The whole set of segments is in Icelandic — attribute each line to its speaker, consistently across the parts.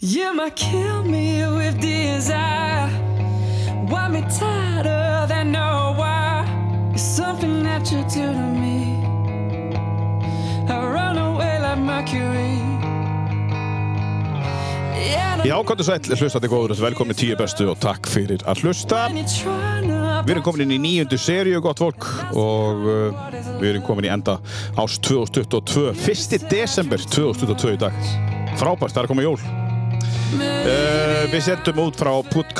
Speaker 1: You might kill me with desire. Want me tighter than no wire. It's something that you do to me. I run away like Mercury. Yeah,
Speaker 2: Já, kontur sæll, hlustandi góður og velkomin tíu bestu og takk fyrir að hlusta. Við erum komin inn í nýjundu seríu, gott fólk, og uh, við erum komin í enda ást 2022, 1. desember 2022 í dag. Frábært, það er komið jól. Uh, við sendum út frá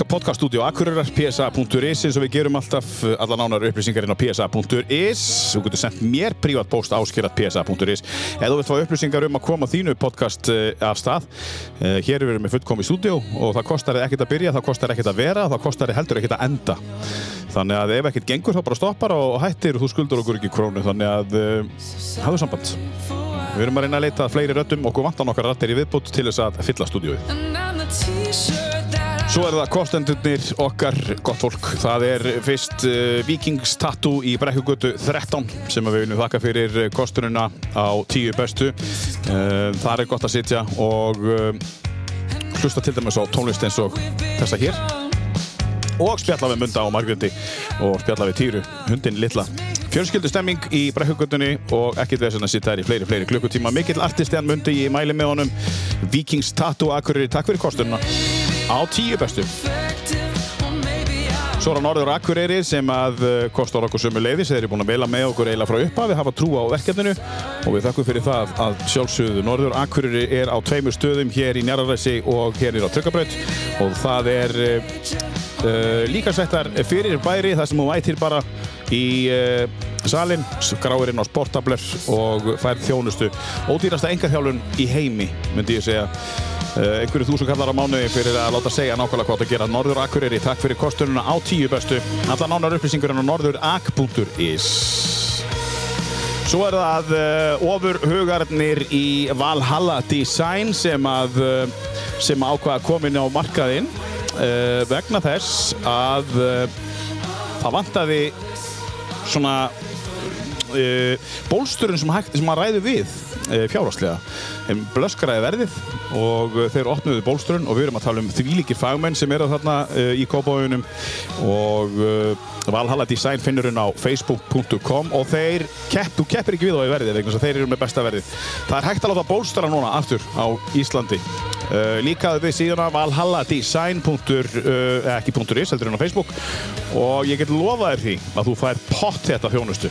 Speaker 2: podcaststudio Akureyrar, psa.is eins og við gerum alltaf uh, alla nánar upplýsingar inn á psa.is Þú getur sendt mér privatpost áskilat psa.is eða þú vilt fá upplýsingar um að koma þínu podcast uh, af stað uh, Hér erum við með fullkomi stúdíó og það kostar ekkert að byrja, það kostar ekkert að vera, það kostar heldur ekkert að enda Þannig að ef ekkert gengur þá bara stoppar og hættir og þú skuldur okkur ekki krónu þannig að uh, hafðu samband Við erum að reyna að leita að fleiri röddum, okkur vantan okkar rættir í viðbútt til þess að fylla stúdíói
Speaker 1: And I'm the t-shirt that I
Speaker 2: Svo er það kostendurnir okkar, gott fólk. Það er fyrst uh, Vikings Tattoo í Brekkugötu 13 sem að við viljum þakka fyrir eh, kostunina á tíu bestu. Uh, þar er gott að sitja og uh, hlusta til dæmis á tónlist eins og þessa hér. Og spjalla við Munda og Margretti og spjalla við Týru, hundin litla. Fjölskyldu stemming í brekkugötunni og ekkert veginn að sitja þær í fleiri, fleiri klukkutíma. Mikill artisti hann Mundi, ég mæli með honum. Vikings Tattoo Akureyri, takk fyrir kostunina á tíu bestu.
Speaker 1: effective. Or maybe I
Speaker 2: Svo er það Norður Akureyri sem að uh, kostar okkur sömu leiðis, þeir eru búin að veila með okkur eiginlega frá uppa, við hafa trú á verkefninu og við þakkum fyrir það að sjálfsögðu Norður Akureyri er á tveimur stöðum hér í Njarðaræsi og hér er á Tryggabraut og það er uh, uh, líka settar fyrir bæri þar sem hún mætir bara í uh, salin, gráirinn á sportabler og fær þjónustu ódýrasta engaþjálun í heimi myndi ég segja Eh, einhverju þúsund kallar á mánuði fyrir að láta segja nákvæmlega hvað það gera Norður Akureyri, takk fyrir kostununa á tíu bestu Alla nánar upplýsingurinn á norðurak.is Svo er það uh, ofur hugarnir í Valhalla Design sem að uh, sem ákvaða komin á markaðinn uh, vegna þess að uh, það vantaði svona uh, bólsturinn sem, hægt, sem að ræðu við uh, fjárháslega þeim blöskraði verðið og uh, þeir opnuðu bólsturinn og við erum að tala um þvílíkir fagmenn sem eru þarna uh, í kópáunum og uh, Valhalla Design finnur hún á facebook.com og þeir kepp, þú keppir ekki við á í verðið vegna þess að þeir eru með besta verðið það er hægt að láta bólstura núna aftur á Íslandi uh, líkaðu við síðuna valhalladesign. Uh, ekki .is, heldur hún á Facebook og ég get lofa þér því að þú fær pott þetta þjónustu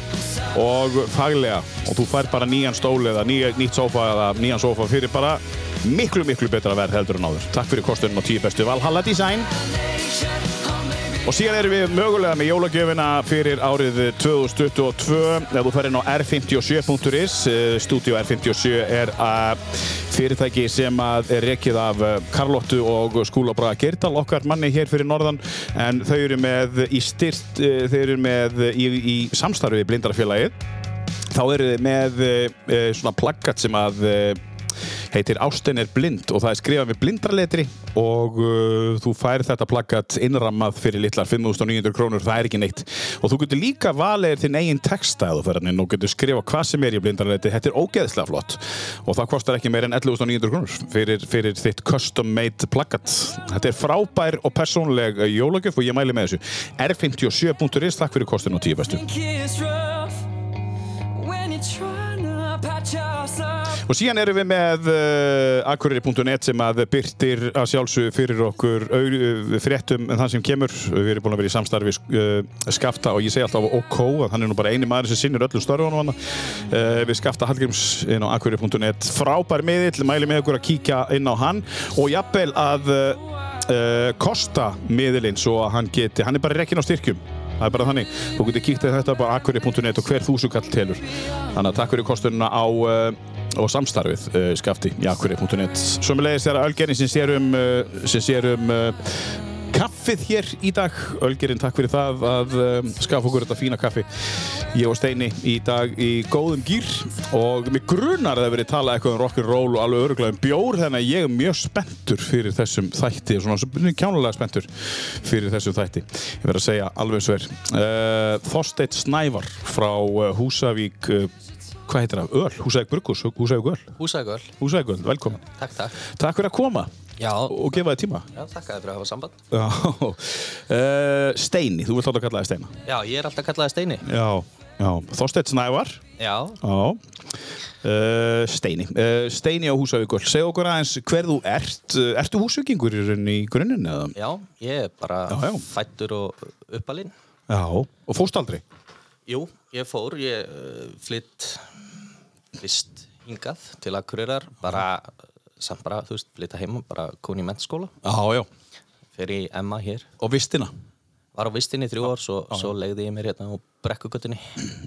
Speaker 2: og faglega og þú fær bara nýjan stóli eða ný, nýtt sófa eða nýjan sófa fyrir bara miklu, miklu betra verð heldur en áður. Takk fyrir kostunum á tíu bestu Valhalla Design.
Speaker 1: oh,
Speaker 2: Og síðan erum við mögulega með jólagjöfina fyrir árið 2022. Ef þú ferinn á r57.is, eh, Studio R57 er eh, fyrirtæki sem að er rekið af eh, Karlottu og Skúla Braga Gerdal, okkar manni hér fyrir norðan, en þau eru með í styrt, eh, þau eru með í, í samstarfi við Blindarfélagið þá eru þið með e, e, svona plakkat sem að e, heitir Ástin er blind og það er skrifað með blindraletri og uh, þú fær þetta plakkat innrammað fyrir litlar 5.900 krónur, það er ekki neitt og þú getur líka valið þinn eigin texta eða þú ferðin inn og getur skrifað hvað sem er í blindraletri þetta er ógeðslega flott og það kostar ekki meir en 11.900 krónur fyrir, fyrir þitt custom made plakkat þetta er frábær og persónleg jólagjöf og ég mæli með þessu R57.is, takk fyrir kostin og tíu bestu
Speaker 1: think it's rough when you're trying to patch yourself.
Speaker 2: Og síðan erum við með uh, akureyri.net sem að byrtir að sjálfsögðu fyrir okkur au, uh, fréttum en þann sem kemur. Við erum búin að vera í samstarfi uh, Skafta og ég segi alltaf OK að hann er nú bara eini maður sem sinnir öllum störfunum hann. Uh, við Skafta Hallgríms inn á akureyri.net. Frábær miðill, mæli með okkur að kíkja inn á hann og jafnvel að uh, uh, kosta miðilinn svo að hann geti, hann er bara rekkin á styrkjum. Það er bara þannig, þú getur kíkt að þetta bara akkurri.net og hver þúsu kall telur. Þannig að takk fyrir kostununa á, uh, á samstarfið uh, skafti í akkurri.net. Sömulegis þegar Ölgerinn sem sér um, uh, sem sér um uh, kaffið hér í dag. Ölgerinn, takk fyrir það að um, skafa okkur þetta fína kaffi. Ég og Steini í dag í góðum gýr og mig grunar að það hafi verið talað eitthvað um rock'n'roll og alveg öruglega um bjór þannig að ég er mjög spenntur fyrir þessum þætti og svona svona kjánulega spenntur fyrir þessum þætti. Ég verð að segja alveg sver. Uh, Þorsteit Snævar frá uh, Húsavík uh, hvað heitir það, Öl, Húsæk Brukus, Húsæk Öl,
Speaker 3: Húsægöl,
Speaker 2: Húsæk Öl, velkomin.
Speaker 3: takk, takk.
Speaker 2: Takk fyrir að koma
Speaker 3: Já,
Speaker 2: og gefa þið tíma.
Speaker 3: já takk að þið fyrir að hafa samband.
Speaker 2: Já, uh, Steini, þú vilt láta að kalla það Steina.
Speaker 3: Já, ég er alltaf kallaðið Steini.
Speaker 2: Já, já, Þorsteinn Snævar.
Speaker 3: Já,
Speaker 2: Já, uh, Steini. Uh, Steini á Húsavíkvöld. Segð okkur aðeins hver þú ert. Uh, Ertu húsvíkingur í rauninni í grunninn eða?
Speaker 3: já, ég er bara
Speaker 2: Já, já.
Speaker 3: fættur og uppalinn.
Speaker 2: Já. Og fórst aldrei?
Speaker 3: Jú, ég fór, ég uh, flytt fyrst hingað til Akureyrar, bara, samt bara, þú veist, flytta heima, bara komin í mentaskóla,
Speaker 2: Já, já.
Speaker 3: fer í Emma hér,
Speaker 2: Og vistina?
Speaker 3: var á vistinni í þrjú ár, svo, svo legði ég mér hérna á brekkugötunni,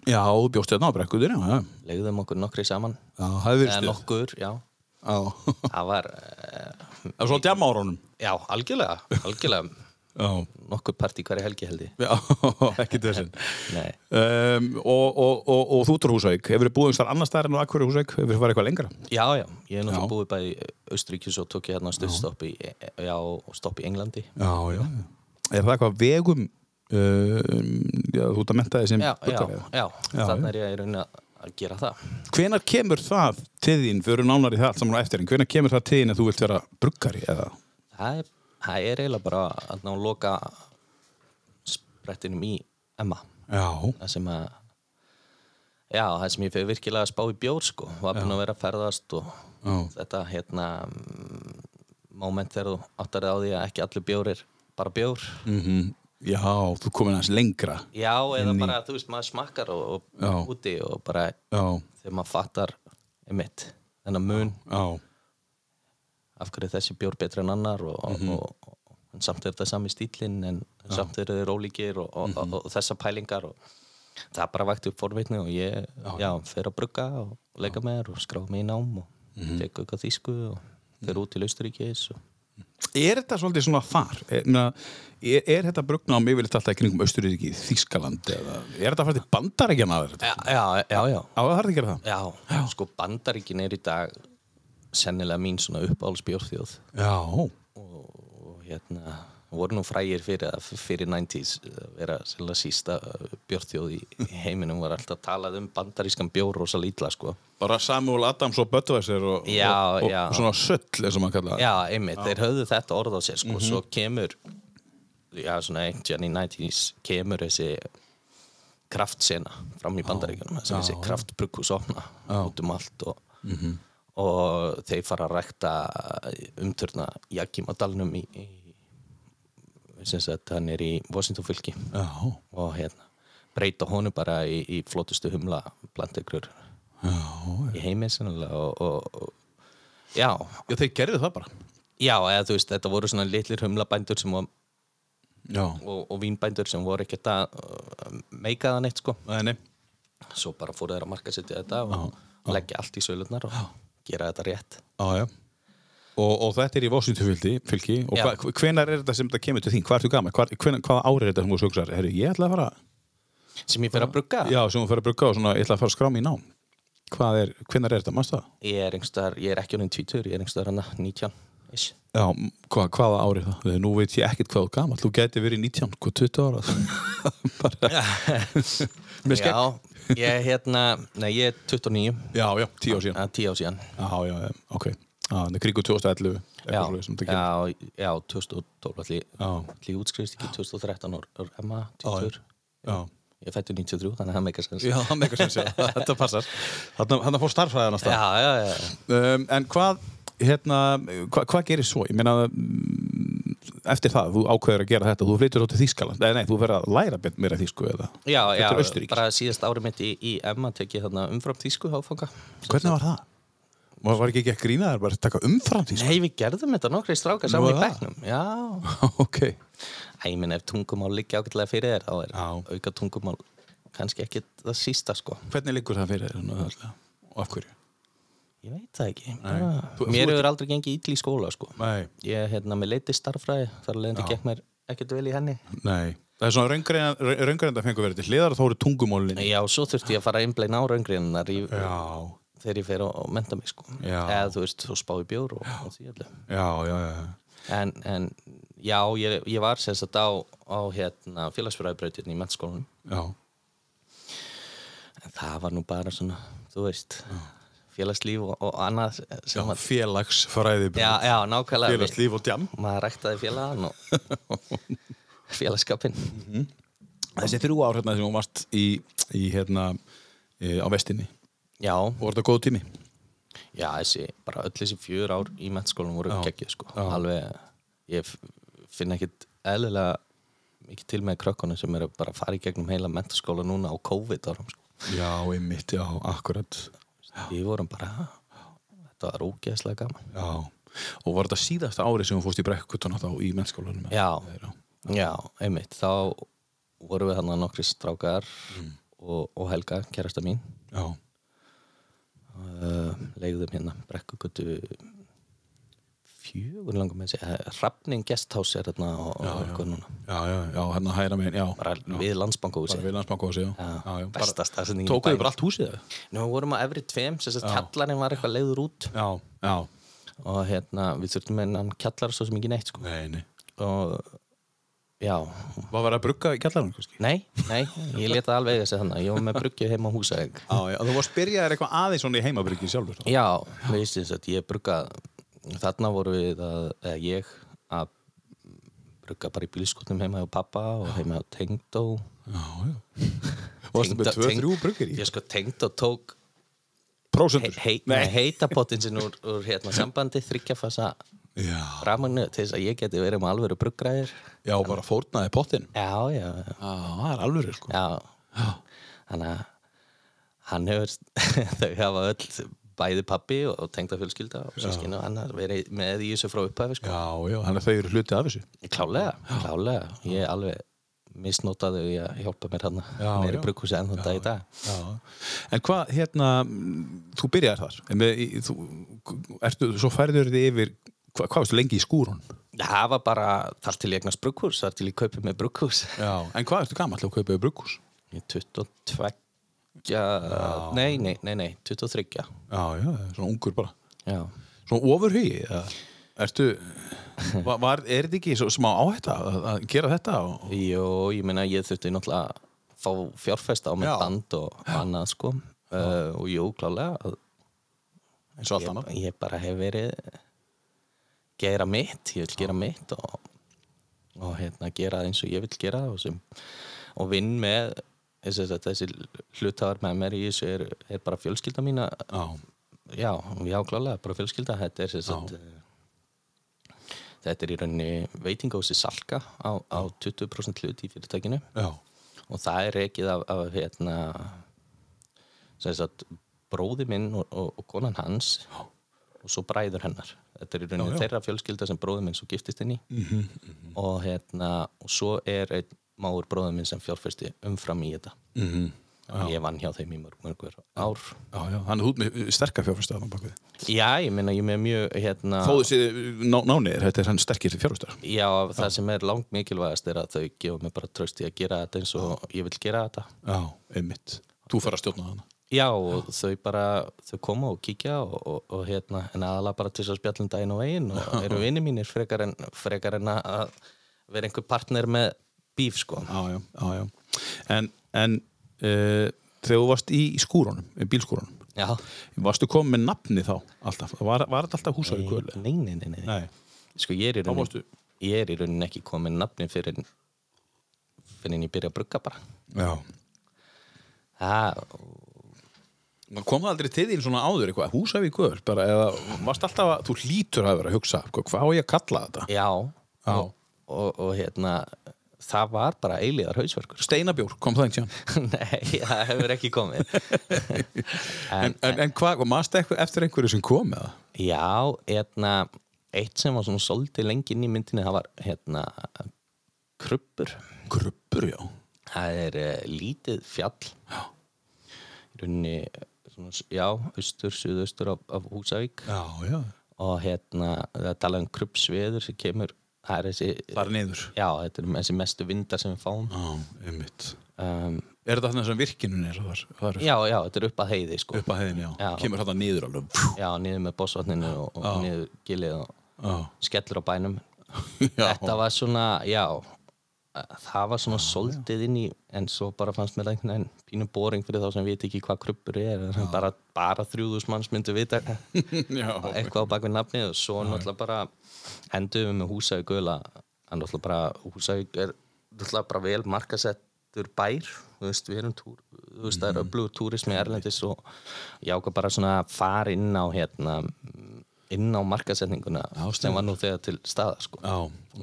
Speaker 2: Já, þú bjóst hérna á brekkuður, já, já.
Speaker 3: legðum okkur nokkri saman,
Speaker 2: Já, það hefði verið
Speaker 3: eða
Speaker 2: stuð.
Speaker 3: nokkur, já,
Speaker 2: Já.
Speaker 3: það var, uh,
Speaker 2: Það var svona djama árunum.
Speaker 3: já, algjörlega, algjörlega,
Speaker 2: Já.
Speaker 3: nokkur partí hverja helgi held ég,
Speaker 2: Já, ekki þessin.
Speaker 3: nei,
Speaker 2: Um, og, og, og, og þú út úr Húsavík. Hefur þið búið einhvers þar annar staðar en á Akkur Húsavík? Hefur þið farið eitthvað lengra?
Speaker 3: já, já, ég er
Speaker 2: Já.
Speaker 3: náttúrulega búið bæði í Austríkjus og tók ég hérna stöðstopp í, já, stopp í Englandi,
Speaker 2: Já, já. Er það eitthvað vegum, uh, já, þú ert að menta þið sem
Speaker 3: já, já,
Speaker 2: buddari, eða?
Speaker 3: já,
Speaker 2: Mm, Já,
Speaker 3: þannig
Speaker 2: já.
Speaker 3: er ég í rauninni að að gera það
Speaker 2: Hvenar kemur það til þín, fyrir nánar í það allt saman á eftir, en hvenar kemur það til þín að þú vilt vera bruggari eða?
Speaker 3: það er, það er eiginlega bara að ná að loka sprettinum í Emma
Speaker 2: Já.
Speaker 3: það sem að já, það sem ég fyrir virkilega að spá í bjór sko, var búin að vera að ferðast og
Speaker 2: Já.
Speaker 3: þetta hérna mm, moment þegar þú áttar þig á því að ekki allir bjór er bara bjór
Speaker 2: Mm Já, þú komin aðeins lengra.
Speaker 3: já, eða bara, þú veist, maður smakkar og,
Speaker 2: Já.
Speaker 3: og úti og bara
Speaker 2: Já,
Speaker 3: þegar maður fattar einmitt, þennan mun
Speaker 2: já,
Speaker 3: af hverju er þessi bjór betri en annar og, og, og, en samt er þetta sami stílinn en samt eru þeir ólíkir og, og, og, og þessar pælingar og það bara vakti upp forvitni og ég já, fer að brugga og leika með þér og skrá mig í nám og mm -hmm. tek auka þýsku og fer út til Austuríkis og
Speaker 2: Er þetta svolítið svona þar? Er, meina, er, er þetta brugnám yfirleitt alltaf í kringum Östuríki, Þískaland eða? Er þetta að fara til bandarækjana að þetta?
Speaker 3: já, já, já, já,
Speaker 2: Á það þarf að gera það?
Speaker 3: já. sko bandaríkin er í dag sennilega mín svona uppáhalsbjórþjóð
Speaker 2: Já.
Speaker 3: og hérna voru nú frægir fyrir, fyrir 90s að vera sérlega sísta björnþjóð í í heiminum var alltaf talað um bandarískan bjór rosa lítla sko
Speaker 2: Bara Samuel Adams og Böttvæsir og,
Speaker 3: Já,
Speaker 2: og, og,
Speaker 3: já.
Speaker 2: og svona söll eins og maður kalla það.
Speaker 3: já, einmitt, þeir höfðu þetta orð á sér sko, svo kemur já, svona einhvern í 90s kemur þessi kraftsena fram í bandaríkanum sem þessi kraftbrukus opna út um allt og, og þeir fara að rækta umturna Jakimadalnum í, í sem sagt, hann er í Washington fylki
Speaker 2: Já.
Speaker 3: og hérna breyta honum bara í, í flottustu humla plantegrur í heimi sennilega og, og, og já,
Speaker 2: Já, þeir gerðu það bara.
Speaker 3: já, eða þú veist þetta voru svona litlir humlabændur sem var,
Speaker 2: Já.
Speaker 3: og, og vínbændur sem voru ekkert að uh, meika það neitt sko
Speaker 2: Nei,
Speaker 3: svo bara fóru þeir að marka setja þetta og leggja allt í sölunar og gera þetta rétt
Speaker 2: Já, já. Og, og þetta er í Vosintufylki fylki, og
Speaker 3: Já.
Speaker 2: hva, hvenar er þetta sem þetta kemur til þín? Hvað ertu gaman? Hvar, hvenar, hvaða ári er þetta sem þú hugsar? Herru, ég ætla að fara
Speaker 3: sem ég fer að brugga
Speaker 2: Já, sem þú fer að brugga og svona, ég ætla að fara að skrá mig í nám Hvað er, hvenar er þetta, mannst það?
Speaker 3: ég er einhverstaðar, ég er ekki honum tvítur ég er einhverstaðar hann 19 ish.
Speaker 2: Já, m- hva, hvaða ári er það? Þegar Nú veit ég ekkert hvað þú gaman, þú gæti verið 19, hvað 20 ára Bara, með skegg
Speaker 3: já, ég er hérna nei, ég er 29
Speaker 2: Já, já, 10 ár síðan Já,
Speaker 3: að 10 á síðan
Speaker 2: já, já, ok Já, það er kringu 2011
Speaker 3: já,
Speaker 2: eitthvað svoleiðis sem þetta kemur.
Speaker 3: já, já, 2012 allir,
Speaker 2: Já.
Speaker 3: allir útskrifst ekki 2013 og og Emma 20
Speaker 2: Já,
Speaker 3: ég fættu 93 þannig að sko. það meikar sens
Speaker 2: já, það með eitthvað sem sé Þetta passar Þannig að fór starfræðan að stað
Speaker 3: já, já, já.
Speaker 2: um, en hvað hérna, hva, hvað gerir svo? Ég meina mm, eftir það, þú ákveður að gera þetta þú flyttur þá til Þýskaland, nei, nei, þú verður að læra bet- meira þýsku eða
Speaker 3: já, já
Speaker 2: Þetta er Austurríki.
Speaker 3: bara síðast ári mitt í, í Emma tek ég þarna umfram þýsku áfanga
Speaker 2: Hvernig var það? Var, var ekki ekki að grína þær, bara að taka umfram þýsku?
Speaker 3: nei, við gerðum þetta nokkri strákar
Speaker 2: Nú
Speaker 3: saman
Speaker 2: er
Speaker 3: í
Speaker 2: það?
Speaker 3: bæknum já,
Speaker 2: ok,
Speaker 3: Æ, ég minn ef tungumál liggja ágætlega fyrir þér þá er
Speaker 2: Já.
Speaker 3: auka tungumál kannski ekki það sísta sko
Speaker 2: hvernig liggur það fyrir þér nú þarna? og af hverju?
Speaker 3: ég veit það ekki
Speaker 2: Þú-
Speaker 3: já.
Speaker 2: þú
Speaker 3: mér
Speaker 2: ert-
Speaker 3: hefur aldrei gengið ítli í skóla sko
Speaker 2: Nei,
Speaker 3: ég hérna með leiti starffræði þar leðin það gekk mér ekkert vel í henni
Speaker 2: nei Það er svona raungreynda fengur verið til hliðar og þá eru tungumólin
Speaker 3: Já, svo þurfti ég að fara að einbleina á raungriðinnar í,
Speaker 2: Já,
Speaker 3: þegar ég fer og, og menta mig sko.
Speaker 2: Já.
Speaker 3: eða þú veist, svo spá í bjór og, og því öllu
Speaker 2: já, já, já
Speaker 3: en, en já, ég, ég var sem sagt á, á hérna, félagsfyræðbrautinni í mennskólanum
Speaker 2: Já,
Speaker 3: en það var nú bara svona þú veist, félagslíf og, og annað
Speaker 2: Já,
Speaker 3: sem að,
Speaker 2: félagsfræði
Speaker 3: já, já, nákvæmlega við-
Speaker 2: Félagslíf og djam
Speaker 3: maður ræktaði félagan og félagskapin
Speaker 2: Þessi þrjú ár hérna sem hún varst í, í hérna e, á vestinni
Speaker 3: já,
Speaker 2: og var þetta góð tími
Speaker 3: já, þessi, bara öll þessi fjör ár í mentaskólanum voru geggjöð sko, alveg ég f- finn ekkit eðlilega mikið til með krökkunum sem eru bara að fara í gegnum heila mentaskóla núna á COVID árum sko.
Speaker 2: Já, einmitt, já, akkurat
Speaker 3: við vorum bara, "Ha, þetta var ógeðslega gaman
Speaker 2: Já, og var þetta síðasta ári sem hún fórst í brekkutuna þá í mennskólanum
Speaker 3: Já,
Speaker 2: já.
Speaker 3: já, einmitt þá vorum við hann nokkri strákar
Speaker 2: Mm.
Speaker 3: og, og Helga, kærasta mín
Speaker 2: já,
Speaker 3: uh, leigðum hérna brekkugutu fjögur langar með þessi Hrafning Guesthouse er þarna og, og okkur núna
Speaker 2: já, já, já hérna hæra megin, já
Speaker 3: bara við landsbanku
Speaker 2: bara við landsbanku á sig, já,
Speaker 3: Já,
Speaker 2: já, já
Speaker 3: besta staðsetningin í
Speaker 2: Tókuðu
Speaker 3: bænum.
Speaker 2: bara allt húsið það?
Speaker 3: Nú vorum að efri tveim sem þess að kjallarinn var eitthvað leiður út
Speaker 2: Já, já,
Speaker 3: og hérna við þurftum með hann kjallar svo sem ekki neitt sko
Speaker 2: nei, nei
Speaker 3: og já,
Speaker 2: Var verið að brugga í kjallarinn, kannski?
Speaker 3: nei, nei ég leta alveg þessi þannig, ég var með bruggju heima á húsæk
Speaker 2: Já, já, þú varst byrjaðir eitthvað aðeins svona í heimabryggi sjálfur þá?
Speaker 3: Já, veist þess að ég brugga þarna voru við að, eða ég að brugga bara í bílskotnum heima hjá pappa og heima hjá Tengdó
Speaker 2: Já, já Varstu með tvö, þrjú bruggir í?
Speaker 3: Ég sko Tengdó tók he,
Speaker 2: Prósendur?
Speaker 3: he, nei, heitapottin sinn úr, úr hérna sambandi þryggjafasa
Speaker 2: Já,
Speaker 3: ramagnu til þess að ég geti verið með alvöru bruggræðir
Speaker 2: já, bara fórnaði pottin Já,
Speaker 3: Já, já, já,
Speaker 2: það er alveg, sko
Speaker 3: já Þannig að hann hefur, þau hafa öll bæði pappi og tengda fjölskylda og sískinu og annar verið með í þessu frá upphafi sko.
Speaker 2: Já, já, þannig að þau eru hluti af þessu
Speaker 3: Klálega, klálega. Ég alveg misnotaði því að hjálpa mér hann
Speaker 2: Já,
Speaker 3: meiri
Speaker 2: já.
Speaker 3: brugghúsi enn þann dag í dag.
Speaker 2: Já En hvað, hérna, mm, þú byrjaðir þar En með, í- þú, ertu, svo færður þið yfir hva, Hvað varstu lengi í skúrun?
Speaker 3: Það var bara þar til ég eignast brugghús, þar til ég kaupi með brugghús.
Speaker 2: Já En hvað ertu gamall að kaupaði brugghús?
Speaker 3: Ég er 22, nei, nei, nei, nei, 23.
Speaker 2: Já, já, svona ungur bara
Speaker 3: Já.
Speaker 2: Svona ofurhugi eða? Ertu, var, var, er þetta ekki svo smá áhætta að, að gera þetta? Og,
Speaker 3: Jó, ég meina ég þurfti náttúrulega að fá fjárfesta á
Speaker 2: Já.
Speaker 3: með band og annað sko. Uh, og jú, klálega, að
Speaker 2: eins og allt
Speaker 3: ég,
Speaker 2: annað
Speaker 3: ég bara hef verið gera mitt, ég vil gera mitt og, og hérna gera það eins og ég vil gera það og, sem, og vinn með þessi, þessi hlutafar með mér í þessu er, er bara fjölskylda mína
Speaker 2: Já,
Speaker 3: já, já klálega, bara fjölskylda þetta er, sem sagt, eh, þetta er í rauninni veitingósi salka á, á 20% hlut í fyrirtækinu
Speaker 2: já,
Speaker 3: og það er rekið af, af hérna sem sagt bróði minn og, og, og konan hans og svo bræður hennar þetta er í rauninni þeirra fjölskylda sem bróði minn svo giftist inn í og hérna og svo er einn máur bróði minn sem fjárfesti umfram í þetta mm -hmm. ég vann hjá þeim í mörg mörgur ár
Speaker 2: Mhm. já, já Þannig að þú ert með sterkar fjárfæstaðan á bakvið
Speaker 3: já, ég meina ég er með mjög hérna,
Speaker 2: Þó þessi eh, ná, nánir, þetta er hann sterkir fjárfæstar
Speaker 3: já, það sem er langt mikilvægast er að þau gefa mér bara tröst í að gera þetta eins og ég vil gera þetta
Speaker 2: Já, einmitt Þú fara að stjórna hana
Speaker 3: Já, og þau bara, þau koma og kíkja og, og, og hérna, en aðalega bara til þess að spjallum daginn og veginn og eru vinni mínir frekar en, frekar en að vera einhver partner með bíf, sko.
Speaker 2: já, já, já, já. En, en uh, þegar þú varst í skúrunum, í bílskúrunum
Speaker 3: Já.
Speaker 2: varstu komið með nafni þá alltaf, var, var þetta alltaf húsavík gölu?
Speaker 3: Nei, nei, nei, nei.
Speaker 2: Nei,
Speaker 3: Sko, ég er í
Speaker 2: varstu-
Speaker 3: raunin, ég er í raunin ekki komin nafni fyrir en, fyrir en ég byrja að brugga bara.
Speaker 2: já
Speaker 3: Það,
Speaker 2: Man kom það aldrei til þín svona áður eitthvað, húsavík göl bara, eða varst alltaf að, þú hlýtur að vera að hugsa, hvað, hvað á ég að kalla þetta?
Speaker 3: já.
Speaker 2: Já.
Speaker 3: Og, og, og hérna, það var bara eilíðar hausverkur.
Speaker 2: Steinabjór, kom það einhvern
Speaker 3: nei, það hefur ekki komið.
Speaker 2: En, en, en hvað, maður eitthvað eftir einhverju sem kom með það?
Speaker 3: Já, hérna eitt sem var svona svolítið lengi inn í myndinni það var hérna kruppur,
Speaker 2: Kruppur, já
Speaker 3: það er uh, lítið fjall já. í rauninni eh, svona, s- já, austur, suðaustur af, af Húsavík
Speaker 2: Já, já
Speaker 3: og hérna það er talað um kruppsveður sem kemur það er þessi,
Speaker 2: Bara niður
Speaker 3: já, þetta er þessi mestu vindar sem við fáum
Speaker 2: Já, einmitt
Speaker 3: um,
Speaker 2: Er þetta þannig sem virkinin er þar? þar
Speaker 3: Já, já, þetta er upp að heiði sko
Speaker 2: Upp að heiðin, já,
Speaker 3: Já.
Speaker 2: Kemur þetta niður alveg pjú,
Speaker 3: Já, niður með bossvatninu og, og niður gilið og
Speaker 2: Já.
Speaker 3: skellur á bænum
Speaker 2: Já.
Speaker 3: Þetta var svona, já það var svona soldið inn í en svo bara fannst mér það einhvern veginn pínu boring fyrir þá sem veit ekki hvað kruppur er bara, bara þrjúðus manns myndu vita
Speaker 4: Já,
Speaker 3: eitthvað á bakvið nafnið og svo náttúrulega bara henduðum við með Húsavík gula en náttúrulega bara Húsavík er náttúrulega bara vel markasettur bær þú veist, við erum túr, þú veist, það
Speaker 2: Mhm.
Speaker 3: er öflugur túrismi erlendis og ég ákvað bara svona að fara inn á hérna inn á markasetninguna sem var nú þegar til staða sko.
Speaker 2: Já.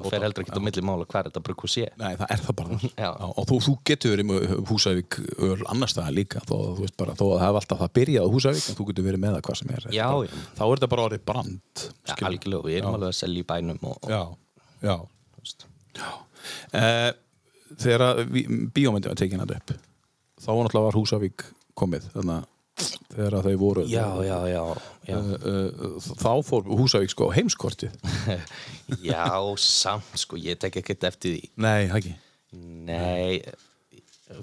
Speaker 3: og fer heldur ekki á milli mála hver þetta brugg sé
Speaker 2: Nei, það er það bara þar.
Speaker 3: Já.
Speaker 2: Já, og þú, þú getur verið með Húsavík öl annars staðar líka þó, að þú veist bara, þó að það hef alltaf það byrjað á Húsavík en þú getur verið með það hvað sem er
Speaker 3: Já,
Speaker 2: Þetta-
Speaker 3: já.
Speaker 2: þá er þetta bara orðið brand
Speaker 3: ja, algjörlega, við erum alveg að selja í bænum og, og
Speaker 2: já, já.
Speaker 3: þú veist,
Speaker 2: Eh, þegar að vi- bíómyndin var tekin hann upp þá var náttúrulega var Húsavík komið þannig að þegar að þau voru
Speaker 3: já, já, já, já.
Speaker 2: Eh, eh, þá fór Húsavík sko á heimskortið
Speaker 3: já, samt sko, ég tek ekkert eftir því
Speaker 2: nei, það ekki
Speaker 3: Nei,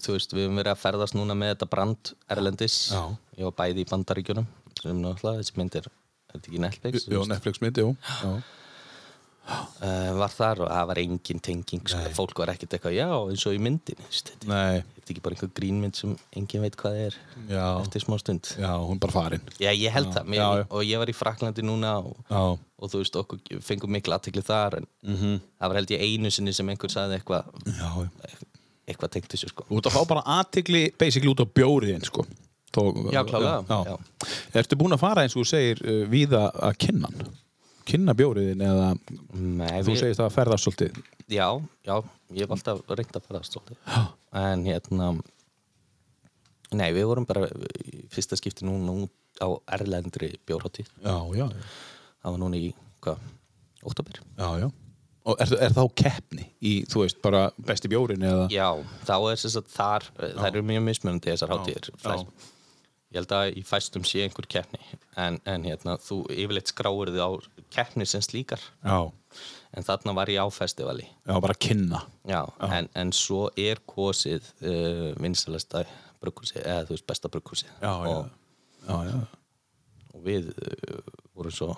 Speaker 3: þú veist, við höfum verið að ferðast núna með þetta brand erlendis.
Speaker 2: Já.
Speaker 3: Ég var bæði í bandaríkjunum, sem náttúrulega, þessi mynd er, er þetta ekki Netflix?
Speaker 2: Jú, Netflix myndi, jú já.
Speaker 3: Uh, var þar og það var engin tenging, sko, fólk var ekkert eitthvað, já, eins og í myndinni, þú veist, þetta er-
Speaker 2: nei,
Speaker 3: þetta er ekki bara einhver grínmynd sem engin veit hvað er
Speaker 2: Já.
Speaker 3: eftir smá stund.
Speaker 2: já, hún er bara farin
Speaker 3: Já, ég held það, mér,
Speaker 2: já, já.
Speaker 3: og ég var í Fraklandi núna og,
Speaker 2: já,
Speaker 3: og þú veist, okkur fengum miklu aðtekli þar, en
Speaker 2: Mhm.
Speaker 3: -hmm. það var held ég einu sinni sem einhver saði eitthvað,
Speaker 2: já, já
Speaker 3: eitthvað tengt þessu, sko.
Speaker 2: Þú ert að fá bara aðtigli basically út á bjóriðin sko. Þó,
Speaker 3: Já, klárlega,
Speaker 2: já. Ertu búin að fara eins og þú segir uh, víða að kynna hann? Kynna bjóriðin eða
Speaker 3: Nei,
Speaker 2: þú segist að ferðast svolítið
Speaker 3: Já, já, ég hef alltaf reynd að ferðast svolítið En hérna Nei, við vorum bara í fyrsta skipti núna út á erlendri bjórhátti
Speaker 2: Já, já,
Speaker 3: Það var núna í, hvað, óttabir?
Speaker 2: já, já. Og er, er þá keppni í, þú veist, bara besti bjórin eða
Speaker 3: Já, þá er þess að þar Það eru mjög mismunandi þessar hátíðir Flest- Ég held að í fæstum sé einhver keppni en, en hérna, þú yfirleitt skráir þið á keppni sem slíkar
Speaker 2: já,
Speaker 3: En þarna var ég á festivali
Speaker 2: já bara kynna
Speaker 3: Já, En, en svo er kosið uh, vinsalasta brugghúsi eða þú veist besta brugghúsi og,
Speaker 2: já, já.
Speaker 3: og við uh, vorum svo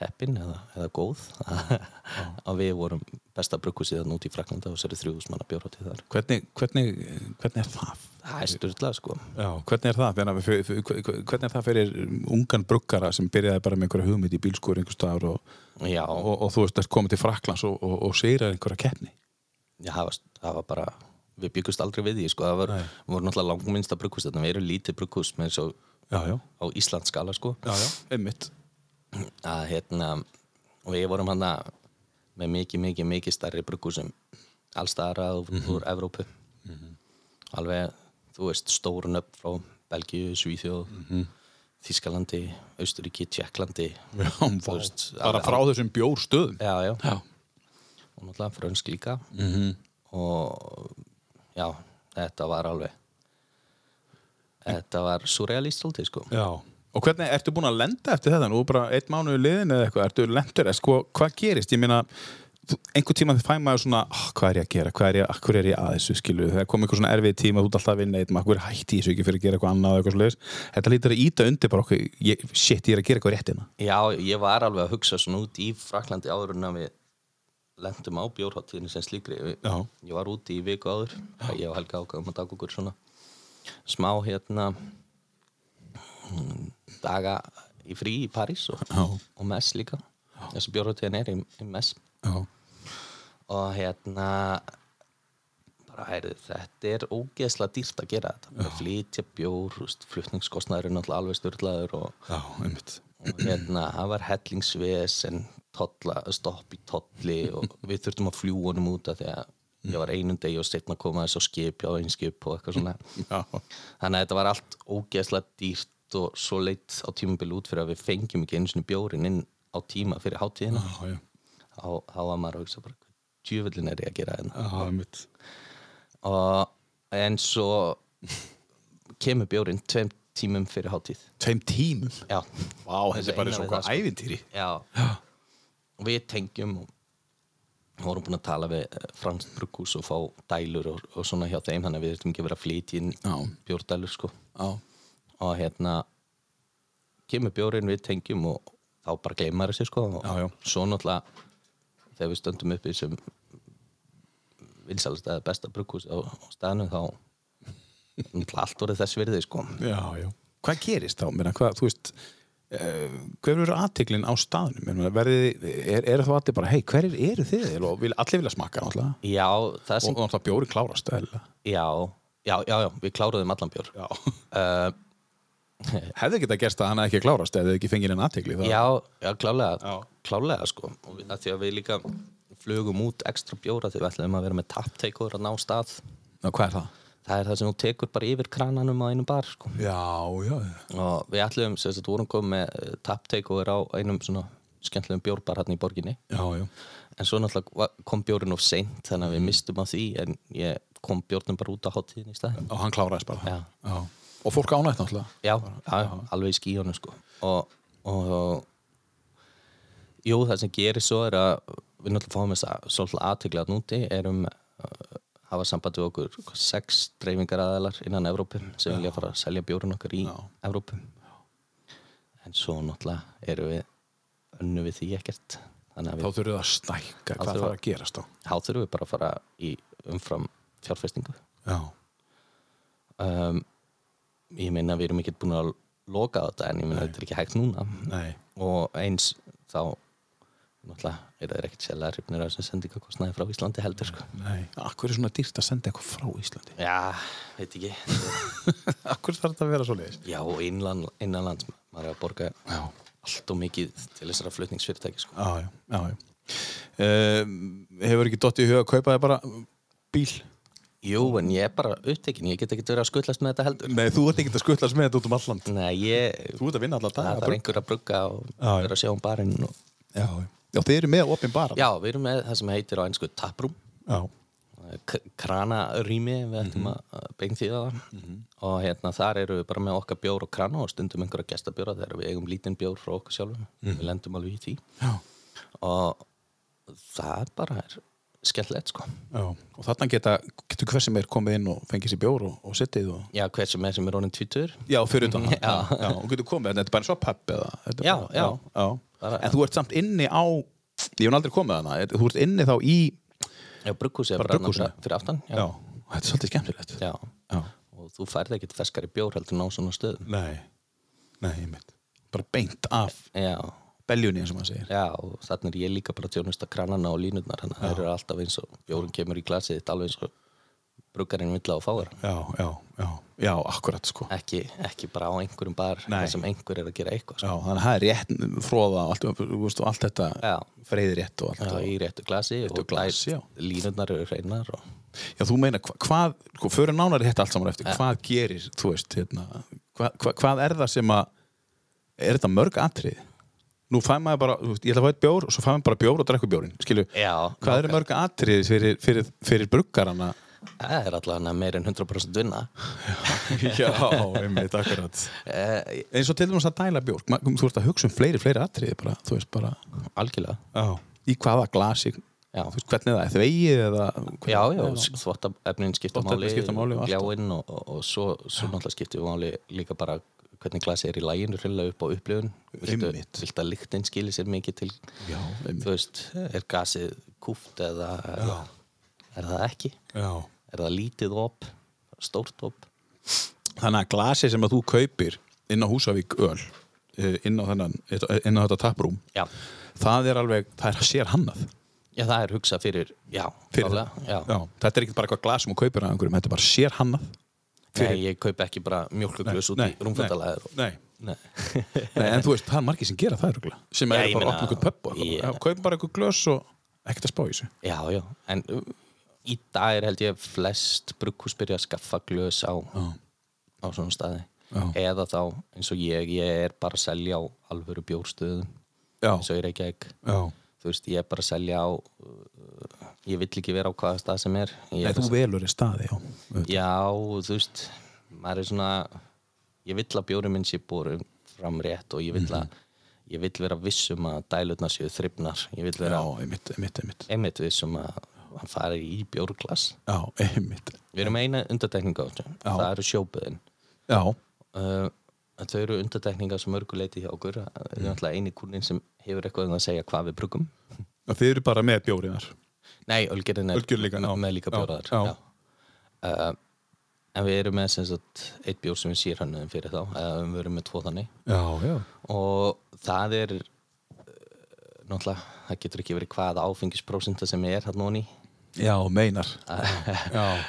Speaker 3: heppin eða, eða góð að við vorum besta brugghúsi þannig út í Fraklanda og sér þrjúðus manna bjórhátíð þar
Speaker 2: Hvernig, hvernig, hvernig er það?
Speaker 3: Það er styrlað sko
Speaker 2: Já, hvernig er það? Þegar við- fyrir- fyrir- Hvernig er það fyrir ungan bruggara sem byrjaði bara með einhverja hugmynd í bílskur einhver staðar og,
Speaker 3: Já,
Speaker 2: og, og þú veist að koma til Fraklands og, og, og seirar einhverja keppni
Speaker 3: já það, var, það var bara við byggust aldrei við því sko það var, voru náttúrulega langminnsta brugghús þannig við erum lítið brugghús með svo
Speaker 2: já, já,
Speaker 3: á Íslandskala sko
Speaker 2: já, já, einmitt
Speaker 3: að hérna og við vorum hann með mikið, mikið, mikið starri brugghúsum allstaðar að úr, úr Evrópu alveg, þú veist, stórun upp frá Belgíu, Svíþjóð Þískalandi, Austuríki, Tjekklandi
Speaker 2: já,
Speaker 3: Þú veist,
Speaker 2: bara
Speaker 3: alveg-
Speaker 2: frá þessum bjórstöðum
Speaker 3: já, já,
Speaker 2: já,
Speaker 3: og náttúrulega frönsk líka -hmm. og já, þetta var alveg þetta var surrealist svolítið sko
Speaker 2: já og hvernig, ertu búin að lenda eftir þetta nú er bara einn mánuð liðin eða eitthvað, ertu lendur eða sko, hvað gerist, ég meina þú- einhvern tíma þið fæ maður svona oh, hvað er ég að gera, hvað er ég, hvað er ég að þessu skilu þegar kom einhver svona erfið tíma, þú ert alltaf að vinna eitthvað, hvað er hætti ég þessu ekki fyrir að gera eitthvað annað eða eitthvað svoleiðis. þetta lítur að íta undir bara okkur ég, shit, ég er að gera eitthvað rétt hérna
Speaker 3: Já, ég var alveg að hugsa svona út í Fraklandi áður en að við lendum á bjórháttíðinu sem slíkri við,
Speaker 2: Já.
Speaker 3: ég var úti í viku áður ég og Helga ákvæðum að taka okkur svona smá hérna mm, daga í frí í París og,
Speaker 2: Já.
Speaker 3: og mess líka þessi bjórháttíðin er í, í mess
Speaker 2: já,
Speaker 3: og hérna bara heyrðu, þetta er ógeðslega dýrt að gera þetta að flytja bjór, þú veist, flutningskostnaður er náttúrulega alveg styrlaður og
Speaker 2: já, einmitt
Speaker 3: og hérna, það var hellingsvesen tolla, stopp í tolli og við þurftum að fljúa honum út af því að ég var einum degi og setna koma þess á skip, já, einn skip og eitthvað svona
Speaker 2: já,
Speaker 3: þannig að þetta var allt ógeðslega dýrt og svo leitt á tímabili út fyrir að við fengjum ekki einu sinni bjórin inn á tíma fyrir hátíðina
Speaker 2: já, já,
Speaker 3: þá þá var maður að hugsa bara, hvað djöfullin er ég að gera hérna
Speaker 2: já, einmitt
Speaker 3: og en svo kemur bjórin tveim tímum fyrir hátíð
Speaker 2: tveim tímum
Speaker 3: já,
Speaker 2: Vá, þetta er bara
Speaker 3: eina
Speaker 2: svona
Speaker 3: við það,
Speaker 2: hvað ævintýri
Speaker 3: Já. Og við tengjum og við vorum búin að tala við Frans Brukkús og fá dælur og, og svona hjá þeim þannig að við þurfum ekki að vera að flytja inn
Speaker 2: Já.
Speaker 3: bjórdælur sko
Speaker 2: Já,
Speaker 3: og hérna kemur bjórinn við tengjum og þá bara gleymar þessu sko og
Speaker 2: Já, já.
Speaker 3: svo náttúrulega þegar við stöndum upp í þessum vinsalast eða besta brugghús á á staðnum þá náttúrulega allt orðið þess virði sko
Speaker 2: Já, já. Hvað gerist þá? Meina, hvað, þú veist, uh, hver eru aðteglin á staðnum? Meina, verði, er, er þá allir bara, hei, hverjir eru þið? Og vil, allir vilja smakka, náttúrulega.
Speaker 3: já, það
Speaker 2: Og,
Speaker 3: sem,
Speaker 2: og náttúrulega bjóri klárast, eða.
Speaker 3: já, já, já, já við kláruðum allan bjór
Speaker 2: Já.
Speaker 3: uh,
Speaker 2: Hefði geta gerst að hann hefði ekki klárast eða ekki fengið henni aðtegli. þá-
Speaker 3: já, já, klálega
Speaker 2: Já.
Speaker 3: klálega sko, og við, að því að við líka flugum út ekstra bjóra því við ætlum að vera með tapteikur að ná stað
Speaker 2: Ná, hvað er það?
Speaker 3: það er það sem þú tekur bara yfir krananum á einu bar sko.
Speaker 2: Já, já, já.
Speaker 3: og við ætlum, sem sagt, vorum komið með tapteikur á einum svona skemmtilegum bjórbar hann í borginni
Speaker 2: Já, já.
Speaker 3: en svo náttúrulega va- kom bjórin of seint þannig að við mistum á því en ég kom bjórnum bara út á hátíðin í staðin
Speaker 2: Og hann kláraðist bara.
Speaker 3: Já.
Speaker 2: Og fólk ánætt, náttúrulega.
Speaker 3: já, já, alveg í skíjónu sko og, og, og jú, það sem gerir svo er að við náttúrulega fáum þess að svolítið aðtegla að núti erum uh, hafa samband við okkur hvað, sex dreifingaraðalar innan Evrópu sem vilja fara að selja bjórin okkar í Evrópu en svo náttúrulega erum við önnu við því ekkert þannig
Speaker 2: Þá
Speaker 3: að við
Speaker 2: þurfið það að snækka hvað
Speaker 3: þurfa-
Speaker 2: þarf að gerast þá.
Speaker 3: þá þurfum við bara að fara í umfram fjárfestingu
Speaker 2: Já.
Speaker 3: um, ég meina við erum ekkert búin að loka á þetta en ég meina þetta er ekki hægt núna
Speaker 2: Nei.
Speaker 3: og eins þá náttúrulega er það ekkert sérlega hrifnir af þessum sendingakostnaði frá Íslandi heldur sko.
Speaker 2: Nei. Akkur er svona dýrt að senda eitthvað frá Íslandi?
Speaker 3: já, veit ekki
Speaker 2: Akkur þarf þetta að vera svo leiðis?
Speaker 3: já, og innan, innanlands maður er að borga
Speaker 2: Já.
Speaker 3: allt og mikið til þessara flutningsfyrirtæki sko.
Speaker 2: Já, já, já, já. Um, hefur ekki dottið í huga að kaupa þér bara bíl?
Speaker 3: jú, en ég er bara upptekinn, ég get ekki verið að skullast með þetta heldur
Speaker 2: Nei, þú ert ekki að skutlast með þetta út um alland.
Speaker 3: nei, ég
Speaker 2: Þú ert að vinna allan dag.
Speaker 3: það er einhver að brugga og
Speaker 2: Já, já.
Speaker 3: vera að sjá um barinn og...
Speaker 2: Já, já. já, þið eru með opin bara.
Speaker 3: já, við erum með það sem heitir á einsku taprúm
Speaker 2: já.
Speaker 3: kranarými við ættum að beinþýða það og hérna þar eru við bara með okkar bjór og krana og stundum einhverja gestabjóra þegar við eigum lítinn bjór frá okkur sjálfum við lendum alveg í því
Speaker 2: já.
Speaker 3: og það bara er skemmtilegt sko
Speaker 2: já. Og þarna geta, getur hver sem er komið inn og fengið sér bjór og, og sittið og...
Speaker 3: já, hver sem er sem er honum tvítur
Speaker 2: Já, fyrir utan hann.
Speaker 3: Já.
Speaker 2: já. Og getur komið, en þetta er bara eins og papp eða... þetta er
Speaker 3: Já,
Speaker 2: bara,
Speaker 3: já.
Speaker 2: já. En þú ert samt inni á... Ég hef aldrei komið hana. Þú ert inni þá í...
Speaker 3: já, brugghúsi er
Speaker 2: Bara
Speaker 3: bara þarna
Speaker 2: brugghúsinu?
Speaker 3: fyrir- fyrir aftan
Speaker 2: Já. Þetta er svolítið skemmtilegt.
Speaker 3: Já.
Speaker 2: já.
Speaker 3: og þú færði ekkert feskari bjór heldur en á svona stöðum
Speaker 2: Nei, nei, ég mynd Bara beint af
Speaker 3: já,
Speaker 2: beljunni eins og maður segir
Speaker 3: já og þannig er ég líka bara að tjónusta kranana og línurnar þannig að þeir eru alltaf eins og bjórun kemur í glasið þitt alveg eins og bruggarinn vill að fá þér hann
Speaker 2: Já, já, já, já, akkurat sko
Speaker 3: ekki, ekki bara á einhverjum bar
Speaker 2: Nei.
Speaker 3: þar sem einhver er að gera eitthvað sko.
Speaker 2: Já, þannig að það er rétt fróða og allt, um, þú veist, og allt þetta
Speaker 3: Já.
Speaker 2: freyði rétt og allt
Speaker 3: Já,
Speaker 2: þetta
Speaker 3: í réttu glasi og
Speaker 2: glasi, já.
Speaker 3: glær- línurnar eru hreinar og...
Speaker 2: Já, þú meina, hva- hvað, sko, fyrir nánari þetta allt saman eftir, hvað gerir, þú veist, hérna, hva, hva, hvað er það sem að, er þetta mörg atrið? Nú fæ maður bara, þú veist, ég ætla að fá eitt bjór og svo fæ maður bara bjór og drekku bjórin, skilju,
Speaker 3: Já,
Speaker 2: hvað eru mörg atrið fyrir, fyrir, fyrir bruggarana?
Speaker 3: það er allavega meir en 100% vinna
Speaker 2: Já, einmitt, akkurat.
Speaker 3: eh,
Speaker 2: eins og til dæmis að dæla bjór Ma- þú ert að hugsa um fleiri, fleiri atriði bara, þú veist bara
Speaker 3: algjörlega
Speaker 2: já. í hvaða glasi
Speaker 3: Já.
Speaker 2: þú veist hvernig það er þvegið eða hvernig,
Speaker 3: Já, já, þvottabefnin skipta
Speaker 2: Þvottaefnin
Speaker 3: máli,
Speaker 2: skipta máli og allt.
Speaker 3: gljáinn og, og, og svo, svo náttúrulega skipta máli líka bara hvernig glasi er í læginu hreinlega upp á upplifun Viltu-
Speaker 2: Einmitt.
Speaker 3: viltu að lyktin skili sér mikið til
Speaker 2: Já, einmitt.
Speaker 3: þú veist, er gasið kúft eða er, það- er það ekki
Speaker 2: já.
Speaker 3: er það lítið op, stórt op
Speaker 2: þannig að glasi sem að þú kaupir inn á Húsavík öl eh, inn á, þennan, inn á þetta taprúm
Speaker 3: já.
Speaker 2: það er alveg, það er að sér hannað
Speaker 3: já, það er hugsað fyrir já,
Speaker 2: Fyrir
Speaker 3: klálega, já.
Speaker 2: já, þetta er ekki bara eitthvað glas sem þú kaupir að einhverjum, þetta er bara sér hannað
Speaker 3: Nei, ég kaup ekki bara mjölkuglöðs út í rúmfattalæður og...
Speaker 2: nei,
Speaker 3: Nei.
Speaker 2: nei, en þú veist, það er margir sem gera það örugglega, sem
Speaker 3: Já,
Speaker 2: eru bara
Speaker 3: ég
Speaker 2: að
Speaker 3: meina-
Speaker 2: opna einhvern pöpp og eitthvað.
Speaker 3: Ég-
Speaker 2: Já, kaupir bara einhver glös og ekkert að spá í þessu
Speaker 3: já, já, en uh, í dag er held ég flest brugghús byrja að skaffa glöðs á, á svona staði eða þá, eins og ég, ég er bara að selja á alvöru bjórstöðum
Speaker 2: Já.
Speaker 3: eins og ég reykja ekki
Speaker 2: já
Speaker 3: þú veist, ég er bara að selja á uh, ég vill ekki vera á hvaða stað sem er ég
Speaker 2: Nei,
Speaker 3: er
Speaker 2: þú velur í staði, já. auðvitað.
Speaker 3: Já, þú veist, maður er svona, ég vill að bjóri minn sé búin fram rétt og ég vill
Speaker 2: Mhm.
Speaker 3: að, ég vill vera viss um að dælutna séu þrifnar, ég vill
Speaker 2: Já,
Speaker 3: vera
Speaker 2: einmitt, einmitt, einmitt.
Speaker 3: einmitt viss um að hann fari í bjórglas.
Speaker 2: Já, einmitt.
Speaker 3: Við erum eina undartekninga á þessu,
Speaker 2: Já.
Speaker 3: það eru sjóbuðin.
Speaker 2: Já,
Speaker 3: Uh, en þau eru undartekninga sem örguleiti hjá okkur,
Speaker 2: Mm.
Speaker 3: það er náttúrulega eini kúnin sem hefur eitthvað um að segja hvað við brugum.
Speaker 2: og þið eru bara með bjóriðar.
Speaker 3: Nei, Ölgerðin er
Speaker 2: Ölgerðin líka, já.
Speaker 3: með líka bjóraðar
Speaker 2: Já, já.
Speaker 3: Uh, En við erum með sem sagt eitt bjór sem við sér hannuðum fyrir þá eða við erum með tvo þannig
Speaker 2: já, já,
Speaker 3: og það er uh, náttúrulega, það getur ekki verið hvaða áfengisprósenta sem er hann núni
Speaker 2: já, meinar já,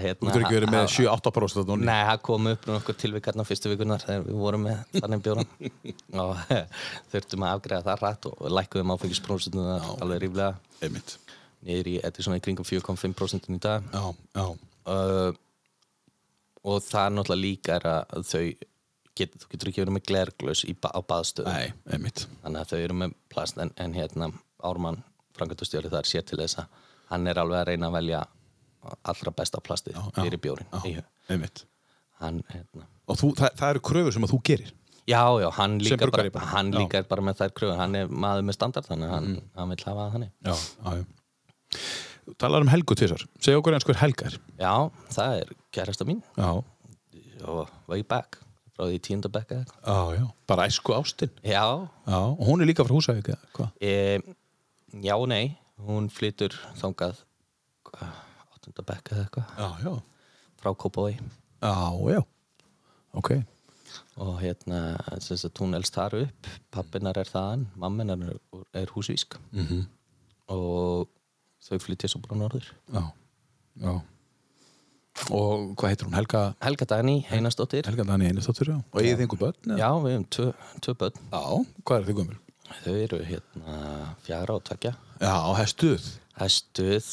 Speaker 2: þú
Speaker 3: hérna
Speaker 2: getur ekki verið með
Speaker 3: það-
Speaker 2: 7-8 próst
Speaker 3: Nei, það kom upp um okkur tilvíkarna fyrstu vikunar þegar við vorum með þannig bjóran og þurftum að afgreða það rætt og lækkuðum áfengisprósentuna alveg ríflega
Speaker 2: einmitt,
Speaker 3: niður í, þetta er svona í kringum 4,5% í dag
Speaker 2: já, já
Speaker 3: uh, og það er náttúrulega líka er að þau get, þú getur ekki verið með glerglös í, ba- á baðstöðu
Speaker 2: nei, einmitt,
Speaker 3: þannig að þau eru með plast en, en hérna Ármann frangatustjóri þar sé til þess að hann er alveg að reyna að velja allra besta plastið fyrir bjórin
Speaker 2: já, einmitt
Speaker 3: hann, hérna,
Speaker 2: og þú, það, það eru kröfur sem að þú gerir
Speaker 3: já, já, hann
Speaker 2: Sem
Speaker 3: líka,
Speaker 2: bruggaribba.
Speaker 3: bara, hann
Speaker 2: Já. Mm.
Speaker 3: líka er bara með þær kröfur hann er maður með standard þannig að hann, hann vil hafa það þannig
Speaker 2: já, já, já Þú talar um Helgu tvisar, segja okkur eins hver Helga er
Speaker 3: já, það er kærasta mín
Speaker 2: já,
Speaker 3: og way back frá því tíundabekka
Speaker 2: já, já, bara æsku ástin
Speaker 3: já,
Speaker 2: já, og hún er líka frá Húsavík eða hvað?
Speaker 3: E, já, og nei, hún flytur þangað áttunda bekka eða eitthvað
Speaker 2: já, já,
Speaker 3: frá Kópói
Speaker 2: já, já ok,
Speaker 3: og hérna, sem sagt, hún elst þar upp pappinar er þaðan, mamminar er, er húsvísk -hmm. og þau flytja svo bara norður
Speaker 2: já, já og hvað heitir hún, Helga
Speaker 3: Helga Dani, Einarsdóttir
Speaker 2: Helga Dani Einarsdóttur, já og eigið þið einhver börn? eða?
Speaker 3: Já, við höfum tvö, tvö börn
Speaker 2: já, hvað er þið gömul?
Speaker 3: þau eru hérna fjara og tvekja
Speaker 2: já, hestuð,
Speaker 3: það er stuð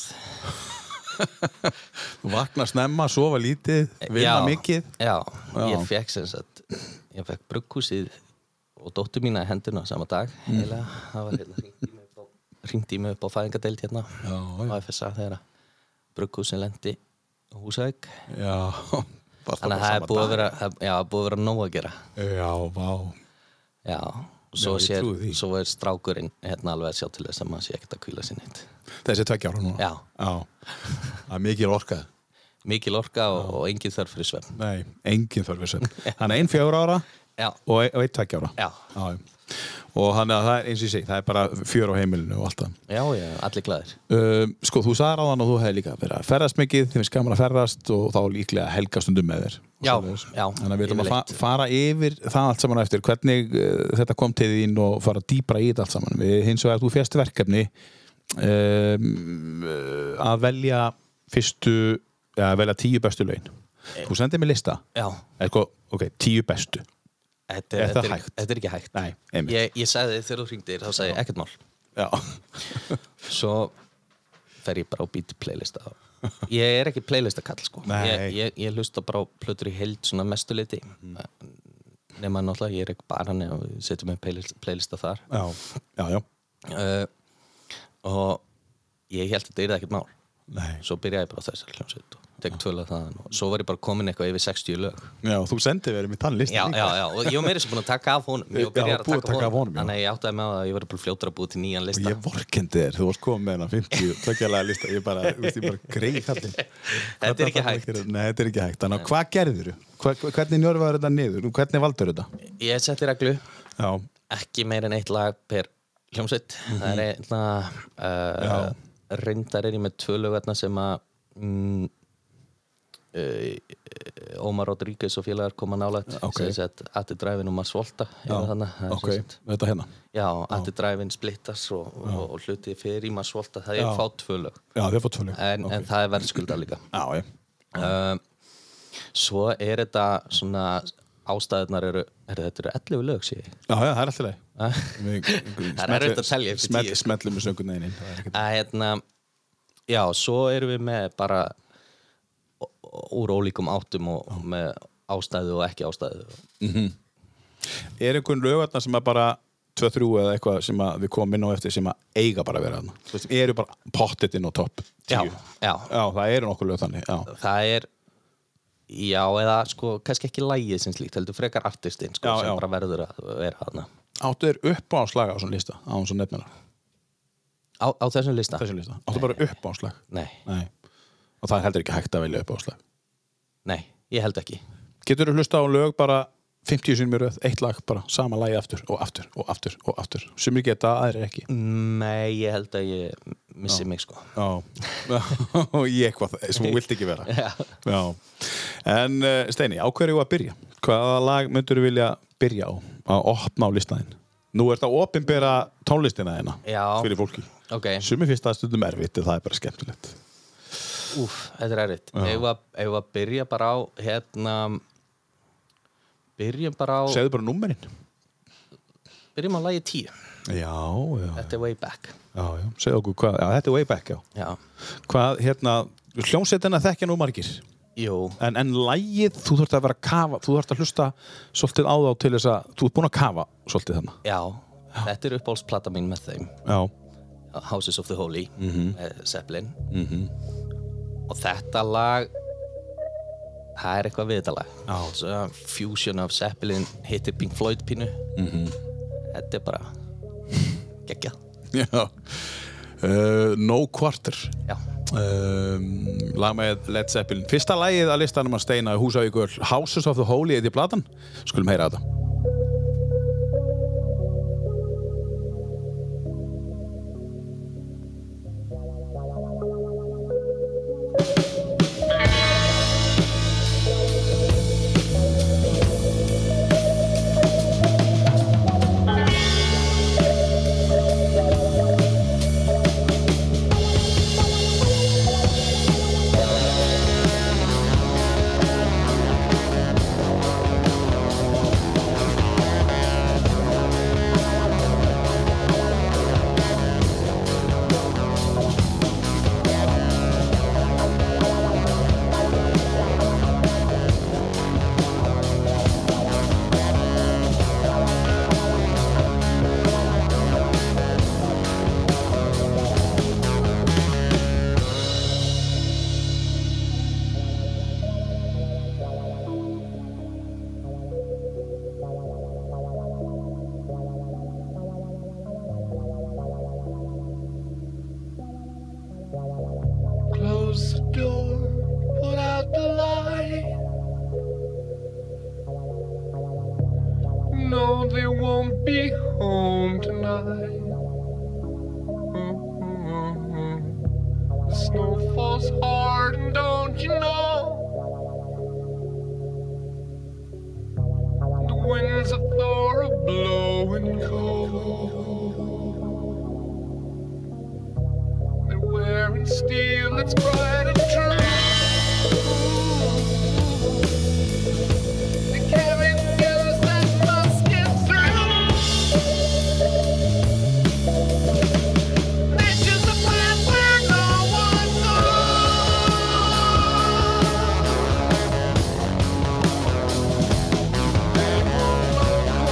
Speaker 2: vakna snemma, sofa lítið vinna
Speaker 3: Já,
Speaker 2: mikið
Speaker 3: Já,
Speaker 2: Já.
Speaker 3: ég fekk sem sagt ég fekk brugghúsið og dóttur mína í henduna sama dag
Speaker 2: Mm.
Speaker 3: eiginlega, það var hérna hringt í mig upp á- hringt í mig upp á fæðingadeild hérna
Speaker 2: Já, já.
Speaker 3: á FSA þegar brugghúsin lendi húsæk
Speaker 2: já, varst
Speaker 3: þannig að það er búið að vera það- já, búið að vera nóg að gera
Speaker 2: já, vá,
Speaker 3: já, og svo,
Speaker 2: Já, ég
Speaker 3: sér,
Speaker 2: trúi því.
Speaker 3: svo er strákurinn hérna alveg að sjá til þess að maður sé ekkert að kvíla sér neitt
Speaker 2: þessi tveggja ára núna
Speaker 3: Já.
Speaker 2: það er mikið orkað
Speaker 3: mikil orka og, og engin þörf fyrir svefn
Speaker 2: nei, engin þörfis hann er ein fjögur ára
Speaker 3: já,
Speaker 2: og ein- og einn tveggja ára
Speaker 3: já,
Speaker 2: Já, já. og hann er, það er eins og ég segi, það er bara fjör á heimilinu og allt það
Speaker 3: já, já, allir glæðir
Speaker 2: Um, sko, þú sagði ráðan og þú hefði líka verið að ferðast mikið, þið finnst gaman að ferðast og þá líklega helga stundum með þér og
Speaker 3: Já,
Speaker 2: svoleiðis.
Speaker 3: já,
Speaker 2: Þannig að við ætlum að fa
Speaker 3: yfirleitt.
Speaker 2: fara yfir það allt saman á eftir, hvernig uh, þetta kom til þín og fara dýpra í þetta allt saman við hins vegar þú fjast verkefni um, uh, að velja fyrstu að velja tíu bestu laun þú sendið mér lista,
Speaker 3: já,
Speaker 2: eða sko, ok, tíu bestu
Speaker 3: Þetta
Speaker 2: Er
Speaker 3: er,
Speaker 2: það
Speaker 3: þetta er,
Speaker 2: hægt?
Speaker 3: þetta er ekki hægt
Speaker 2: Nei, einmitt.
Speaker 3: ég, ég sagði þér þegar þú hringdir, þá sagði ég ekkert mál
Speaker 2: já,
Speaker 3: Svo fer ég bara og býti playlista á. Ég er ekki playlista kall sko
Speaker 2: Nei.
Speaker 3: ég, ég, ég hlusta bara á plötur í held svona mestuleiti mm.
Speaker 2: Mhm.
Speaker 3: Nefna náttúrulega, ég er ekki bara hann og setjum með playlista, playlista þar
Speaker 2: já, já, já
Speaker 3: uh, Og ég held að þetta er ekkert mál
Speaker 2: Nei.
Speaker 3: Svo byrjaði ég bara á þessari hljómsveit og tek tvöla þaðan og svo var ég bara komin eitthvað yfir 60 lög
Speaker 2: já, þú sendið verið mér þann lista
Speaker 3: já,
Speaker 2: líka.
Speaker 3: já, já, og ég var meira sem búin að taka af honum Ég var
Speaker 2: Já,
Speaker 3: byrjaður
Speaker 2: búið að taka af honum, já.
Speaker 3: Þannig að ég áttaði með að ég verið bara fljótur að búið til nýjan
Speaker 2: Og
Speaker 3: lista
Speaker 2: ég vorkendi þér, þú varst komið með hennar 50 tökjalega lista, ég bara, þú veist, ég bara greið kallinn.
Speaker 3: Þetta er ekki hægt.
Speaker 2: Nei, þetta er ekki hægt. Þannig að hvað gerðir þú? Hvernig njörfaður þetta niður? Hvernig valdur þetta?
Speaker 3: Ég setti reglu,
Speaker 2: Já,
Speaker 3: ekki meir en eitt lag per hljómsveit
Speaker 2: Mhm.
Speaker 3: Það er einna uh, Reyndar er ég með tvö lög þarna sem að mm, uh, Ómar Rodríguez og félagar koma nálægt
Speaker 2: Ok.
Speaker 3: sem sagt Atti Dræfin og Mars Volta
Speaker 2: já,
Speaker 3: þannig,
Speaker 2: ok, þetta hérna.
Speaker 3: Já, Atti Dræfin splittast og, og, og hlutið fyrir í Mars Volta það
Speaker 2: Já.
Speaker 3: er fá tvö lög
Speaker 2: Já, þið fótt fölug.
Speaker 3: en, en það er verðskulda líka
Speaker 2: Já, ég.
Speaker 3: um, svo er þetta svona ástæðunar eru, er þetta eru 11 lög sé ég
Speaker 2: Já, já, það er alltaf leið.
Speaker 3: Ah. Það er erfitt að telja eftir tíu.
Speaker 2: Smellum við söngun einin. Það er ekkert-
Speaker 3: að hérna já, svo erum við með bara ó- ó- úr ólíkum áttum og og með ástæðu og ekki ástæðu
Speaker 2: Er einhvern lögarnar sem að bara 2-3 eða eitthvað sem að við komum inn á eftir sem að eiga bara að vera þarna? Þú veist, eru bara pottet inn á topp 10?
Speaker 3: já, já,
Speaker 2: Já, það eru nokkur lög þannig, já.
Speaker 3: það er já, eða sko, kannski ekki lægið sem slíkt, heldur frekar artistinn sko,
Speaker 2: Já,
Speaker 3: sem
Speaker 2: já.
Speaker 3: bara verður að vera hana
Speaker 2: Áttu þér upp á slag á svona lista á svona nefnina,
Speaker 3: á, á þessum lista?
Speaker 2: þessu lista Áttu bara upp á slag
Speaker 3: Nei,
Speaker 2: Nei. og það er heldur ekki hægt að velja upp á slag
Speaker 3: nei, ég held ekki
Speaker 2: Getur þú hlusta á lög bara 50 sinni mjög röð, eitt lag bara sama lagi aftur og aftur og aftur og aftur sem er geta, aðrir ekki
Speaker 3: Nei, ég held að ég missi mig sko
Speaker 2: Já, og ég eitthvað sem þú vilt ekki vera
Speaker 3: Já.
Speaker 2: En uh, Steini, á hverju að byrja? Hvaða lag myndur þú vilja byrja á að opna á listaðin? Nú er þetta opinbera tónlistina þeina
Speaker 3: Já.
Speaker 2: fyrir fólki
Speaker 3: Ok,
Speaker 2: Sumi finnst það stundum erfitt en það er bara skemmtilegt
Speaker 3: úf, þetta er erfitt Ef að- ef að byrja bara á hérna Byrjum bara á
Speaker 2: Segðu bara númerinn
Speaker 3: Byrjum á lagi
Speaker 2: Já,
Speaker 3: 10
Speaker 2: já,
Speaker 3: Þetta er way back
Speaker 2: já, já. segðu okkur hvað já, Þetta er way back, já
Speaker 3: Já,
Speaker 2: Hvað, hérna, hljómsveitina þekkja nú margir
Speaker 3: jú,
Speaker 2: en, en lægið, þú þurft að vera að kafa þú þurft að hlusta svolítið á þá til þess að þú ert búin að kafa svolítið þarna
Speaker 3: já Þetta er uppáhaldsplata mín með þeim
Speaker 2: já,
Speaker 3: Houses of the Holy mm -hmm. Zeppelin -hmm. og þetta lag það er eitthvað við þetta lag
Speaker 2: Já.
Speaker 3: Svo fusion af Zeppelin hittir Pink Floyd pínu -hmm. þetta er bara geggjað
Speaker 2: já. Uh, No Quarter
Speaker 3: já,
Speaker 2: um, lag með Led Zeppelin fyrsta lægið að listanum að steina húsavíkur Houses of the Holy eða í platan skulum heyra þetta
Speaker 5: Close the door, put out the light. No, they won't be home tonight. The snow falls hard, and don't you know? The winds of Thor are blowing cold. They're wearing steel that's bright and true. They carry guns that must get through. That's just a path where no one goes. They won't look back. They won't look back.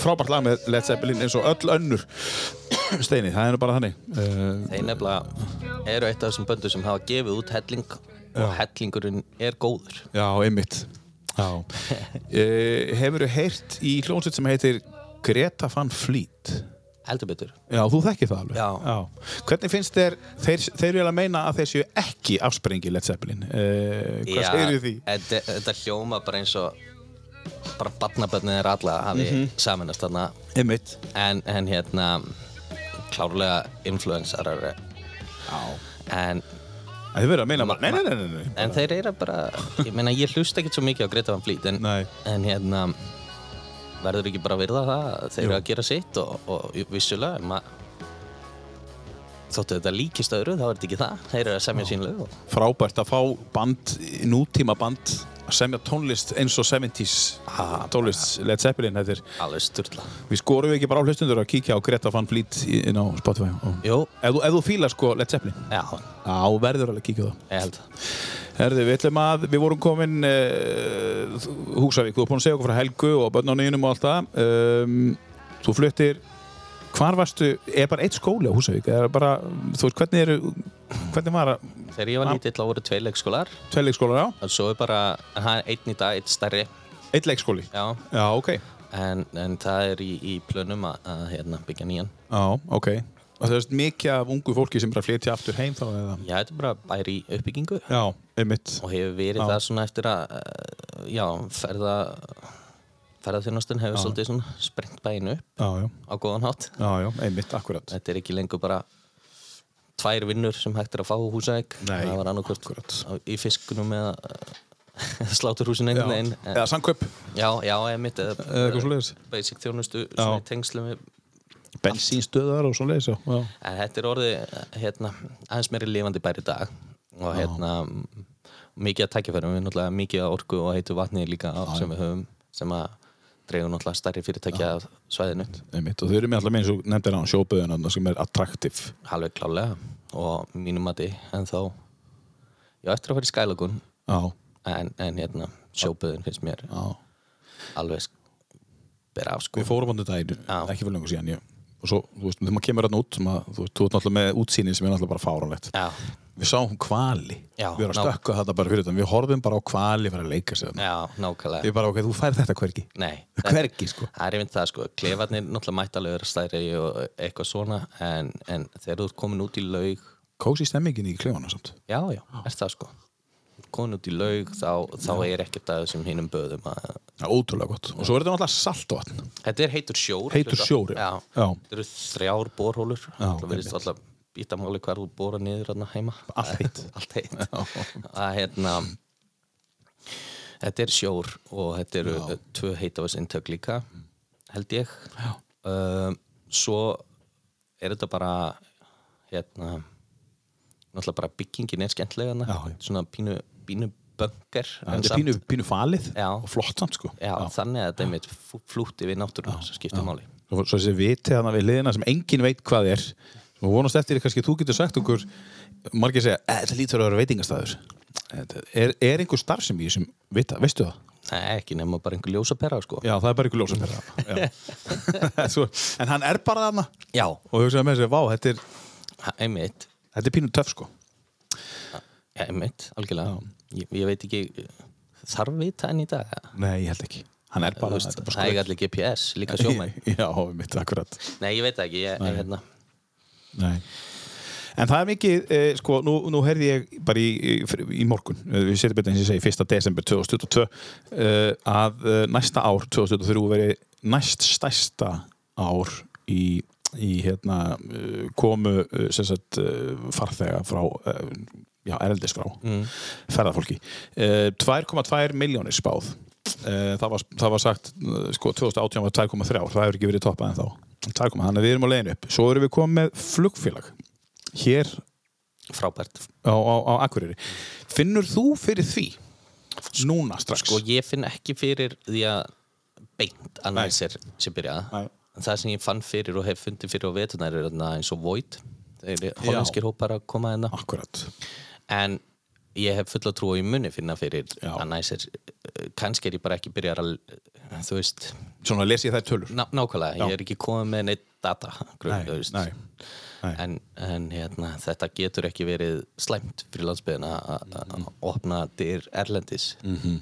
Speaker 2: frábært lag með Led Zeppelin eins og öll önnur steini, það er nú bara þannig uh,
Speaker 3: Þeir nefnilega eru eitt af þessum böndum sem hafa gefið út helling og hellingurinn er góður.
Speaker 2: Já, einmitt Já uh, Hefur þú heyrt í hljónsveit sem heitir Greta Van Fleet
Speaker 3: Heldur betur.
Speaker 2: Já, þú þekkir það alveg
Speaker 3: Já.
Speaker 2: Hvernig finnst þér, þeir, þeir eru að meina að þeir séu ekki afsprengi Led Zeppelin uh, Hvað
Speaker 3: Já,
Speaker 2: segir því?
Speaker 3: Þetta, þetta hljóma bara eins og bara barnabönnið er alla hafi
Speaker 2: Mhm.
Speaker 3: saminast þarna
Speaker 2: Einmitt
Speaker 3: en, en hérna klárlega influensarar en,
Speaker 2: Það hefur verið að meina bara, nei, nei, nei, nei, nei.
Speaker 3: en þeir eru bara ég meina ég hlusta ekkert svo mikið á Greta Van Fleet en,
Speaker 2: Nei.
Speaker 3: en hérna verður ekki bara að virða það að þeir eru að gera sitt og, og vissulega ma, þóttu þetta líkist öðru þá er þetta ekki það þeir eru að semja sín lög og
Speaker 2: frábært að fá band, nútíma band að semja tónlist eins og 70s tónlist Led Zeppelin þetta er,
Speaker 3: alveg sturla
Speaker 2: við skorum ekki bara á hlustundur að kíkja á Greta Van Fleet í- inn á Spotify og
Speaker 3: Jú,
Speaker 2: Ef þú, ef þú fílar sko Led Zeppelin
Speaker 3: já,
Speaker 2: á verður alveg að kíkja á það
Speaker 3: ég held það
Speaker 2: Herði, við ætlum að, við vorum komin uh, Húsavík, þú er búin að segja okkur frá Helgu og börnunniðinum og allt það um, þú fluttir hvar varstu, er bara eitt skóli á Húsavík er bara, þú veist, hvernig eru hvernig var að,
Speaker 3: Þegar ég var lítill á voru tvei leikskólar
Speaker 2: tveirleikskólar á
Speaker 3: og svo er bara, en það er einn í dag, einn stærri
Speaker 2: eitt leikskóli,
Speaker 3: já,
Speaker 2: já, ok
Speaker 3: en, en það er í, í plönum að, að hérna, byggja nýjan
Speaker 2: Já, ok. Og það er mikið af ungu fólki sem bara flytja aftur heim þá eða?
Speaker 3: Já, þetta er bara bæri í uppbyggingu
Speaker 2: Já, einmitt.
Speaker 3: og hefur verið það svona eftir að eh, já, ferða ferðarþjónastun hefur svolítið svona sprengt bæinu upp
Speaker 2: Já, já,
Speaker 3: á góðan hátt
Speaker 2: já, já, einmitt, akkurat.
Speaker 3: Þetta er ekki lengur bara tvær vinnur sem hægt er að fá á húsæk
Speaker 2: Nei,
Speaker 3: það var annarkvort
Speaker 2: akkúrat.
Speaker 3: í fiskunum eða eh, sláturhúsin einhvern veginn En-
Speaker 2: Eða samkaup,
Speaker 3: Já, já, ég mitt
Speaker 2: eða eitthvað svo leiðis.
Speaker 3: basic þjónustu svona í tengslum við
Speaker 2: Bensínstöðar og svo leiðis, já. Já,
Speaker 3: En þetta er orðið hérna, aðeins meiri lifandi bær í dag og hérna mikið að tækifærum, við náttúrulega mikið að orku og heitu vatni líka á, sem við höfum sem að dreifum náttúrulega stærri fyrirtækja af svæðinu,
Speaker 2: einmitt. Og þau eru með alltaf með eins og nefndir á sjóböðunan sem er attraktiv.
Speaker 3: halveg klálega og mínum mati en þá já, eftir að fara í skælagun
Speaker 2: Já,
Speaker 3: en, en hérna, sjóböðin finnst mér
Speaker 2: já.
Speaker 3: alveg sk- bera af sko
Speaker 2: Við fórum á þetta daginn,
Speaker 3: Já.
Speaker 2: ekki fyrir lengur síðan, ég. Og svo, þú veist, þegar maður kemur hérna út, maður, þú veist, þú ert náttúrulega með útsýnin sem er náttúrulega bara fáránlegt.
Speaker 3: Já,
Speaker 2: Við sáum hvali.
Speaker 3: Já,
Speaker 2: við erum að
Speaker 3: ná-
Speaker 2: stökka þetta bara fyrir þetta. Við horfum bara á hvali fyrir að leika sér.
Speaker 3: já,
Speaker 2: Ég
Speaker 3: nákvæmlega
Speaker 2: bara, ok, þú fær þetta hvergi.
Speaker 3: Nei,
Speaker 2: Hvergi, sko.
Speaker 3: Það er einmitt það sko, klefarnir náttúrulega mætti alveg vera stærri og eitthvað svona en, en þegar þú ert komin út í laug
Speaker 2: Kósi stemmingin í klefanum samt.
Speaker 3: já, já, er það sko komin út í laug þá, þá er ekkert að þessum hinnum böðum að
Speaker 2: Já, ótrúlega gott. Og svo er þetta náttúrulega saltvatn.
Speaker 3: þetta er heitur sjór
Speaker 2: Heitur
Speaker 3: hluta-
Speaker 2: sjór, já.
Speaker 3: já.
Speaker 2: Já.
Speaker 3: þetta eru þrjár borhólur það
Speaker 2: einmitt.
Speaker 3: verðist alltaf býta máli hvar þú bóra niður hérna heima
Speaker 2: Allt heitt.
Speaker 3: allt heitt að hérna þetta er sjór og þetta eru já. tvö heitavarsintök líka held ég um, svo er þetta bara hérna náttúrulega bara byggingin er skemmtilega hérna.
Speaker 2: Já, já.
Speaker 3: svona pínu, pínu böngar en
Speaker 2: Þetta er
Speaker 3: samt-
Speaker 2: pínu, pínu falið
Speaker 3: Já.
Speaker 2: og flott samt, sko.
Speaker 3: já, þannig að þetta er mitt flútti við náttúruna sem skiptir máli
Speaker 2: Svo, svo þessi viti hana við liðina sem engin veit hvað er. Og vonast eftir því kannski þú getur sagt okkur, margir segja, "Eh, þetta lítur að vera veitingastæður. Þetta- Er, er einhver starfsemi í þessum vita, veistu það?
Speaker 3: Nei, ekki nema bara einhver ljósapera sko.
Speaker 2: Já, það er bara einhver ljósapera. en hann er bara þarna
Speaker 3: Já,
Speaker 2: og hugsaði með sér, vá, þetta er,
Speaker 3: ha- einmitt
Speaker 2: þetta er pínu töff, sko.
Speaker 3: ja, einmitt, algjörlega ég, ég veit ekki, þarf við það enn í dag eða?
Speaker 2: Nei, ég held ekki. Hann er bara,
Speaker 3: Þú veist,
Speaker 2: þetta er bara
Speaker 3: það er allir GPS, líka sjómenn
Speaker 2: Já, mitt akkurat.
Speaker 3: Nei, ég veit það ekki, ég, ég, hérna,
Speaker 2: Nei. En það er mikið, eh, sko, nú, nú heyrði ég bara í, í, í morgun, eh, við setjum betur eins og ég segi, 1. desember 2022, eh, að eh, næsta ár, 2023, veri næst stærsta ár í, í hérna, eh, komu eh, sem sagt, eh, farþega frá, eh, já, erlendis frá, ferðarfólki. Eh, 2,2 miljónir spáð. Eh, Það var, það var sagt, eh, sko, 2018 var 2,3 ár, það hefur ekki verið toppað en þá. 2,3, þannig að við erum á leiðinu upp. Svo erum við komið með flugfélag hér
Speaker 3: frábært
Speaker 2: á, á, á Akureyri. Finnur þú fyrir því? Núna strax.
Speaker 3: Sko, ég finn ekki fyrir því að beint að næsir sem byrjaða
Speaker 2: Nei.
Speaker 3: Það sem ég fann fyrir og hef fundið fyrir á vetunar er hérna eins og Void Þeir eru hollenskir hópar að koma hérna
Speaker 2: Akkurat.
Speaker 3: En ég hef fulla trú og ég muni finna fyrir
Speaker 2: Já.
Speaker 3: að næsir Kannski er ég bara ekki byrjar að En þú veist,
Speaker 2: Svona les ég þær tölur
Speaker 3: ná, nákvæmlega, ég er ekki komið með neitt data grunn,
Speaker 2: Nei,
Speaker 3: þú veist.
Speaker 2: nei, nei.
Speaker 3: En, en hérna, þetta getur ekki verið slæmt fyrir landsbyðina að
Speaker 2: Mhm.
Speaker 3: opna dyr erlendis mm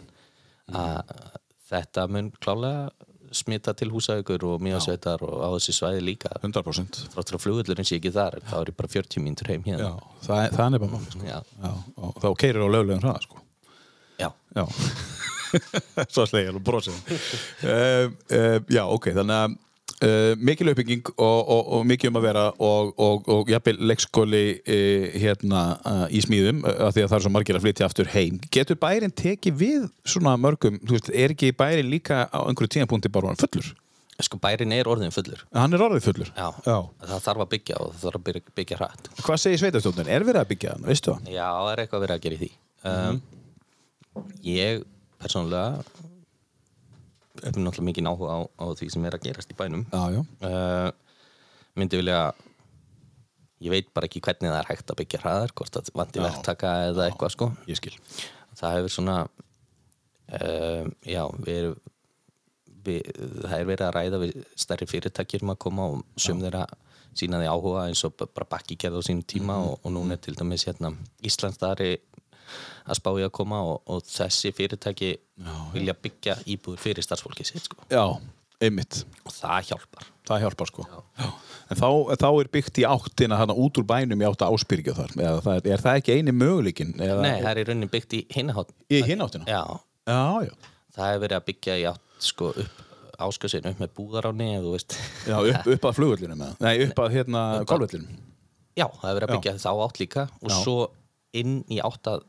Speaker 3: þetta mun klálega smita til húsaukur og mjögsveitar og á þessi svæði líka
Speaker 2: 100%
Speaker 3: þráttur að flugullurinn sé ekki þar þá er ég bara 40 mínútur heim
Speaker 2: Já,
Speaker 3: hérna
Speaker 2: það, er- það er nefnilega mál sko.
Speaker 3: Já.
Speaker 2: Já, og þá keirir á löglegum hraða sko.
Speaker 3: Já.
Speaker 2: Já Svo slegir og brosir uh, uh, Já, ok, þannig að Uh, mikil uppbygging og, og, og mikið um að vera og, og, og jafnvel leikskóli uh, hérna uh, í smíðum uh, af því að það er svo margir að flytja aftur heim getur bærin tekið við svona mörgum þú veist, er ekki bærin líka á einhverju tíðanpunkti bara orðinn fullur?
Speaker 3: sko bærin er orðin fullur
Speaker 2: Hann er orðið fullur?
Speaker 3: Já. það þarf að byggja og það þarf að byggja, byggja hratt
Speaker 2: Hvað segir sveitastjóðnir? Er verið að byggja hann? Veistu það?
Speaker 3: Já, það er eitthvað verið að gera í því um, Ég persónulega hef náttúrulega mikið áhuga á, á því sem er að gerast í bænum
Speaker 2: Já, já
Speaker 3: uh, myndi vilja ég veit bara ekki hvernig það er hægt að byggja hraðar hvort það vandi verktaka eða eitthvað sko
Speaker 2: Ég skil
Speaker 3: það hefur svona uh, já, við erum við, það er verið að ræða við stærri fyrirtækjir um að koma og sum þeirra sína því áhuga eins og b- bara bakki gerði á sínum tíma og, og núna er til dæmis hérna Íslandsdari að spá í að koma og, og þessi fyrirtæki vilja byggja íbúður fyrir starfsfólkið sitt sko.
Speaker 2: Já, einmitt
Speaker 3: og það hjálpar
Speaker 2: það hjálpar sko Já. en þá, þá er byggt í áttina þarna út úr bænum í átta áspyrgja þar eða það er, er það ekki eini möguleikin eða,
Speaker 3: Nei, það er í rauninni byggt í hinahátn
Speaker 2: í hinn áttina
Speaker 3: Já,
Speaker 2: já, já,
Speaker 3: það hefur verið að byggja í átt sko upp áskursin upp með búðaráni eða þú veist
Speaker 2: já upp, upp að flugullinu með nei, upp að hérna golvöllinu
Speaker 3: Já, það hefur verið að byggja þá átt líka og svo inn í átt að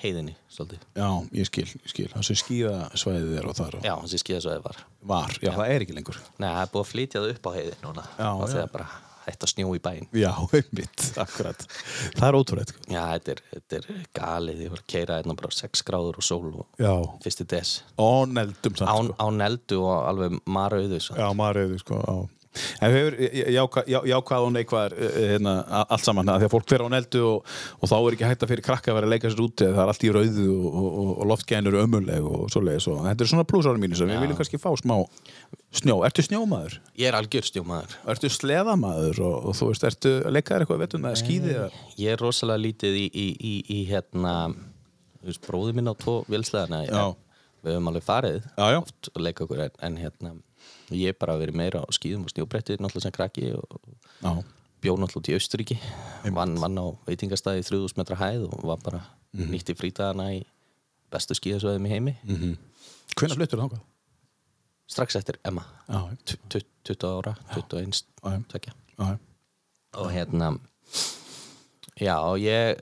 Speaker 3: heiðinni, svolítið.
Speaker 2: já, ég skil, ég skil, það sem skíðasvæðið er og þar og
Speaker 3: Já, þessi skíðasvæði var.
Speaker 2: var, já, það er ekki lengur
Speaker 3: Nei, það er búið að flytja það upp á heiðin núna.
Speaker 2: Já,
Speaker 3: og
Speaker 2: já.
Speaker 3: það er bara hægt að snjó í bæinn.
Speaker 2: já, einmitt, akkurat það er ótrúlega sko.
Speaker 3: Já, þetta er, þetta er galið, ég var að keira hérna bara 6 gráður og sól og
Speaker 2: já,
Speaker 3: fyrsti des.
Speaker 2: óneldum samt
Speaker 3: Án,
Speaker 2: sko.
Speaker 3: án eldu og alveg marauðu. Svo.
Speaker 2: Já, maður sko, já. En við hefur jákvæð og neikvæðar eh, hérna, a- allt saman, af því að fólk fer á neldu og, og þá er ekki hægt að fyrir krakka að vera að leika sér úti, það er allt í rauðu og, og, og loftgæðin eru ömurleg og svoleiðis og þetta er svona plúsára mínu sem við viljum kannski fá smá snjó. Ertu snjómaður?
Speaker 3: Ég er algjör snjómaður.
Speaker 2: Ertu sleðamaður og, og þú veist, ertu að leika þér eitthvað vettun að skýði að...
Speaker 3: Ég er rosalega lítið í, í, í, í hérna, þú veist, bróði minn á tvo vilsleðana.
Speaker 2: Já.
Speaker 3: Við höfum alveg farið.
Speaker 2: Já, já.
Speaker 3: oft og leika okkur en, en hérna ég hef bara verið meira á skýðum og snjóbretti náttúrulega sem krakki og
Speaker 2: Já.
Speaker 3: bjó náttúrulega til Austuríki vann, vann á veitingastæði í 3000 metra hæð og var bara
Speaker 2: Mhm.
Speaker 3: nýtt í frítagana í bestu skýðasöðum í heimi
Speaker 2: Hvenær fluttur þangað?
Speaker 3: strax eftir Emma
Speaker 2: Já,
Speaker 3: Tu- tu- 20 ára, 21
Speaker 2: Já.
Speaker 3: tvekja.
Speaker 2: já, já.
Speaker 3: og hérna já og ég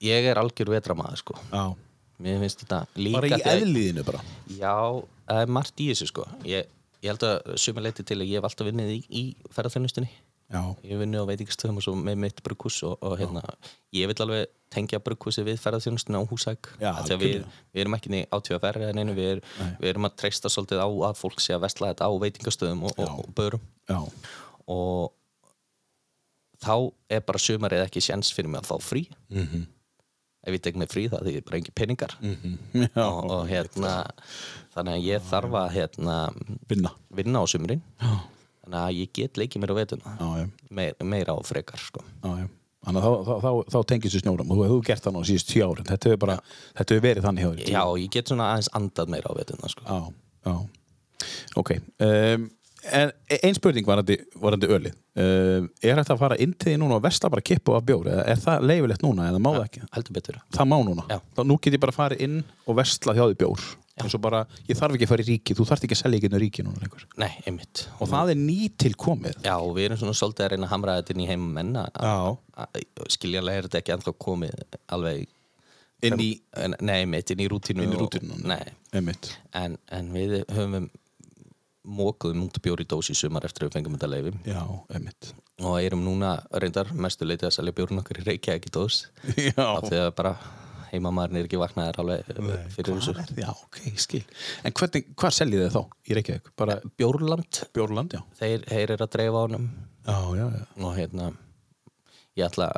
Speaker 3: ég er algjör vetramaður sko
Speaker 2: já.
Speaker 3: mér finnst þetta líka
Speaker 2: Bara í
Speaker 3: þegar-
Speaker 2: eðliðinu bara.
Speaker 3: Já, það er margt í þessu sko Ég, ég held að suma leiti til að ég hef alltaf vinnið í, í ferðarþjónustunni
Speaker 2: Já,
Speaker 3: Ég vinnu á veitingastöðum og svo með mitt brukus og, og hérna, ég vil alveg tengja brukusi við ferðarþjónustunni á húsæk
Speaker 2: Já,
Speaker 3: Þegar við,
Speaker 2: algjörlega.
Speaker 3: við erum ekki niður átvöfer en einu við, er, við erum að treysta svolítið á að fólk sé að vesla þetta á veitingastöðum og, og, og börum
Speaker 2: já,
Speaker 3: og þá er bara sumarið ekki séns fyrir mig að fá frí
Speaker 2: Mhm.
Speaker 3: -hmm. ef ég tek mig frí það því ég er bara engin peningar -hmm. og, og hérna þannig að ég þarf að hérna,
Speaker 2: vinna.
Speaker 3: vinna á sumrin Já. þannig að ég get leikið mér á vetuna
Speaker 2: Já, já.
Speaker 3: Meir, meira og frekar sko.
Speaker 2: Já, já. Þannig að þá, þá, þá, þá tengist þú snjórum og þú hefur gert það nú síðust tíu árin þetta hefur bara, þetta hefur verið þannig hjá þér í tíu
Speaker 3: Já, ég get svona aðeins andað meira á vetuna sko.
Speaker 2: Já, já. Ok. Um, en ein spurning varandi, varandi ölið. Um, er þetta að fara inn til því núna og vesla bara kippu af bjór? Eða er það leifilegt núna eða má það ekki?
Speaker 3: heldur betur
Speaker 2: Það má núna.
Speaker 3: Já.
Speaker 2: Þá, nú get ég bara að fara inn og vesla hjá því bjór. eins og bara, ég þarf ekki að fara í ríki, þú þarf ekki að selja ekki inn á ríki núna lengur.
Speaker 3: Nei, einmitt
Speaker 2: Og það er nýtil komið.
Speaker 3: Já, og við erum svona svolítið að reyna að hamra þetta inn í heimum menna
Speaker 2: Já.
Speaker 3: skiljanlega er þetta ekki ennþá komið alveg
Speaker 2: Inn í,
Speaker 3: En- Nei, mitt inn í rútínu
Speaker 2: inn í
Speaker 3: og-
Speaker 2: rútinu.
Speaker 3: Nei,
Speaker 2: Einmitt.
Speaker 3: en, en við höfum mókuðum út bjóri dós í sumar eftir að við fengum þetta leifi
Speaker 2: Já, einmitt.
Speaker 3: og erum núna reyndar mestu leiti að selja bjórun okkar í Reykjavík í dós
Speaker 2: Já.
Speaker 3: af því að bara heimamaðurinn er ekki vaknaðar alveg eh, fyrir þessu
Speaker 2: Hvað er- Já, ok, ég skil. En hvernig, hvað seljið þið þá í Reykjavík? Bara
Speaker 3: Bjórland,
Speaker 2: Bjórland, já.
Speaker 3: þeir, þeir eru að dreifa honum
Speaker 2: Já, já, já.
Speaker 3: og hérna ég ætla,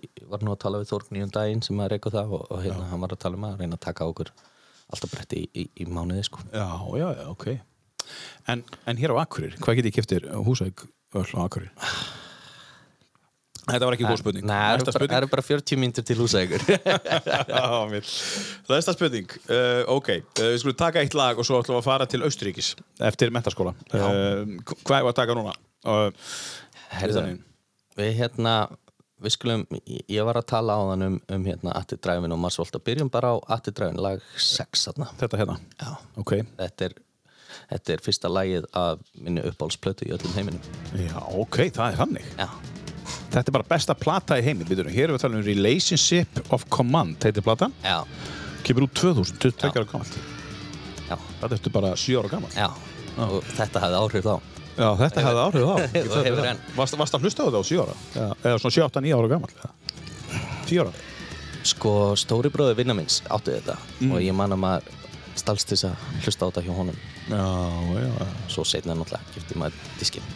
Speaker 3: ég var nú að tala við Þórgni um daginn sem að reyku það og, og hérna hann var að tala um að reyna að taka okkur alltaf bretti í, í, í mánuði sko.
Speaker 2: Já, já, já, ok En, en hér á Akureyri, hvað get ég keftir húsæk öll á Akureyri? Þetta var ekki góð spurning
Speaker 3: Nei, það eru
Speaker 2: Næsta
Speaker 3: bara- það
Speaker 2: spurning
Speaker 3: eru bara 40 mínútur til húsa ykkur
Speaker 2: Já, mér. Næsta spurning, uh, ok uh, Við skulum taka eitt lag og svo ætlum við að fara til Austuríkis Eftir mentaskóla uh, Hvað er að taka núna? Uh,
Speaker 3: Herðu,
Speaker 2: Utan í.
Speaker 3: við hérna við skulum, ég ég var að tala á þann um, um hérna Atti Dræfin og Marsvolta byrjum bara á Atti Dræfin, lag 6 þarna
Speaker 2: þetta hérna
Speaker 3: Já.
Speaker 2: Ok,
Speaker 3: þetta er, þetta er fyrsta lagið af minni uppáhaldsplötu í öllum heiminum
Speaker 2: já, ok, það er hannig
Speaker 3: Já,
Speaker 2: Þetta er bara besta plata í heiminn, við hér erum við að tala um Relationship of Command, heitir platan,
Speaker 3: já,
Speaker 2: kemur út 2000, 22 ára gammal.
Speaker 3: já,
Speaker 2: Þetta ertu bara 7 ára gammal.
Speaker 3: já og þetta hafði áhrif þá
Speaker 2: Já, þetta hefði áhrif á.
Speaker 3: Og
Speaker 2: Ég þarf
Speaker 3: hefur
Speaker 2: þetta.
Speaker 3: enn.
Speaker 2: Varst, varst að hlusta á þetta á 7 ára? Já. Eða svona 7, 8, 9 ára gammal? 10 ára?
Speaker 3: Sko, stóri bróði vinna minns átti þetta
Speaker 2: Mm.
Speaker 3: og ég man að maður stalst þess að hlusta á þetta hjá honum
Speaker 2: Já, já, já.
Speaker 3: svo setna náttúrulega gifti maður diskinn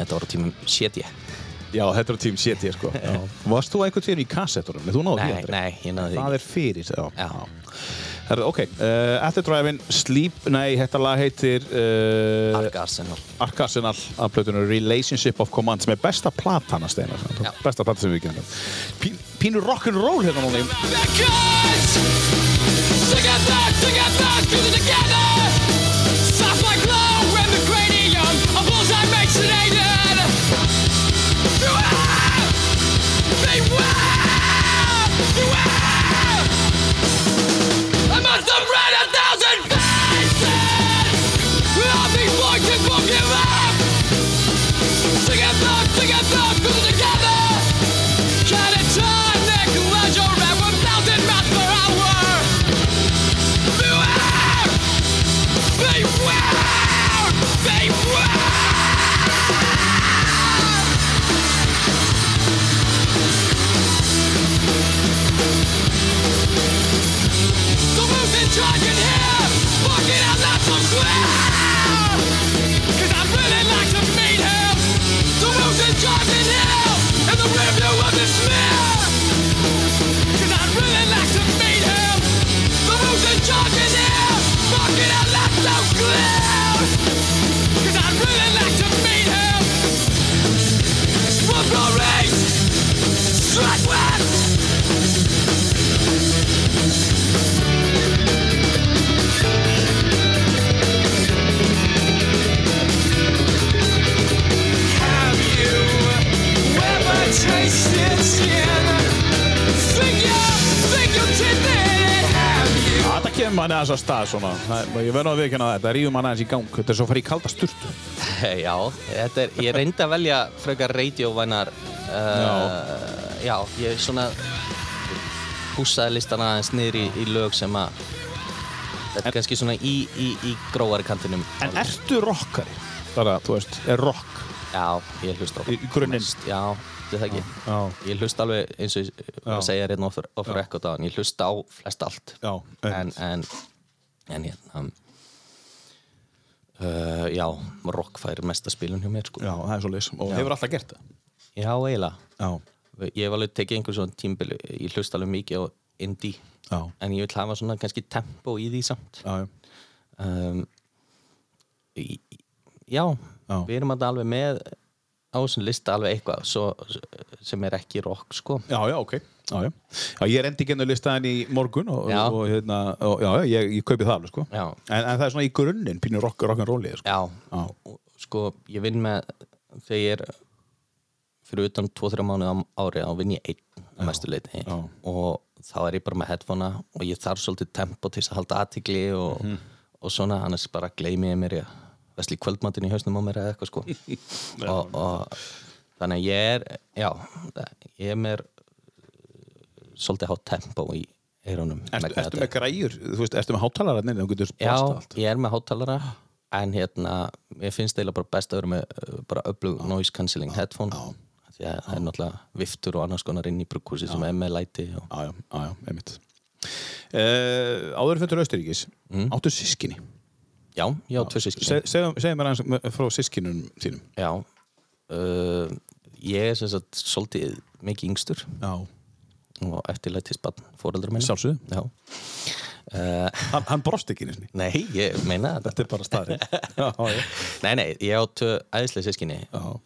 Speaker 3: Þetta voru tímum shit ég
Speaker 2: Já, þetta er tím setið, sko. Já. Varst þú einhvern tíðin í kassettunum? Nei, Þú náðu því
Speaker 3: Nei,
Speaker 2: aldrei.
Speaker 3: nei, ég náði því
Speaker 2: Það
Speaker 3: ekki.
Speaker 2: er fyrir, já.
Speaker 3: Já.
Speaker 2: Herðu, ok, uh, After Driving, Sleep, nei, þetta lag heitir... Uh,
Speaker 3: Arga Arsenal
Speaker 2: Ark Arsenal af plötunum Relationship of Command sem er besta platan að steina
Speaker 3: Já.
Speaker 2: besta platan sem við genum Pín, pínu rock'n'roll hérna núna í-
Speaker 6: Together! Catatonic leisure and 1,000 miles per hour. Beware! Beware! Beware! The who's in charge in here? Fucking out loud so clear! Cause I really like to meet him. The who's in charge in here? In the review of the smear. Cause I really like to meet him. The who's in charge in here? Fucking out loud so clear. Cause I really like to meet him. Smoke orange. Strike west. Have you ever tasted skin? Think you're, think you're tempted. Have you?
Speaker 2: Já, Þetta kemur manni aðeins að stað svona Það- ég verður að viðkynna það, þetta rýður manni aðeins í gang þetta er svo að fara í kalda sturtu
Speaker 3: Já, þetta er, ég reyndi að velja frekar radiovænar uh, já. ég svona húsaði listana aðeins niður í, í lög sem að þetta er kannski svona í, í, í gróari kantinum
Speaker 2: En ertu rockari? Bara, þú veist, er rock
Speaker 3: Já, ég hlusta á
Speaker 2: Í- í grunninn?
Speaker 3: mest- Já, þetta er það ekki
Speaker 2: Já.
Speaker 3: Ég hlusta alveg eins og ég var að segja hérna offer, offer ekkert á hann Ég hlusta á flest allt
Speaker 2: Já,
Speaker 3: en,
Speaker 2: einmitt.
Speaker 3: en, en hérna uh, Já, rock fær mesta spilun hjá mér sko
Speaker 2: Já, það er svo leys og hefur alltaf gert það
Speaker 3: Já, eiginlega
Speaker 2: Já,
Speaker 3: Ég hef alveg tekið einhver svona tímbili Ég hlusta alveg mikið á indie
Speaker 2: já,
Speaker 3: En ég vil hafa svona kannski tempo í því samt
Speaker 2: já, já.
Speaker 3: um, í- í- Já,
Speaker 2: Já.
Speaker 3: við erum alltaf alveg með á þessum lista alveg eitthvað svo, sem er ekki rock sko
Speaker 2: Já, já, ok Já, já. já ég er endi gennu listaðin í morgun og,
Speaker 3: Já.
Speaker 2: og, hérna, og já, já, ég, ég kaupi það alveg, sko
Speaker 3: Já.
Speaker 2: en, en það er svona í grunninn pínu rock, rock'n'rollið, sko
Speaker 3: Já,
Speaker 2: Já.
Speaker 3: Og, sko ég vinn með þegar ég er fyrir utan 2-3 mánuð á ári þá vinn ég einn að mestu leiti
Speaker 2: Já.
Speaker 3: og þá er ég bara með headphonea og ég þarf svolítið tempo til þess að halda aðtikli og,
Speaker 2: Mhm.
Speaker 3: og svona, annars bara gleymi ég mér í að vesli kvöldmattin í hausnum á mér eða eitthvað sko og, og þannig að ég er já, ég er mér uh, svolítið hátt tempo í eyrunum
Speaker 2: Ertu,
Speaker 3: vegna
Speaker 2: ertu
Speaker 3: þetta.
Speaker 2: með græjur, þú veist, ertu með hátalararnir þú getur
Speaker 3: Já,
Speaker 2: bóst allt
Speaker 3: ég er með hátalara en hérna, ég finnst eiginlega bara best að vera með uh, bara öflug noise cancelling headphone af því að það er náttúrulega viftur og annars konar inn í brugghúsi sem er með læti og...
Speaker 2: Já, já, já, já, einmitt uh, Áður fyrir Austuríkis áttu sískinni
Speaker 3: Já, já, Mm. tvö sískinni
Speaker 2: Se, segðu, segðu mér aðeins m- frá sískinum þínum
Speaker 3: Já uh, Ég er sem sagt svolítið mikið yngstur
Speaker 2: Já,
Speaker 3: og eftirlætisbann fóreldra minna
Speaker 2: Sjálfsögðu.
Speaker 3: Já uh,
Speaker 2: Hann, hann brost ekki nýsni.
Speaker 3: Nei, ég meina þetta
Speaker 2: Þetta er bara starrið. já, já.
Speaker 3: Nei, nei, ég á tvö æðislega sískinni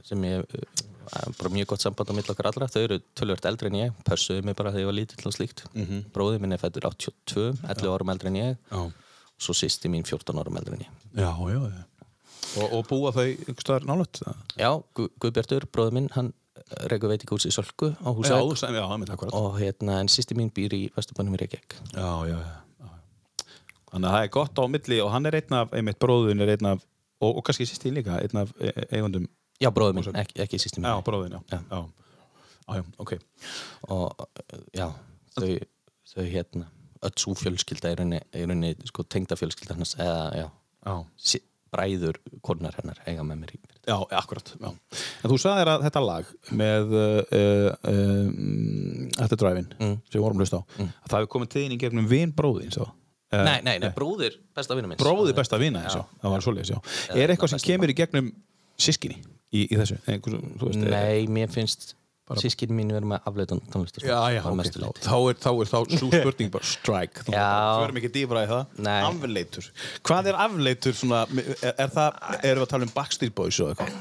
Speaker 3: sem ég uh, bara mjög gott samband á milli okkar allra, þau eru tölvört eldri en ég pössuðu mig bara þegar ég var lítill og slíkt mm -hmm. bróði minn er fættur 82 11 árum eldri en ég
Speaker 2: Mhm. Já.
Speaker 3: og svo sýsti mín 14 árum eldri en ég
Speaker 2: Já, já, já. Og, og búa þau einhvers staðar nálægt? eða?
Speaker 3: Já, Gu Guðbjartur, bróði minn hann reyku veitingús í Sölku á
Speaker 2: Já,
Speaker 3: Húsavík
Speaker 2: sem- já, einmitt, akkurat.
Speaker 3: og hérna, en sýsti mín býr í Vesturbænum í Reykjavík
Speaker 2: Já, já, já. já. Þannig að það er gott á milli og hann er einn af, einmitt bróðun er einn af, og, og kannski sýstin líka, einn af e- eigundum.
Speaker 3: Já, bróði minn, ekki, ekki sýsti mín
Speaker 2: Já, bróðun, já.
Speaker 3: Já.
Speaker 2: Já, já, já ok.
Speaker 3: og uh, já, þau, þau hérna öll svo fjölskylda er rauninni, er rauninni sko, tengda fjölskylda hennas eða já,
Speaker 2: Já.
Speaker 3: sí- bræður konar hennar eiga með mér í
Speaker 2: Já, akkurat, já. En þú sagði þér að þetta lag með uh, uh, um, Þetta Drive-in
Speaker 3: Mm.
Speaker 2: sem við vorum hlust á, að það hefði komið tíðin í gegnum vin bróðin, svo. Uh,
Speaker 3: nei, nei, nei, bróðir besta vinur minns
Speaker 2: bróði besta vina eins og það var svoleiðis, já. Er eitthvað sem kemur í gegnum sískinni í, í þessu? Einhver, þú veist, eh,
Speaker 3: nei, mér finnst sískin mín verið með afleitan tónlistar
Speaker 2: Já, já, ok,
Speaker 3: okay.
Speaker 2: þá er, þá er þá svo spurning bara strike Þú
Speaker 3: Já.
Speaker 2: verðum ekki dýbra í það
Speaker 3: Nei.
Speaker 2: Afleitur Hvað er afleitur svona, er, er það, erum við að tala um Backstreet Boys og eitthvað?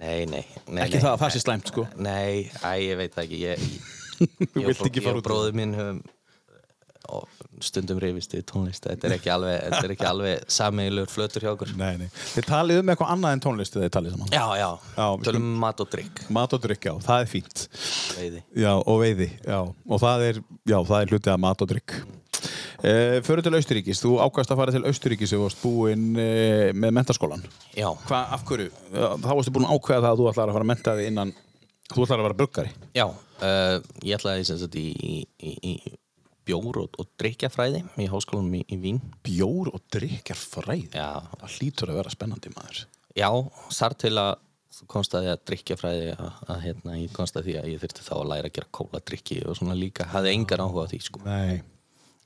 Speaker 3: nei, nei, nei
Speaker 2: Ekki
Speaker 3: nei,
Speaker 2: það að það
Speaker 3: nei.
Speaker 2: sé slæmt, sko.
Speaker 3: nei, æ, ég veit það ekki ég,
Speaker 2: Þú
Speaker 3: ég,
Speaker 2: vilt ekki
Speaker 3: ég,
Speaker 2: fara
Speaker 3: ég
Speaker 2: út í
Speaker 3: og bróðir minn höfum eh, og stundum reyfist í tónlist þetta er ekki alveg, þetta er ekki alveg sameigilegur flötur hjá okkur
Speaker 2: Nei, nei Þið talið um eitthvað annað en tónlist þegar þið talið saman
Speaker 3: já, já,
Speaker 2: Já, við
Speaker 3: tölum um mat og drikk
Speaker 2: Mat og drykk, já, það er fínt
Speaker 3: veiði
Speaker 2: Já, og veiði, já Og það er, já, það er hlutið að mat og drykk uh, Föru til Austuríkis, þú ákvæmst að fara til Austuríkis og varst búinn uh, með mentaskólan
Speaker 3: Já,
Speaker 2: Hvað, af hverju? Já, Þá varstu búinn að ákveða það að þú ætlar að fara að menta þig innan Þú ætlar að vera bruggari
Speaker 3: já uh, ég ætlaði sem sagt í, í, í, í bjór og, og drikkjafræði í háskólanum í, í Vín
Speaker 2: bjór og drikjar fræði
Speaker 3: Já.
Speaker 2: það hlýtur að vera spennandi maður
Speaker 3: Já, þar til að þú komst að því að drikkjafræði að, að hérna, ég komst að því að ég þurfti þá að læra að gera kóladrykki og svona líka, hafði engar áhuga á því sko,
Speaker 2: nei,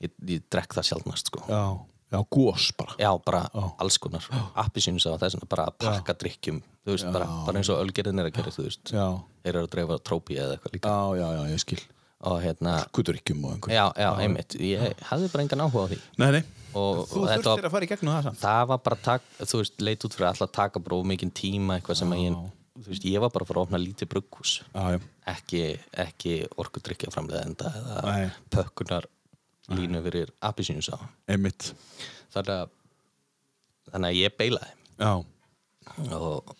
Speaker 3: ég, ég drekk það sjálfnast sko
Speaker 2: já, já, gós bara
Speaker 3: Já, bara alls konar, appisínus af þess að bara að pakka drikkjum, þú veist, bara, bara eins og ölgerðin er að gera, þú veist,
Speaker 2: já,
Speaker 3: þeir eru að dreifa trópi eða eitthvað líka
Speaker 2: já, já, já ég skil
Speaker 3: og hérna,
Speaker 2: kuturíkjum og einhver
Speaker 3: já, já, einmitt, ég hafði bara engan áhuga á því
Speaker 2: nei, nei.
Speaker 3: og
Speaker 2: þú
Speaker 3: þetta
Speaker 2: þurftir
Speaker 3: var,
Speaker 2: að fara í gegnum það samt
Speaker 3: það var bara tak, þú veist, leit út fyrir alltaf að taka bara of mikinn tíma eitthvað sem að ég, þú veist, ég var bara að fara að opna lítið brugghús
Speaker 2: já, já,
Speaker 3: ekki, ekki orkudrykja framleiðenda eða
Speaker 2: Nei.
Speaker 3: pökkunar línu fyrir apisínusá
Speaker 2: einmitt
Speaker 3: þannig að þannig að ég beilaði
Speaker 2: já,
Speaker 3: og,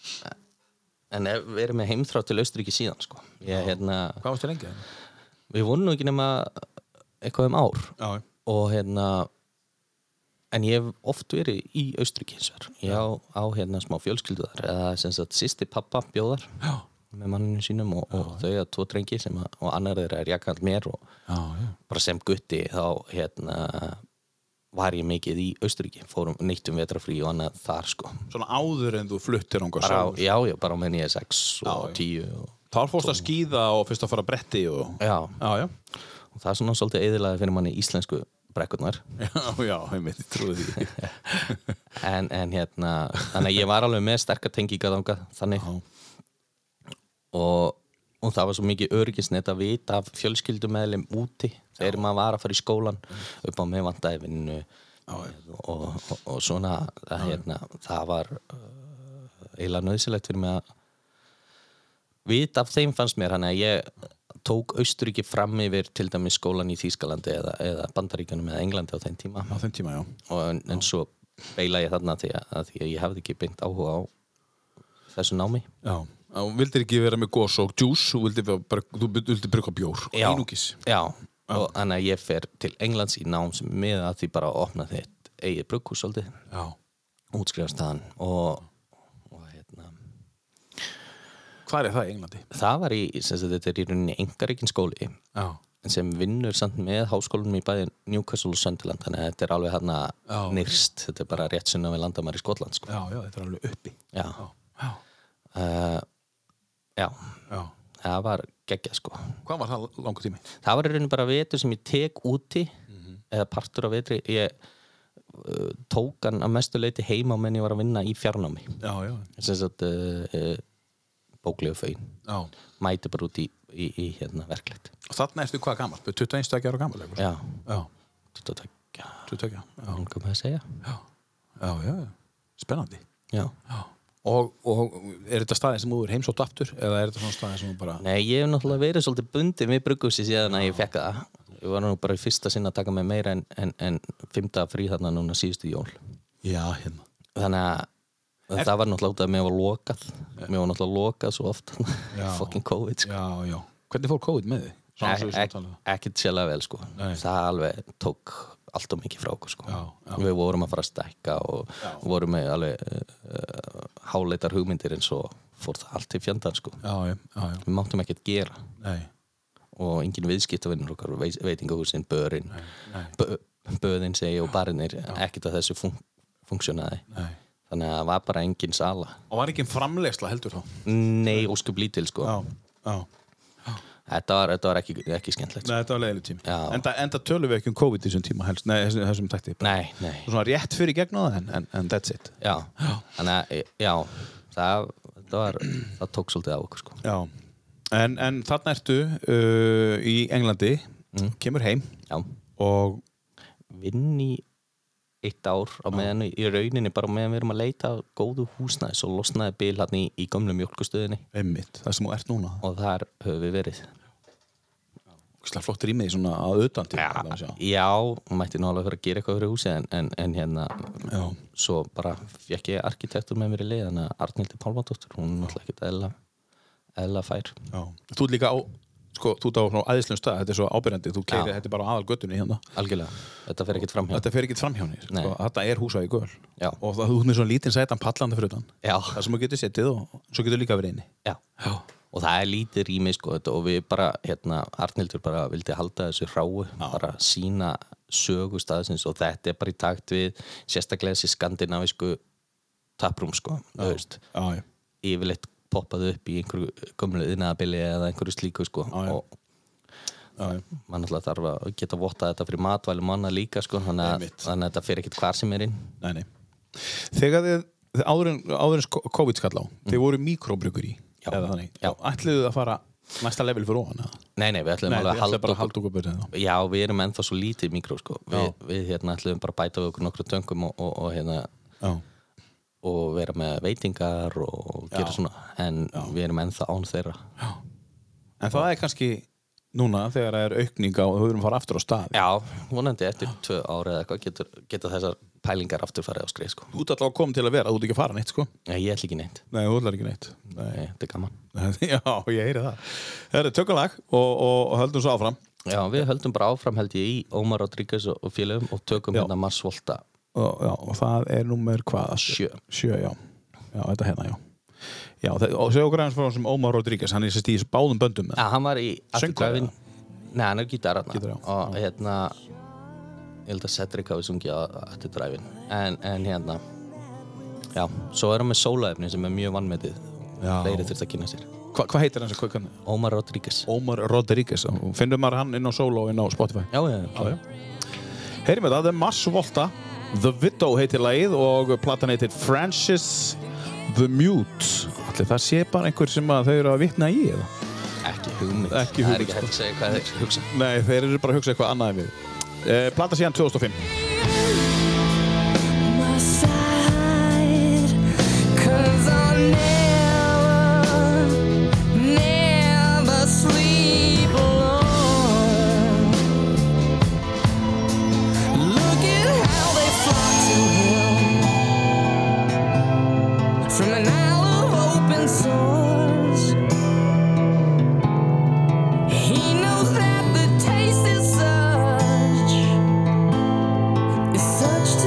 Speaker 3: en hef verið með heimþrá til Austuríki síðan sko. ég, hérna,
Speaker 2: hvað varstu lengi?
Speaker 3: við vonum nú ekki nema eitthvað um ár
Speaker 2: já, já.
Speaker 3: og hérna en ég hef oft verið í Austuríki hins vegar ég á, á hérna smá fjölskylduðar eða sem sagt sýsti pappa bjóðar
Speaker 2: Já.
Speaker 3: með manninu sínum og, og þau að tvo drengi sem að, og annar þeirra er jakkant mér og
Speaker 2: já, já,
Speaker 3: bara sem gutti þá hérna var ég mikið í Austuríki fórum nýttum vetrafrí og annað þar sko
Speaker 2: svona áður en þú fluttir ánga
Speaker 3: bara, á-
Speaker 2: sjálfur
Speaker 3: já, já, bara með nýja 6 og 10 og,
Speaker 2: þá fórst að skýða og fyrst að fara að bretti og
Speaker 3: já,
Speaker 2: já, já,
Speaker 3: og það er svona svolítið eðilaði fyrir manni íslensku brekkurnar
Speaker 2: já, já einmitt, ég trúi því
Speaker 3: en, en hérna, þannig að ég var alveg með sterkar tengingar þangað, þannig og, og það var svo mikið örgisnett að vita af fjölskyldumeðlum úti þegar maður var að fara í skólan upp á mig vantaði vinnu og, og, og svona að, hérna, það var uh, eiginlega nöðsilegt fyrir mig að vita af þeim fannst mér hann að ég tók Austuríki fram yfir til dæmis skólan í Þýskalandi eða, eða Bandaríkanum eða Englandi á þeim tíma
Speaker 2: á þeim tíma, já
Speaker 3: og en, en svo beila ég þarna því að, að því að ég hefði ekki beint áhuga á þessu námi
Speaker 2: Já, þú vildir ekki vera með gós og djús, þú vildir vera bara, þú vildir bruka bjór og einungis.
Speaker 3: já, og þannig að ég fer til Englands í nám sem með að því bara að opna þitt eigið brugghús svolítið,
Speaker 2: Já,
Speaker 3: útskrifast þaðan og, og hérna
Speaker 2: hvað er það í Englandi?
Speaker 3: það var í, sem sagt þetta er í rauninni engaríkin skóli
Speaker 2: Já,
Speaker 3: en sem vinnur samt með háskólanum í bæði Newcastle og Sunderland þannig að þetta er alveg hérna
Speaker 2: Já.
Speaker 3: nyrst þetta er bara rétt sunna við landamæri Skotland sko.
Speaker 2: já, já, þetta er alveg uppi.
Speaker 3: já,
Speaker 2: Já,
Speaker 3: uh, já
Speaker 2: já.
Speaker 3: það var geggja sko
Speaker 2: Hvað var það langur tími?
Speaker 3: það var í rauninu bara vetur sem ég tek úti eða partur af vetri ég uh, tók hann að mestu leiti heima menn ég var að vinna í fjarnámi
Speaker 2: Já, já,
Speaker 3: sem sagt uh, uh, bóklegu fögin
Speaker 2: já.
Speaker 3: mæti bara út í, í, í hérna verklegt
Speaker 2: Og þarna ertu hvað gammal? 21 ára gammal?
Speaker 3: já,
Speaker 2: Já,
Speaker 3: 22
Speaker 2: 22 já,
Speaker 3: langar maður að segja
Speaker 2: já, já, já. spennandi
Speaker 3: já.
Speaker 2: og, og er þetta staðið sem þú er heimsótt aftur eða er þetta svona staðið sem þú bara
Speaker 3: Nei, ég hef náttúrulega verið svolítið bundið við brugghúsi síðan að ég fekk það ég var nú bara í fyrsta sinna að taka mig meira en, en, en fymta frí þarna núna síðustu jól
Speaker 2: já, hérna
Speaker 3: þannig að það var náttúrulega út af að mér var lokað mér var náttúrulega lokað svo oft fucking COVID sko.
Speaker 2: já, já. hvernig fór COVID með þig? Svona svo
Speaker 3: Ek-
Speaker 2: við svona
Speaker 3: ek-
Speaker 2: talaðum.
Speaker 3: ekkert sérlega vel sko það alveg tók allt og mikið frá okkur sko
Speaker 2: Já, já.
Speaker 3: við vorum að fara að stækka og vorum með alveg uh, háleitar hugmyndir en svo fór það allt til fjandan sko
Speaker 2: já, já, já, já.
Speaker 3: við máttum ekkert gera
Speaker 2: Nei.
Speaker 3: og engin viðskiptavinnur okkar veis- veitingahúsin, börin bö, böðin segi og barinir ekkert að þessu fun funksjonaði
Speaker 2: Nei.
Speaker 3: þannig að það var bara engin sala
Speaker 2: og var ekki framlegsla heldur þá
Speaker 3: nei, óskup lítil sko
Speaker 2: já
Speaker 3: þetta var, þetta var ekki, ekki skemmtilegt sko.
Speaker 2: Nei, þetta var leiðileg tími
Speaker 3: Já.
Speaker 2: enda, enda tölum við ekki um COVID í þessum tíma helst Nei, þessum, þessum takti
Speaker 3: nei, nei
Speaker 2: Svona rétt fyrir gegn á það en, en, en that's it
Speaker 3: já, þannig að e, já, það, það, var, það tók svolítið á okkur sko.
Speaker 2: Já En, en þarna ertu uh, í Englandi Kemur heim
Speaker 3: já,
Speaker 2: Og
Speaker 3: vinn í eitt ár á meðan í rauninni bara á meðan við erum að leita að góðu húsnæði svo losnaði bil hann í, í gömlu mjölkustöðinni
Speaker 2: einmitt, það sem þú ert núna
Speaker 3: og þar höfum við verið
Speaker 2: Slag flott rýmið svona að utan til það má sjá.
Speaker 3: já, já, mætti nú alveg fyrir að gera eitthvað fyrir húsi en, en, en hérna
Speaker 2: Já.
Speaker 3: svo bara fekk ég arkitektur með mér í leiðan að Arnildi Pálmadóttur, hún er náttúrulega ekkert eðla, eðla fær
Speaker 2: Já. Þú ert líka á Sko, þú ert á svona æðislegum stað, þetta er svo ábyrjandi Þú keirir,
Speaker 3: Já.
Speaker 2: þetta er bara aðal göttunni hérna
Speaker 3: algjörlega, þetta fer ekkert fram hjá
Speaker 2: Þetta fer ekkert fram hjá henni,
Speaker 3: Nei.
Speaker 2: sko. þetta er húsavík göl
Speaker 3: Já.
Speaker 2: Og það, þú ert með svona lítinn sætan pallandi fyrir utan
Speaker 3: Já.
Speaker 2: Það sem þú getur setið og svo getur líka verið inni
Speaker 3: já. og það er lítið rými sko, þetta, og við bara, hérna, Arnildur bara vildi halda þessu hráu, bara sína sögu staðsins og þetta er bara í takt við sérstaklega þessi skandinavisku taprúm sko, þú veist
Speaker 2: Já, já
Speaker 3: yfirleitt poppað upp í einhverju gömlu yðnaðabili eða einhverju slíku sko
Speaker 2: já.
Speaker 3: og mann alltaf þarf að geta votta þetta fyrir matvæli manna líka sko þannig að,
Speaker 2: Einmitt.
Speaker 3: þannig að þetta fyrir ekkert hvar sem er inn
Speaker 2: Nei, nei. Þegar þið, þið áður en- áður en sko- COVID skall á, þið voru mikróbryggur í,
Speaker 3: Mm. Já.
Speaker 2: eða þannig.
Speaker 3: Já.
Speaker 2: Ætliðu þið að fara næsta level fyrir ofan? eða?
Speaker 3: Nei, nei, við ætlum
Speaker 2: Nei, þið
Speaker 3: alveg að
Speaker 2: ætliðu
Speaker 3: halda
Speaker 2: bara
Speaker 3: okkur
Speaker 2: að halda okkur börnið þá.
Speaker 3: Já, við erum ennþá svo lítið mikró sko við, við hérna ætlum bara að bæta við okkur nokkru töngum og, og, og hérna
Speaker 2: Já.
Speaker 3: og vera með veitingar og gera svona en við erum ennþá án þeirra
Speaker 2: En það er kannski núna þegar það er aukning á, þú erum að fara aftur á stað.
Speaker 3: Já, vonandi eftir tvö ára eða eitthvað getur, getur þessar pælingar aftur farið á skrið sko
Speaker 2: Þú ert alltaf að koma til að vera, þú ert ekki að fara neitt, sko.
Speaker 3: Nei, ég ætla ekki neitt
Speaker 2: Nei, þú ætlar ekki neitt. Nei.
Speaker 3: Nei, þetta er gaman
Speaker 2: Já, ég heyri það. Það eru tökulag og, og, og höldum svo áfram.
Speaker 3: Já, við höldum bara áfram held ég í Ómar Rodríguez og og félögum og tökum
Speaker 2: Já.
Speaker 3: hérna Mars Volta
Speaker 2: og, já, og það er nummer hvað?
Speaker 3: Sjö.
Speaker 2: Sjö, já. Já, þetta hérna, já. Já, það, og segja okkur aðeins frá þessum Ómar Rodríguez, hann er sérst í þessu báðum böndum.
Speaker 3: Já, hann var í
Speaker 2: Söngvari,
Speaker 3: Afturkvæfin Nei, hann er gítar hann
Speaker 2: Gítar, já.
Speaker 3: og hérna ég held að Cedric hafi sungið á Afturkvæfin en, en hérna Já, svo er hann með sólaefni sem er mjög vannmetið
Speaker 2: Já.
Speaker 3: Fleiri þurft að kynna sér
Speaker 2: Hva, hvað heitir hans að kvökan?
Speaker 3: Ómar Rodríguez
Speaker 2: Ómar Rodríguez, finnum maður hann inn á Solo og inn á Spotify.
Speaker 3: Já, já, já,
Speaker 2: Heyrim þetta, það er Mars Volta, The Widow heitir lagið og platan heitir Francis The Mute. Allir það sé bara einhver sem að þau eru að vitna í eða?
Speaker 3: Ekki hugmynd
Speaker 2: Ekki
Speaker 3: Það
Speaker 2: hugmynd, sko.
Speaker 3: er ekki hægt að segja hvað þeir hugsa
Speaker 2: Nei, þeir eru bara að hugsa eitthvað annað en við. Eh, plata síðan 2005.
Speaker 6: my side. 'Cause I'll never, never sleep alone. Look at how they flock to him From an isle of open source, he knows that the taste is such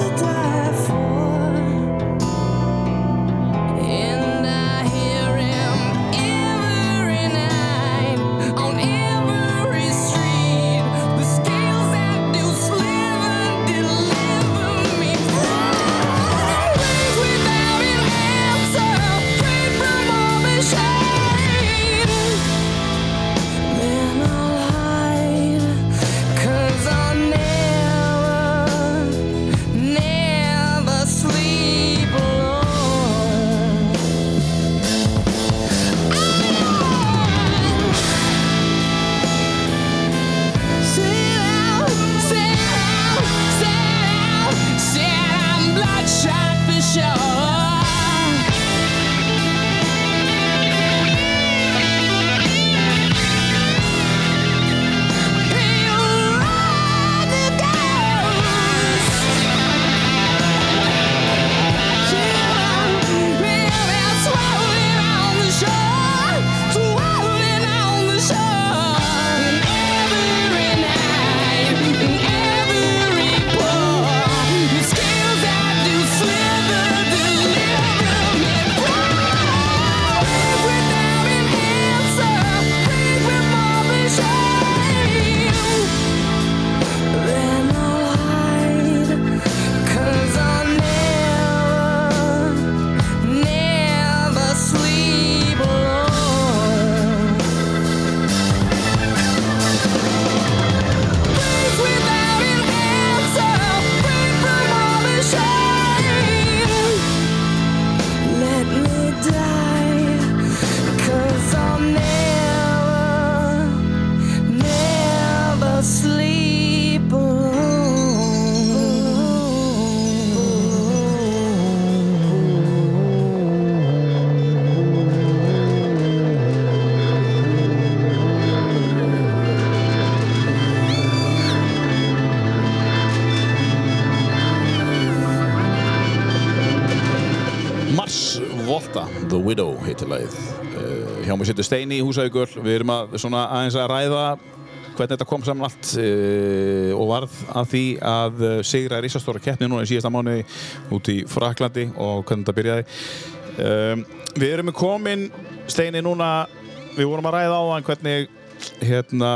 Speaker 2: Volta, The Widow heitir lagið uh, hjá mér setur Steini í Húsavíkur við erum að, svona, aðeins að ræða hvernig þetta kom saman allt uh, og varð að því að uh, sigra risastóra keppni núna í síðasta mánuði út í Fraklandi og hvernig þetta byrjaði um, við erum komin Steini núna við vorum að ræða á hann hvernig hérna,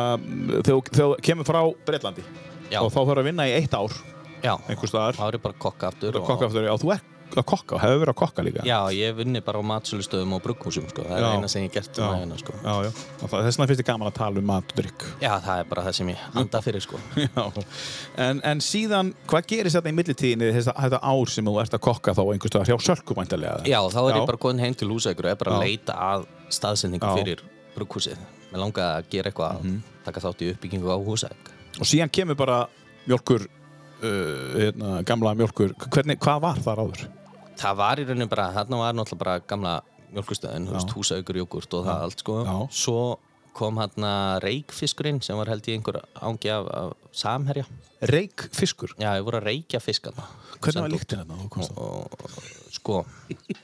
Speaker 2: þegar þegar þú kemur frá Breitlandi
Speaker 3: Já.
Speaker 2: og þá þarf að vinna í eitt ár
Speaker 3: Já,
Speaker 2: einhvers staðar
Speaker 3: þá er ég bara að kokka aftur og-
Speaker 2: kokka aftur, já þú ert að kokka, hefur verið að kokka líka
Speaker 3: Já, ég vunni bara á matsölustöðum og brugghúsum sko. það er
Speaker 2: Já.
Speaker 3: eina sem ég gert
Speaker 2: Já.
Speaker 3: um aðeina sko.
Speaker 2: já, já. Og það- Þess vegna finnst ég gaman að tala um mat og drikk
Speaker 3: Já, það er bara það sem ég anda fyrir sko.
Speaker 2: en, en síðan, hvað gerist þetta í millitíðinni þetta, þetta ár sem þú ert að kokka þá einhvers staðar hjá sölkumæntalega
Speaker 3: Já, þá er
Speaker 2: Já.
Speaker 3: ég bara komin heim til húsækur og er bara að
Speaker 2: Já.
Speaker 3: leita að staðsendingu
Speaker 2: Já. Mhm.
Speaker 3: fyrir brugghúsið Mér langaði að gera eitthvað að taka þátt í uppbyggingu á húsæk
Speaker 2: og síðan kemur bara mjölkur uh, hérna, gamla mjölkur Hvernig, hvað var þar áður?
Speaker 3: Það var í rauninu bara, þarna var náttúrulega bara gamla mjölkustöðin, þú veist, húsækur, jógurt og það allt sko.
Speaker 2: Já.
Speaker 3: Svo kom hérna reikfiskurinn sem var held ég einhver ángi af, af samherja
Speaker 2: Reik fiskur,
Speaker 3: Já, ég voru að reikja fiskana
Speaker 2: hvernig var líktin þarna? þú komst þarna?
Speaker 3: Sko,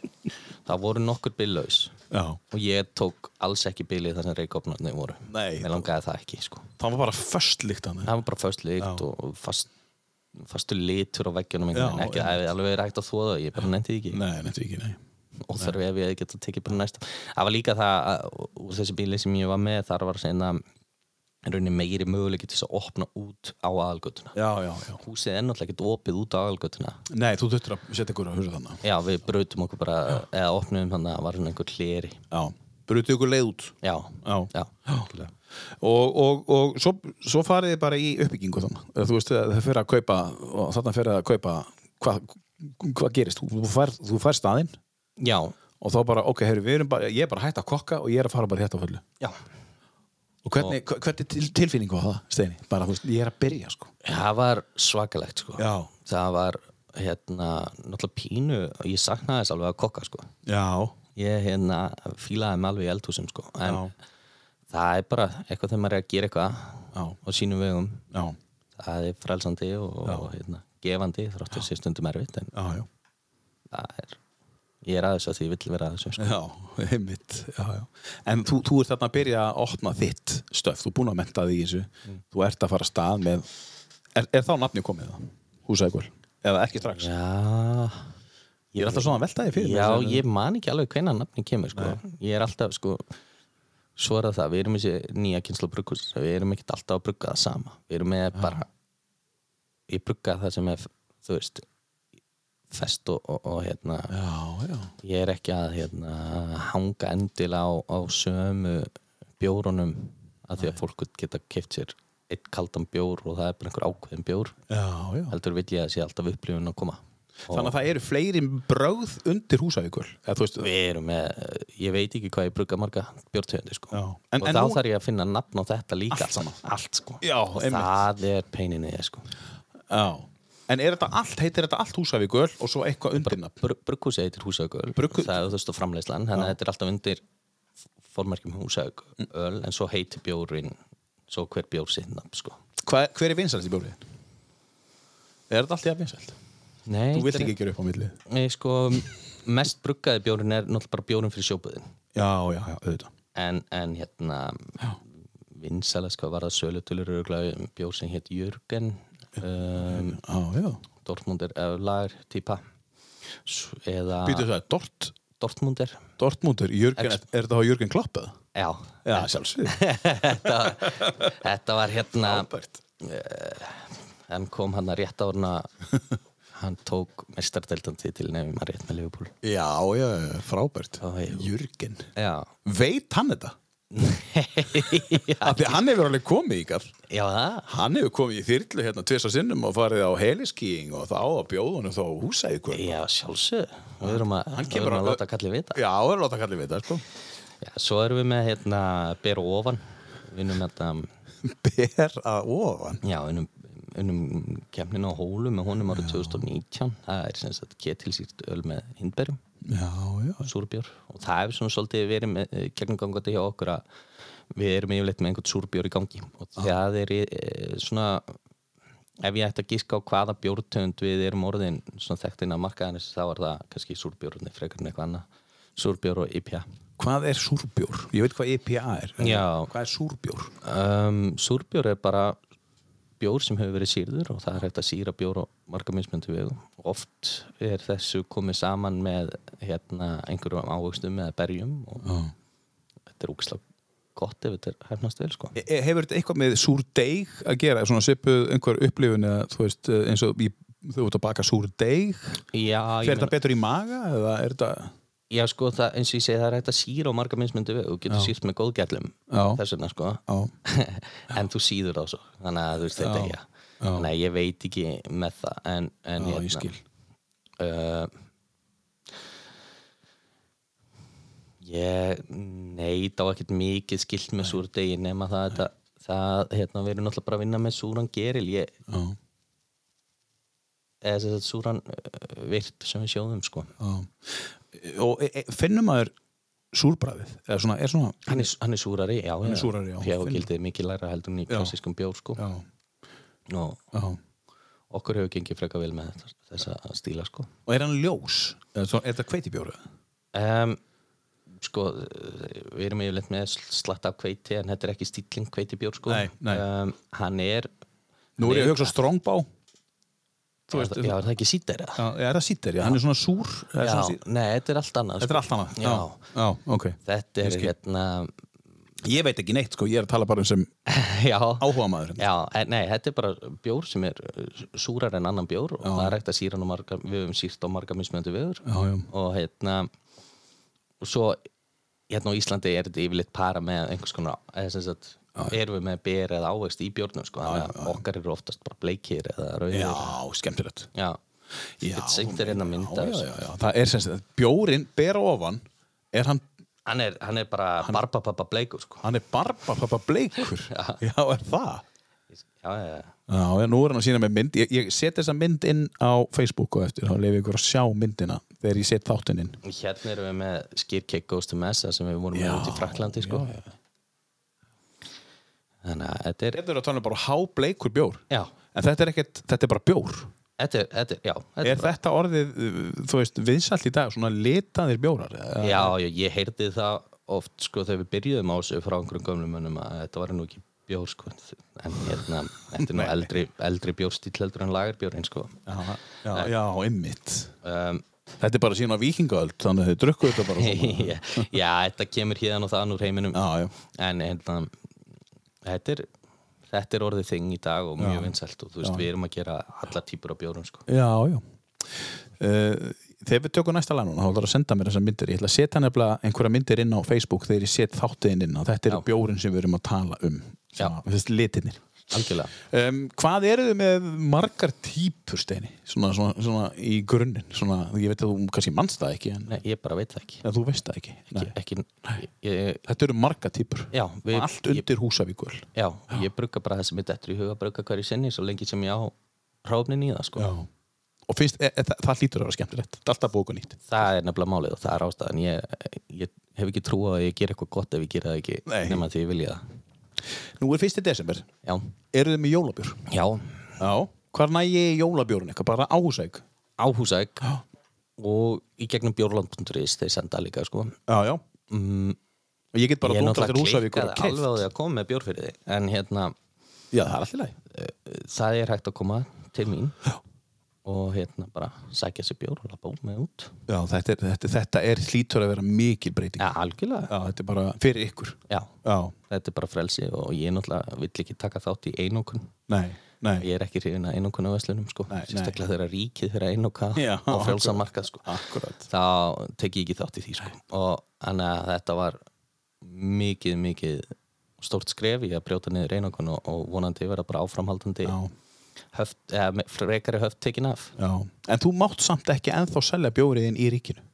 Speaker 3: það voru nokkur billaus
Speaker 2: Já,
Speaker 3: og ég tók alls ekki bilið þar sem reikofnarnir voru
Speaker 2: Nei.
Speaker 3: Mér langaði það ekki, sko
Speaker 2: það var bara först líktan
Speaker 3: Það var bara föst lit og fast, fastur litur á veggjunum
Speaker 2: Já,
Speaker 3: en ekki að alveg er hægt að þóða ég bara nefndi því ekki
Speaker 2: Nei, nefntu ekki, nei
Speaker 3: og þarf ef ég geta tekið bara næsta það var líka það að úr þessi bíli sem ég var með þar var svona raunin meiri möguleiki til þess að opna út á aðalgötuna
Speaker 2: Já, já, já
Speaker 3: húsið er náttúrulega ekkert opið út á aðalgötuna
Speaker 2: Nei, þú þurftur að setja ykkur að hurra þannig
Speaker 3: já við brautum okkur bara eða opnum þannig að það var svona einhver hleri
Speaker 2: Já, brutu ykkur leið út
Speaker 3: já,
Speaker 2: Já.
Speaker 3: já.
Speaker 2: Algjörlega. og, og, og svo, svo farið þið bara í uppbyggingu þannig þú veist það fyrir að kaupa og þarna fyrir að kaupa hvað hva gerist, þú, þú fær, þú fær staðinn
Speaker 3: já,
Speaker 2: og þá bara, ok, heyrðu, við erum bara ég er bara hægt að kokka og ég er að fara bara hægt á fullu
Speaker 3: já
Speaker 2: og hvernig, og... hvernig til, tilfinning var það, Steini? bara, þú veist, ég er að byrja, sko
Speaker 3: það var svakalegt sko
Speaker 2: Já.
Speaker 3: það var hérna náttúrulega pínu ég saknaði þess alveg að kokka sko
Speaker 2: já,
Speaker 3: ég hérna fílaði mig alveg í eldhúsum sko en það er bara eitthvað þegar maður er að gera eitthvað
Speaker 2: Já.
Speaker 3: á sínum vegum
Speaker 2: já,
Speaker 3: það er frelsandi og, og hérna, gefandi þráttur sér stundum erfitt en
Speaker 2: já, já
Speaker 3: það er ég er aðeins að því ég vill vera aðeins sko.
Speaker 2: Já, einmitt já, já. En þú, þú ert þarna að byrja að opna þitt stöf, þú er búin að menta því í þessu
Speaker 3: Mm.
Speaker 2: þú ert að fara af stað með er, er þá nafni komið það? Húsækul? Eða ekki strax?
Speaker 3: já
Speaker 2: Ég er alltaf svona að velta því fyrir
Speaker 3: já,
Speaker 2: mér.
Speaker 3: ég man ekki alveg hvenær nafni kemur sko. ég er alltaf sko svo er það það, við erum þessi nýja kynslu brugghús við erum ekkert alltaf að brugga það sama við erum með bara ég brugga það sem er, þú veist fest og, og, og hérna
Speaker 2: já, já,
Speaker 3: ég er ekki að hérna, hanga endilega á, á sömu bjórunum af því að fólk geta keft sér eitt kaldan bjór og það er bara einhver ákveðin bjór
Speaker 2: já, já.
Speaker 3: heldur vil ég að sé alltaf upplifun að koma og
Speaker 2: Þannig að það eru fleiri brögð undir húsækul eða, þú veist,
Speaker 3: við erum með, ég veit ekki hvað ég brugga marga bjórtöðundi sko
Speaker 2: Já. En-
Speaker 3: og
Speaker 2: en
Speaker 3: þá
Speaker 2: nú-
Speaker 3: þarf ég að finna nafn á þetta líka
Speaker 2: Allt saman.
Speaker 3: allt sko
Speaker 2: Já,
Speaker 3: og
Speaker 2: einmitt.
Speaker 3: það er peininni sko
Speaker 2: já. En er þetta allt, heitir þetta allt húsækul og svo eitthvað undirnafn?
Speaker 3: Br brugghúsi heitir húsaugöl
Speaker 2: Brugghú-
Speaker 3: það er þú veist og framleiðslan þannig að þetta er alltaf undir formerkjum húsaugöl en svo heitir bjórin svo hver bjór sitt nafn sko
Speaker 2: Hva- Hver er vinsælst í bjórið? Er þetta allt í að vinsælt?
Speaker 3: Nei,
Speaker 2: Þú vilt
Speaker 3: þetta er-
Speaker 2: ekki gera upp á millið?
Speaker 3: Nei, sko, mest bruggaði bjórin er náttúrulega bara bjórin fyrir sjóbuðin
Speaker 2: Já, já, já, auðvitað
Speaker 3: en, en hérna vinsala sko var það sölutölur örugglega um bjór sem hétt Jörgen um,
Speaker 2: Já, já
Speaker 3: Dortmundir eða lagar típa S- eða
Speaker 2: Býtu það, Dort
Speaker 3: Dortmundir
Speaker 2: Dortmundur, Jürgen,
Speaker 3: Ah. Ex-
Speaker 2: er þetta á Jürgen Klopp eða?
Speaker 3: já,
Speaker 2: Já, sjálfsvið
Speaker 3: þetta var hérna
Speaker 2: Albert
Speaker 3: hann kom hann að rétt árna hann tók mestardeldan titil nefnum að rétt með Liverpool
Speaker 2: Já, já, já, frábært
Speaker 3: Já, já.
Speaker 2: Jürgen
Speaker 3: já,
Speaker 2: Veit hann þetta? Af því að hann hefur alveg komið í garð
Speaker 3: já það
Speaker 2: Hann hefur komið í þyrlu hérna tvisa sinnum og farið á heliskíing og þá að bjóða hann þá húsa ykkur
Speaker 3: já sjálfsög, við erum að,
Speaker 2: Hann
Speaker 3: við
Speaker 2: kemur
Speaker 3: erum að
Speaker 2: að-
Speaker 3: láta kallið vita
Speaker 2: Já, það er að láta kallið við þetta, sko
Speaker 3: já, svo erum við með hérna beru ofan við erum þetta um,
Speaker 2: Ber að ofan
Speaker 3: Já, unnum, unnum kemninu á hólu með honum árið 2019 það er sem sagt ketilsýrt öl með hindberjum,
Speaker 2: Já, já
Speaker 3: súrbjór og það hefur svona svolítið verið með gegnumgangandi hjá okkur að við erum yfirleitt með einhvern súrbjór í gangi og það er e, svona ef ég ætti að gíska á hvaða bjórtönd við erum orðin svona þekktinn að markaðanis þá er það kannski súrbjórunni frekar en eitthvað annað súrbjór og IPA
Speaker 2: Hvað er súrbjór? Ég veit hvað IPA er. en
Speaker 3: Já.
Speaker 2: Hvað er súrbjór?
Speaker 3: um, Súrbjór er bara bjór sem hefur verið sýrður og það er hægt að sýra bjór og marga mismöndu vegu oft er þessu komið saman með hérna, einhverjum ávöxtum eða berjum og þetta er úksla gott ef þetta er hefnast vel sko.
Speaker 2: E- e- Hefur þetta eitthvað með súrdeig að gera? Svona svipuð einhver upplifun eða þú veist eh, eins og í, þú ert að baka súrdeig?
Speaker 3: Já, ég
Speaker 2: Fer þetta betur í maga eða er þetta...
Speaker 3: Já, sko, það, eins og ég segi, það er hægt að síra á marga minnsmyndu vegu, þú getur sírt með góðgællum
Speaker 2: Já.
Speaker 3: þess vegna, sko en þú síður á svo, þannig að þú veist þetta já. þannig að ég veit ekki með það en, en hérna,
Speaker 2: Já, ég skil.
Speaker 3: uh, ég neit á ekkert mikið skilt með súrdegi nema það, það, það hérna, við erum náttúrulega bara að vinna með súran geril ég,
Speaker 2: Já,
Speaker 3: eða þess að súran uh, virt sem við sjóðum, sko
Speaker 2: já. Og e, e, finnum maður súrbræðið? Eða svona, er svona...
Speaker 3: Hann er, hann er súrari, já. Hann
Speaker 2: er súrari, já.
Speaker 3: Hefur gildið mikið læra heldur en í klassískum bjór, sko.
Speaker 2: Já,
Speaker 3: Og
Speaker 2: já.
Speaker 3: okkur hefur gengið freka vel með þetta- þessa stíla, sko.
Speaker 2: Og er hann ljós? Eða svona, er þetta hveitibjórið?
Speaker 3: Um, sko, við erum yfirleitt með slatt af kveiti, en þetta er ekki stíling kveitibjór, sko.
Speaker 2: Nei, nei.
Speaker 3: Em, hann er...
Speaker 2: Nú er ég
Speaker 3: Nei,
Speaker 2: að hugsa strongbá.
Speaker 3: er það- Já, er það ekki sítið,
Speaker 2: Já, er það sýttir, já. Hann er svona súr. eða
Speaker 3: Já,
Speaker 2: svona sí-
Speaker 3: nei, þetta er allt annað, sko.
Speaker 2: Þetta er allt annað.
Speaker 3: Já.
Speaker 2: já, ok.
Speaker 3: Þetta
Speaker 2: Ég
Speaker 3: er
Speaker 2: skil.
Speaker 3: hérna...
Speaker 2: Ég veit ekki neitt, sko. Ég er að tala bara um sem hérna.
Speaker 3: já.
Speaker 2: áhuga maður.
Speaker 3: Já, en, nei, þetta er bara bjór sem er uh, súrar en annan bjór og það er hægt að síra nú margar, við höfum sírt á margar mismöndu viður
Speaker 2: Já, já.
Speaker 3: og hérna og svo hérna á Íslandi er þetta yfirleitt para með einhvers konar eða sem sagt, erum við með ber eða ávext í bjórnum sko, þannig að okkar eru oftast bara bleikir eða rauðir
Speaker 2: Já, skemmtilegt.
Speaker 3: já.
Speaker 2: Já,
Speaker 3: Þetta seint er hérna
Speaker 2: Já,
Speaker 3: að mynda
Speaker 2: já,
Speaker 3: þessu.
Speaker 2: já, já. Það er sem sagt, bjórin ber á ofan, er hann,
Speaker 3: Hann, er, hann er bara barbapappa bleikur sko.
Speaker 2: hann er barbapapa bleikur. já, er það?
Speaker 3: já, já, já.
Speaker 2: Já, já, nú er hann að sína með mynd. Ég, ég set þessa mynd inn á Facebook og eftir, þá lefi ykkur að sjá myndina þegar ég set þáttinn inn.
Speaker 3: hérna erum við með skýrkeik Ghost to Mesa sem við vorum með út í Fraklandi sko. þannig að þetta er
Speaker 2: Þetta er að tala um bara hábleikur bjór.
Speaker 3: já,
Speaker 2: En þetta er ekkert, þetta er bara bjór.
Speaker 3: þetta er, þetta er, já, þetta
Speaker 2: Er þetta orðið, uh, þú veist, viðsalt í dag, svona litaðir bjórar? eða?
Speaker 3: Já, já, ég heyrði það oft sko þegar við byrjuðum á þessu frá einhverjum gömlum mönnum að þetta var nú ekki bjór sko en hérna, þetta er nú eldri, eldri bjórstíl heldur en lagarbjórinn sko
Speaker 2: Já, já, já, einmitt.
Speaker 3: um,
Speaker 2: Þetta er bara síðan á vikingaöld, þannig að þau drukku þetta bara svona.
Speaker 3: já, já, þetta kemur hérna og þaðan úr heiminum
Speaker 2: Já, já.
Speaker 3: en hérna þetta er, þetta er orðið þing í dag og mjög vinsælt og þú veist, við erum að gera alla típur af bjórum sko
Speaker 2: Já, já. Uh, þegar við tökum næsta lag núna, þá ætlar að senda mér þessar myndir. Ég ætla að setja nefnilega einhverja myndir inn á Facebook þegar ég set þáttiðin inn á. Þetta er
Speaker 3: Já.
Speaker 2: bjórin sem við erum að tala um.
Speaker 3: Já.
Speaker 2: Þessi litinir.
Speaker 3: algjörlega
Speaker 2: Um, hvað eru þið með margar típur, Steini? Svona, svona, svona í grunninn, svona, ég veit að þú kannski mannst það ekki, en
Speaker 3: Nei, ég bara veit það ekki,
Speaker 2: en þú veist það ekki. Nei.
Speaker 3: ekki ég,
Speaker 2: Þetta eru marga típur
Speaker 3: Já, við-
Speaker 2: Og Allt undir ég... húsavíkul
Speaker 3: Já, ég brugga bara það sem mitt eftir í huga brugga hverju sinni svo lengi sem ég á hráfnin í það sko.
Speaker 2: Og finnst, e, e, það, það lítur að vera skemmtilegt Það er alltaf búið okkur nýtt
Speaker 3: það er nefnilega málið og það er ástæðan ég, ég hef ekki trú á að ég gera eitthvað gott ef ég gera það ekki
Speaker 2: Nei.
Speaker 3: nema því ég vilja það
Speaker 2: Nú er fyrsti desember
Speaker 3: Já,
Speaker 2: Eru þið með jólabjór?
Speaker 3: já
Speaker 2: Já Hvar næ ég í jólabjórun eitthvað? Bara á húsæk?
Speaker 3: áhúsæk og í gegnum bjórland.is þeir senda líka sko.
Speaker 2: Já, já mm. Og ég get bara
Speaker 3: ég er
Speaker 2: dótað til
Speaker 3: náttúrulega
Speaker 2: húsavíkur
Speaker 3: klikkað
Speaker 2: og
Speaker 3: alveg
Speaker 2: keift
Speaker 3: á því að koma með bjór fyrir þig en hérna,
Speaker 2: Já, það er alltaf leið
Speaker 3: það er hægt að koma til mín og hérna bara sækja sér bjór og lappa út með út
Speaker 2: Já, þetta er, þetta, þetta er hlýtur að vera mikil breyting
Speaker 3: Já, algjörlega
Speaker 2: já þetta er bara fyrir ykkur
Speaker 3: Já,
Speaker 2: Já,
Speaker 3: þetta er bara frelsi og ég náttúrulega vill ekki taka þátt í einokun
Speaker 2: nei, nei
Speaker 3: ég er ekki hrifin að einokun á veslunum sko.
Speaker 2: Nei,
Speaker 3: sérstaklega þegar ríkið þegar einoka
Speaker 2: Já,
Speaker 3: á frelsan markað sko.
Speaker 2: Akkurat
Speaker 3: þá tek ég ekki þátt í því sko. og þannig að þetta var mikið, mikið stórt skref í að brjóta niður einokun og, og vonandi vera bara áframhaldandi
Speaker 2: Já.
Speaker 3: höft, eða, me- frekari höft tekin af
Speaker 2: Já En þú mátt samt ekki ennþá selja bjóriðin í ríkinu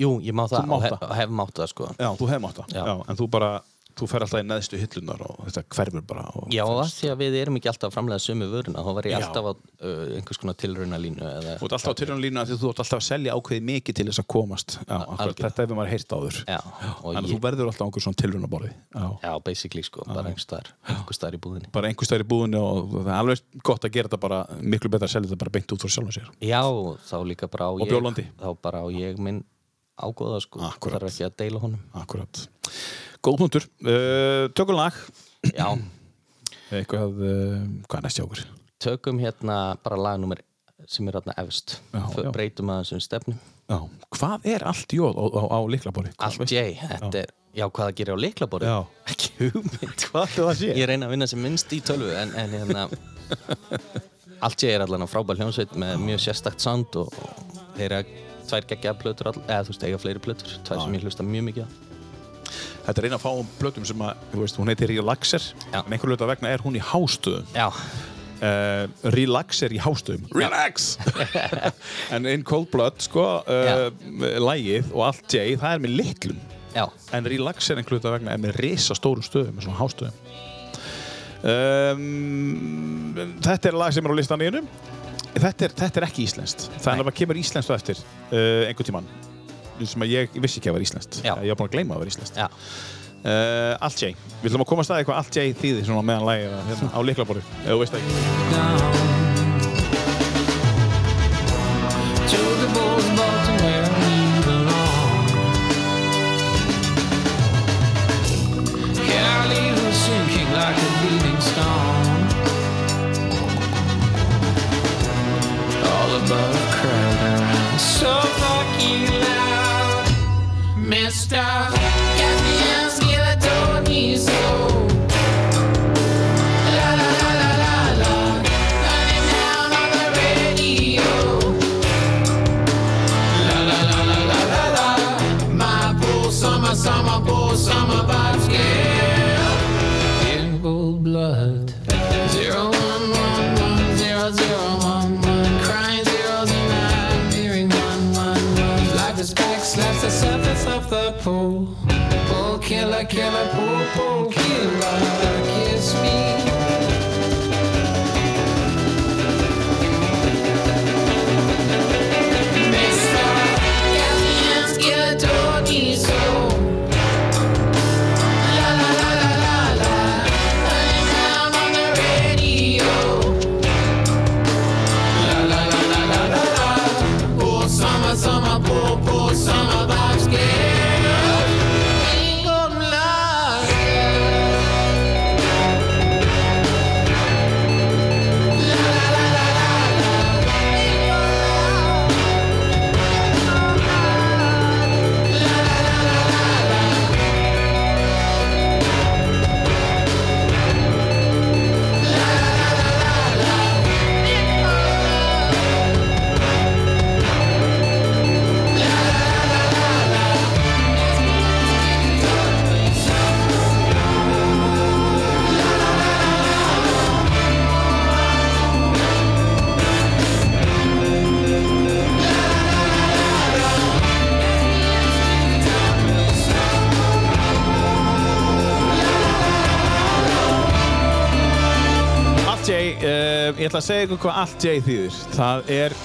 Speaker 3: Jú, ég má það
Speaker 2: mátt
Speaker 3: og hef,
Speaker 2: það.
Speaker 3: hef mátt það sko.
Speaker 2: Já, þú hefði mátt það.
Speaker 3: Já.
Speaker 2: en þú bara, þú fer alltaf í neðstu hillunar og þetta hverfur bara. Og...
Speaker 3: Já, og af því að við erum ekki alltaf að framlega sömu vöruna þá var ég
Speaker 2: Já.
Speaker 3: alltaf á uh, einhvers konar tilraunalínu eða,
Speaker 2: Þú ert alltaf á tyrjunalínu því þú ert alltaf að selja ákveðið mikið til þess að komast. Já, akkurat,
Speaker 3: algjörlega.
Speaker 2: þetta hefur maður heyrt áður.
Speaker 3: Já, og
Speaker 2: Þannig að
Speaker 3: ég-
Speaker 2: þú verður alltaf á einhver svona tilrunaborði. Já.
Speaker 3: Já, basically sko, bara einhvers staðar einhvers staðar í búðinni
Speaker 2: Bara einhver stær í búðinu og það er alveg gott að gera þetta bara, miklu betra að selja þetta bara beint út frá sjálfum sér.
Speaker 3: Já, þá líka bara á ég
Speaker 2: Bjólandi.
Speaker 3: Þá bara á ég minn ágóða sko
Speaker 2: Akkúrat.
Speaker 3: þarf ekki að deila honum
Speaker 2: Akkurat Góð punktur uh, Tökum lag
Speaker 3: já,
Speaker 2: Eitthvað, uh, hvað er næst hjá okkur?
Speaker 3: tökum hérna bara lagnúmer sem er hérna efst
Speaker 2: Já,
Speaker 3: Fö-
Speaker 2: já.
Speaker 3: breytum um að þessum stefnum
Speaker 2: Já, hvað er allt jóð á, á, á liklabóri?
Speaker 3: allt ég, þetta er já, hvað það gerir á leiklaborðu
Speaker 2: Já.
Speaker 3: ekki hugmynd
Speaker 2: Hvað ætli það sé?
Speaker 3: ég reyna að vinna sem minnst í tölvu en, en hérna allt ég er allan á frábær hljómsveit með mjög sérstakt sound og, og þeir eru að tvær geggja plötur all, eða þú veist, eiga fleiri plötur tvær sem ég hlusta mjög mikið á
Speaker 2: Þetta er eina af fáum plötum sem að, þú veist, hún heitir Relaxer
Speaker 3: Já.
Speaker 2: en einhverju hluta vegna er hún í hástöðum
Speaker 3: já,
Speaker 2: uh, Relaxer í hástöðum Relax! en In Cold Blood, sko, uh, lægið og allt ég, það er með litlum
Speaker 3: já,
Speaker 2: en relaxer einhverju hluta vegna er með risa stóru stöðum, með svona hástöðum um, Þetta er lag sem er á listan í hennum þetta, er- þetta er ekki íslenskt það er bara kemur íslenskt á eftir uh, einhvern tímann sem að ég vissi ekki að vera íslenskt
Speaker 3: Já.
Speaker 2: ég var búin að gleyma að vera íslenskt
Speaker 3: já
Speaker 2: uh, Allt ég, við ætlum að koma að staði hvað allt ég þýði svona meðan lagið er að- hérna, á liklaborðu ef þú veist það ekki
Speaker 5: To the bull's ball to where we belong. Can I leave her sinking like a bleeding stone? All above crowd around. So fucking loud, Mr. Gaffney, I told me so. La la la la la la. Running down on the radio. La la la la la la la. My poor summer, summer, poor summer vibes girl. In cold blood. Zero one one one zero zero one one. Crying zero zero nine. Hearing one one one. Life is back, slaps the surface of the pool. Pool killer, killer, pool, pool killer. Kiss me. Summer, poor, poor summer vibes, girl. England, love,
Speaker 2: Allt ég, uh, ég ætla að segja ykkur hvað allt ég þýðir. Það er,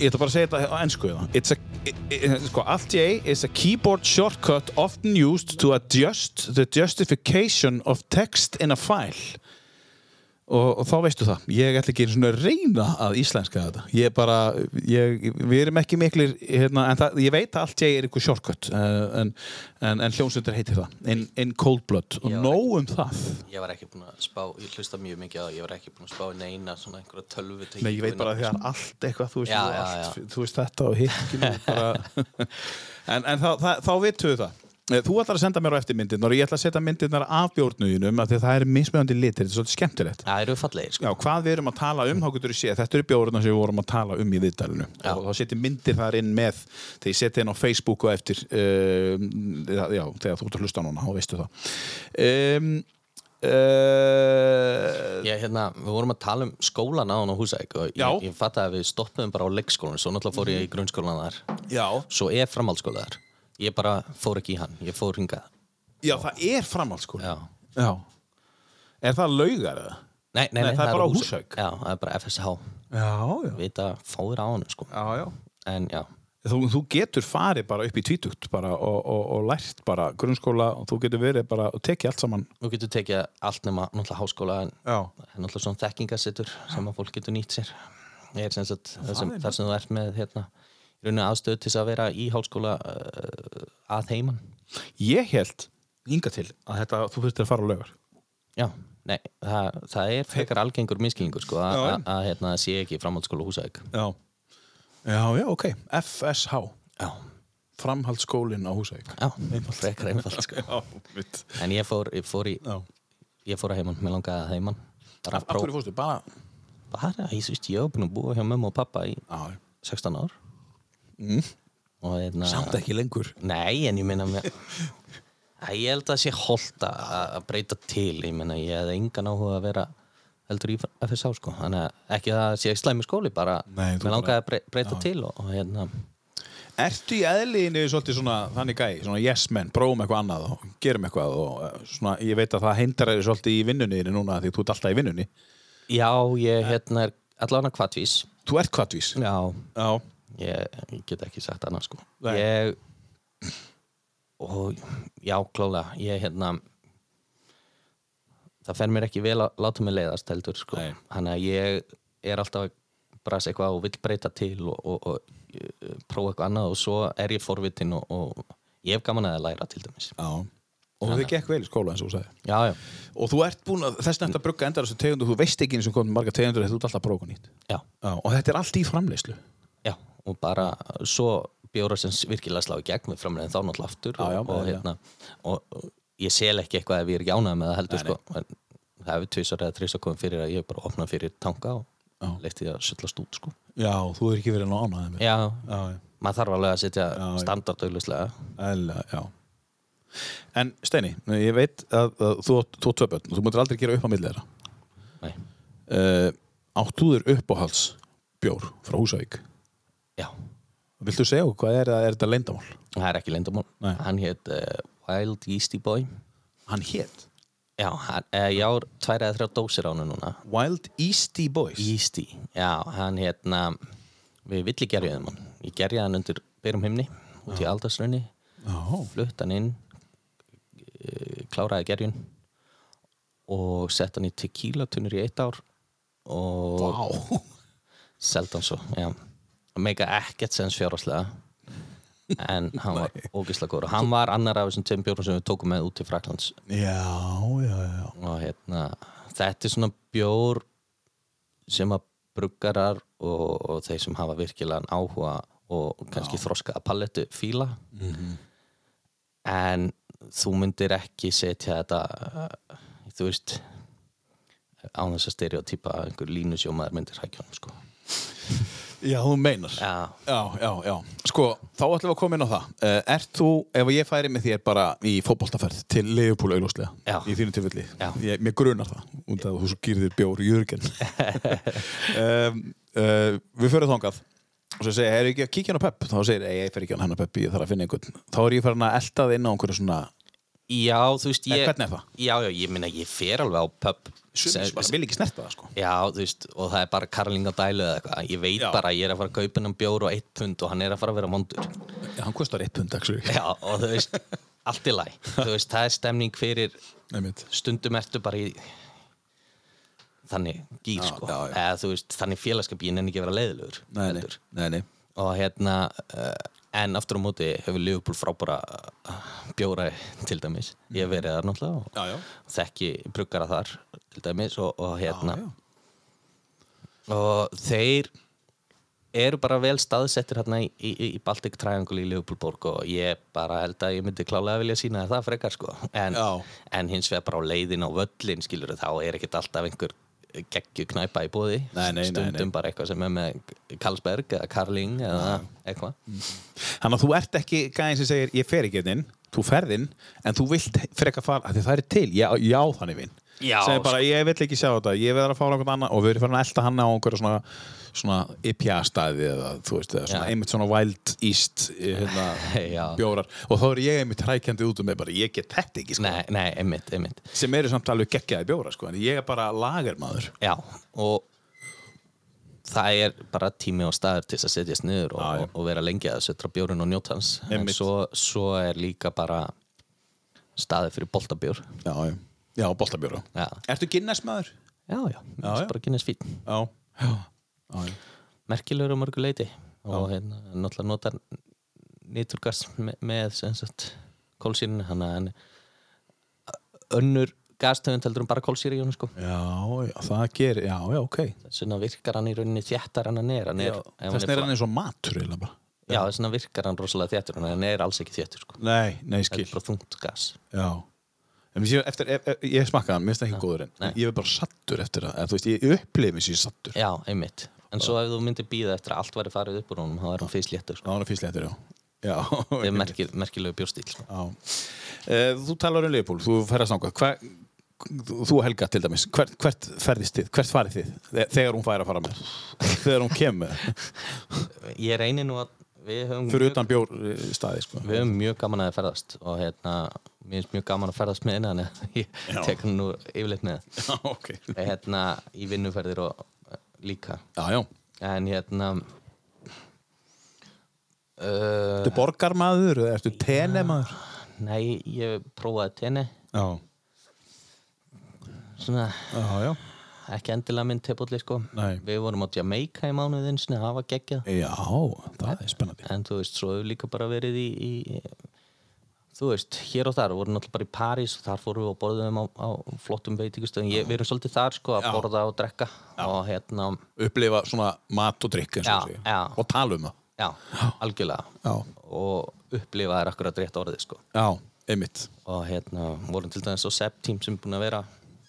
Speaker 2: ég ætla bara að segja þetta á ennsku eða. It's a, i- i- sko, allt ég is a keyboard shortcut often used to adjust the justification of text in a file. Og, og þá veistu það, ég ætla ekki einu svona að reyna að íslenska þetta. Ég er bara, ég, við erum ekki miklir, hérna, en það, ég veit að allt ég er ykkur shortcut, uh, en, en, en hljómsveitir heitir það, in, in cold blood, og
Speaker 3: Já.
Speaker 2: nóg um það.
Speaker 3: ég var ekki búinn að spá, ég hlusta mjög mikið á það, ég var ekki búinn að spá neina svona einhverja tölvu
Speaker 2: Nei, ég veit bara að það er allt eitthvað, þú veist,
Speaker 3: Já,
Speaker 2: og
Speaker 3: já,
Speaker 2: allt, þú veist þetta og hitt ekki nú, bara... En, en þá, þá, þá vitum við það. Eh, Þú ætlar að senda mér á eftir myndirnar og ég ætla að setja myndirnar af bjórnuginum af því að það er mismöðandi litir, þetta er svolítið skemmtilegt.
Speaker 3: það eru fallegir sko
Speaker 2: Já, hvað við erum að tala um, þá getur við séð að þetta eru bjórnar sem við vorum að tala um í viðdælinu
Speaker 3: Já.
Speaker 2: og þá setjum myndir þar inn með þegar ég setja inn á Facebook og eftir um, já, þegar þú ert að hlusta á núna, þá veistu það um, uh,
Speaker 3: ég, hérna, við vorum að tala um skólan á hann á Húsæk og
Speaker 2: Já. Mhm.
Speaker 3: ég, ég fatt að við stoppum bara á leikskólan svo náttúrulega fór ég í grunnskólan þar
Speaker 2: Já,
Speaker 3: svo er framhaldsskóla þar ég bara fór ekki í hann, ég fór hingað
Speaker 2: já, það er sko. framhaldsskóla
Speaker 3: já.
Speaker 2: Já. Er það laugar eða?
Speaker 3: Nei, nei, nei,
Speaker 2: Nei, það er bara á Húsavík.
Speaker 3: já, það er bara FSH
Speaker 2: Já, já.
Speaker 3: vita fáir á hann sko.
Speaker 2: Já, já.
Speaker 3: en já,
Speaker 2: Þú, þú getur farið bara upp í tvítugt bara og, og, og lært bara grunnskóla og þú getur verið bara og tekið allt saman.
Speaker 3: nú getur tekið allt nema náttúrulega háskóla en
Speaker 2: Já.
Speaker 3: það er náttúrulega svona þekkingasettur sem að fólk getur nýtt sér er sem sagt, það sem, þar sem þú ert með hérna, í rauninni aðstöðu til þess að vera í hálskóla uh, að heiman
Speaker 2: Ég held ynga til að þetta, þú þurftir að fara á laugar
Speaker 3: Já, nei, það, það er frekar algengur miskilningur sko, að-
Speaker 2: Já, já.
Speaker 3: að að, hérna, það sé ekki framhaldsskóla húsæk
Speaker 2: Já, já, já, ok FSH,
Speaker 3: Já,
Speaker 2: framhaldsskólinn á Húsavík
Speaker 3: já, frekar einfalt sko.
Speaker 2: Já, mitt
Speaker 3: En ég fór, ég fór í
Speaker 2: Já.
Speaker 3: ég fór að heiman, mér langaði að heiman bara að
Speaker 2: Af hverju
Speaker 3: prófa
Speaker 2: fórstu, bara
Speaker 3: bara, ég veist, ég hef búin að búa hjá mömmu og pappa í
Speaker 2: Já, já.
Speaker 3: 16 ár og hérna
Speaker 2: Mm. samt ekki lengur
Speaker 3: Nei, en ég meina mér Æ, ég held að það sé holt að- að breyta til ég meina, ég hefði engan áhuga að vera heldur í FSH sko þannig að ekki að það sé slæmi skóli bara
Speaker 2: Nei, þú
Speaker 3: mér
Speaker 2: bara-
Speaker 3: langaði að brey- breyta til og, og hérna
Speaker 2: Ertu í eðliðinu svolítið svona þannig gæ, svona yes menn, prófum eitthvað annað og gerum eitthvað og eh, svona, ég veit að það heindar þér svolítið í vinnunni þinni núna því þú ert alltaf í vinnunni.
Speaker 3: já, ég hérna er allavega kvatvís
Speaker 2: Þú ert kvatvís.
Speaker 3: já,
Speaker 2: Já.
Speaker 3: ég, ég get ekki sagt annað sko ég og já, klálega ég hérna það fer mér ekki vel að láta mig leiðast heldur sko,
Speaker 2: Nei.
Speaker 3: hann að ég er alltaf að brasa eitthvað og vill breyta til og, og, og eh, prófa eitthvað annað og svo er ég forvitin og, og ég hef gaman að læra til dæmis
Speaker 2: Já. Og þið gekk vel í skóla eins og þú sagði.
Speaker 3: já, já,
Speaker 2: Og þú ert búin að, þess nætt að brugga endar þessu tegundu, þú veist ekki eins og komið marga tegundur þetta þú ert alltaf að prófa eitthvað nýtt.
Speaker 3: já,
Speaker 2: Já. Og þetta er allt í framleyslu.
Speaker 3: já og bara svo bjóra sem virkilega slá í gegn við framlegin þá náttúrulega aftur
Speaker 2: Já, já,
Speaker 3: og, og,
Speaker 2: já.
Speaker 3: hérna, og og ég sel ekki eitthvað ef ég er jánað með það heldur sko en það hefur tvisar eða þrisar komið fyrir að ég bara opnað fyrir tanka og leitt því að sullast út sko
Speaker 2: Já, þú er ekki verið nú ánæðið með.
Speaker 3: já,
Speaker 2: Já, já.
Speaker 3: maður þarf alveg að setja standardauðlislega
Speaker 2: Æla, já. En Steini, ég veit að, að þú átt- þú átt tvö börn og þú mútur aldrei gera upp á milli þeirra. uh, áttuður uppáhalds bjór frá Húsavík
Speaker 3: já,
Speaker 2: Viltu segja okkur hvað er það, er þetta leyndamál?
Speaker 3: það er ekki lendamál
Speaker 2: Nei.
Speaker 3: hann hétt uh, Wild Yeasty Boy
Speaker 2: Hann hét
Speaker 3: já, hann, uh, ég ár tvær eða þrjá dósir á hann núna
Speaker 2: Wild Easty Boys
Speaker 3: Yeasty, já, hann hérna við villi gerjaðum hann ég gerjaði hann undir byrjum himni út í aldarsraunni,
Speaker 2: Já,
Speaker 3: flutt hann inn eh, kláraði gerjun og sett hann í tequila tunnur í eitt ár og
Speaker 2: Vá.
Speaker 3: seldi hann svo já. það meika ekkert sens fjárháslega en hann var ógislega góður og hann var annar af þessum tveim bjórum sem við tókum með út til Fraklands
Speaker 2: já, já, já
Speaker 3: og hérna þetta er svona bjór sem að bruggarar og, og þeir sem hafa virkilegan áhuga og kannski þroskaða palettu fíla
Speaker 2: Mhm.
Speaker 3: en þú myndir ekki setja þetta uh, þú veist án þess að stereotýpa að einhver línusjómaður myndir hækja hann sko
Speaker 2: Já, þú meinar
Speaker 3: Já.
Speaker 2: já, já, já. Sko, þá ætlum við að koma inn á það uh, Ert þú, ef ég færi með þér bara í fótboltaferð til Leifupúl augljóslega
Speaker 3: Já.
Speaker 2: í þínu tilfelli,
Speaker 3: Já.
Speaker 2: ég, mér grunar það und að þú svo gýrðir bjór í jörgen um, uh, Við förum þangað og svo segja, er ekki að kíkja hann á Pepp þá segir, ei, ég fer ekki á hann á Pepp, ég þarf að finna einhvern þá er ég farin að elta það inn á einhverju svona
Speaker 3: Já, þú veist
Speaker 2: En
Speaker 3: ég,
Speaker 2: hvernig er það?
Speaker 3: Já, já, ég minna, ég fer alveg á pub
Speaker 2: sumir sem bara vil ekki snerta það, sko
Speaker 3: Já, þú veist, og það er bara karling á dælu eða eitthvað Ég veit
Speaker 2: Já.
Speaker 3: bara að ég er að fara að kaupa hennan bjór og eitt pund og hann er að fara að vera mondur
Speaker 2: Já, hann kostar eitt pund, actually
Speaker 3: Já, og þú veist, allt í læ Þú veist, það er stemning fyrir
Speaker 2: Einmitt.
Speaker 3: stundum ertu bara í þannig gýr, sko
Speaker 2: já, já.
Speaker 3: eða þú veist, þannig félagskap ég nenni ekki að vera leiðilegur
Speaker 2: Nei, nei,
Speaker 3: heldur.
Speaker 2: nei, nei.
Speaker 3: og hérna uh, en aftur á móti hefur Liverpool frábara uh, bjóra til dæmis ég hef verið þar náttúrulega og
Speaker 2: Já, já.
Speaker 3: þekki bruggara þar til dæmis og, og hérna og þeir eru bara vel staðsettir hérna í, í, í Baltic Triangle í Liverpool borg og ég bara held að ég myndi klálega vilja sína þér það frekar sko en,
Speaker 2: Já.
Speaker 3: en hins vegar bara á leiðin á völlin skilur þá er ekkert allaf einhver geggju knæpa í bóði
Speaker 2: Nei, nei, nei,
Speaker 3: stundum
Speaker 2: nei.
Speaker 3: bara eitthvað sem er með Karlsberg eða Karling eða eitthvað
Speaker 2: Þannig að þú ert ekki gæðin sem segir ég fer ekki hérna inn, þú ferð inn en þú vilt freka fara, af því það er til já, já þannig vinn,
Speaker 3: Já, sko.
Speaker 2: sem er bara ég vill ekki sjá þetta, ég verður að fara okkur annað og við erum farin að elta hann á einhverja svona, svona IPA staði eða þú veist eða svona,
Speaker 3: Já.
Speaker 2: einmitt svona Wild East hérna,
Speaker 3: Já.
Speaker 2: bjórar og þá er ég einmitt hrækjandi út um mig bara ég get þetta ekki sko,
Speaker 3: nei, nei, einmitt, einmitt
Speaker 2: sem eru samt alveg geggjaði bjórar sko, en ég er bara lagermaður
Speaker 3: Já, og það er bara tími og staður til þess að setjast niður
Speaker 2: Já,
Speaker 3: og,
Speaker 2: já.
Speaker 3: og, og vera lengi að setja bjórinn og njóta hans en
Speaker 2: Einmitt.
Speaker 3: svo, svo er líka bara staði fyrir boltabjór
Speaker 2: Já, já, já boltabjóra
Speaker 3: Já.
Speaker 2: Ertu Guinness maður?
Speaker 3: Já, já, já,
Speaker 2: Já, já.
Speaker 3: bara kynnes fín
Speaker 2: Já, já, já.
Speaker 3: merkilegur og mörgu leiti og hérna, náttúrulega notar nýturgas með, með sem sagt, kólsýrinu, þannig að henni- önnur gastöfund heldur um bara kólsýri í honum sko
Speaker 2: já, já, það gerir, já, já, ok
Speaker 3: þess vegna virkar hann í rauninni þjættar en hann er, hann er ef
Speaker 2: Þess er
Speaker 3: fla-
Speaker 2: hann eins og matur eiginlega bara.
Speaker 3: já þess vegna virkar hann rosalega þjættur en hann er alls ekki þjættur sko
Speaker 2: Nei, nei,
Speaker 3: það
Speaker 2: skil
Speaker 3: er bara þungt gas
Speaker 2: Já En við séum eftir, ef, ef, ég smakkaði hann, mér finnst það ekki góður en
Speaker 3: nei.
Speaker 2: ég er bara sattur eftir það, eða þú veist, ég upplifi sér sattur
Speaker 3: já, einmitt, en svo ef þú myndir býða eftir að allt væri farið upp úr honum, þá er hann fyrst léttur sko.
Speaker 2: Það var hann fyrst léttur, já Já,
Speaker 3: það er merkil, merkilegu bjórstíl sko.
Speaker 2: Já. Eh, Þú talar um Leopold, þú ferðast náttúrulega Hver, þú og Helga til dæmis hvert, hvert ferðist þið, hvert farið þið Þe- þegar hún fær að fara með þegar hún kemur,
Speaker 3: ég reynir nú að við höfum
Speaker 2: fyrir utan bjór eh, staði sko.
Speaker 3: við höfum mjög gaman að ferðast og hérna, mér finnst mjög gaman að ferðast með innan ég tek hann nú yfirleitt með
Speaker 2: Já, ok
Speaker 3: hérna, í vinnuferðir og eh, líka
Speaker 2: Já, já,
Speaker 3: en hérna uh,
Speaker 2: ertu
Speaker 3: Eh.
Speaker 2: borgarmaður eða ertu tenemaður
Speaker 3: nei, ég prófaði tenni
Speaker 2: Já,
Speaker 3: svona,
Speaker 2: já, já
Speaker 3: ekki endilega minn tepulli sko
Speaker 2: Nei.
Speaker 3: við vorum á Jamaica í mánuðin sinni, það var geggjað
Speaker 2: Já, það er spennandi
Speaker 3: en þú veist, svo hefur líka bara verið í, í þú veist, hér og þar við vorum náttúrulega bara í París og þar fórum við og borðum á, á flottum veitingastöðum Ég- við erum svolítið þar sko að borða og drekka og hérna,
Speaker 2: Upplifa svona mat og drikk eins og
Speaker 3: Já,
Speaker 2: segja.
Speaker 3: já.
Speaker 2: og tala um það
Speaker 3: já, algjörlega
Speaker 2: Já.
Speaker 3: og upplifa þær akkurat rétt orðið sko
Speaker 2: Já, einmitt
Speaker 3: og hérna, vorum til dæmis á Sepp team sem er búin að vera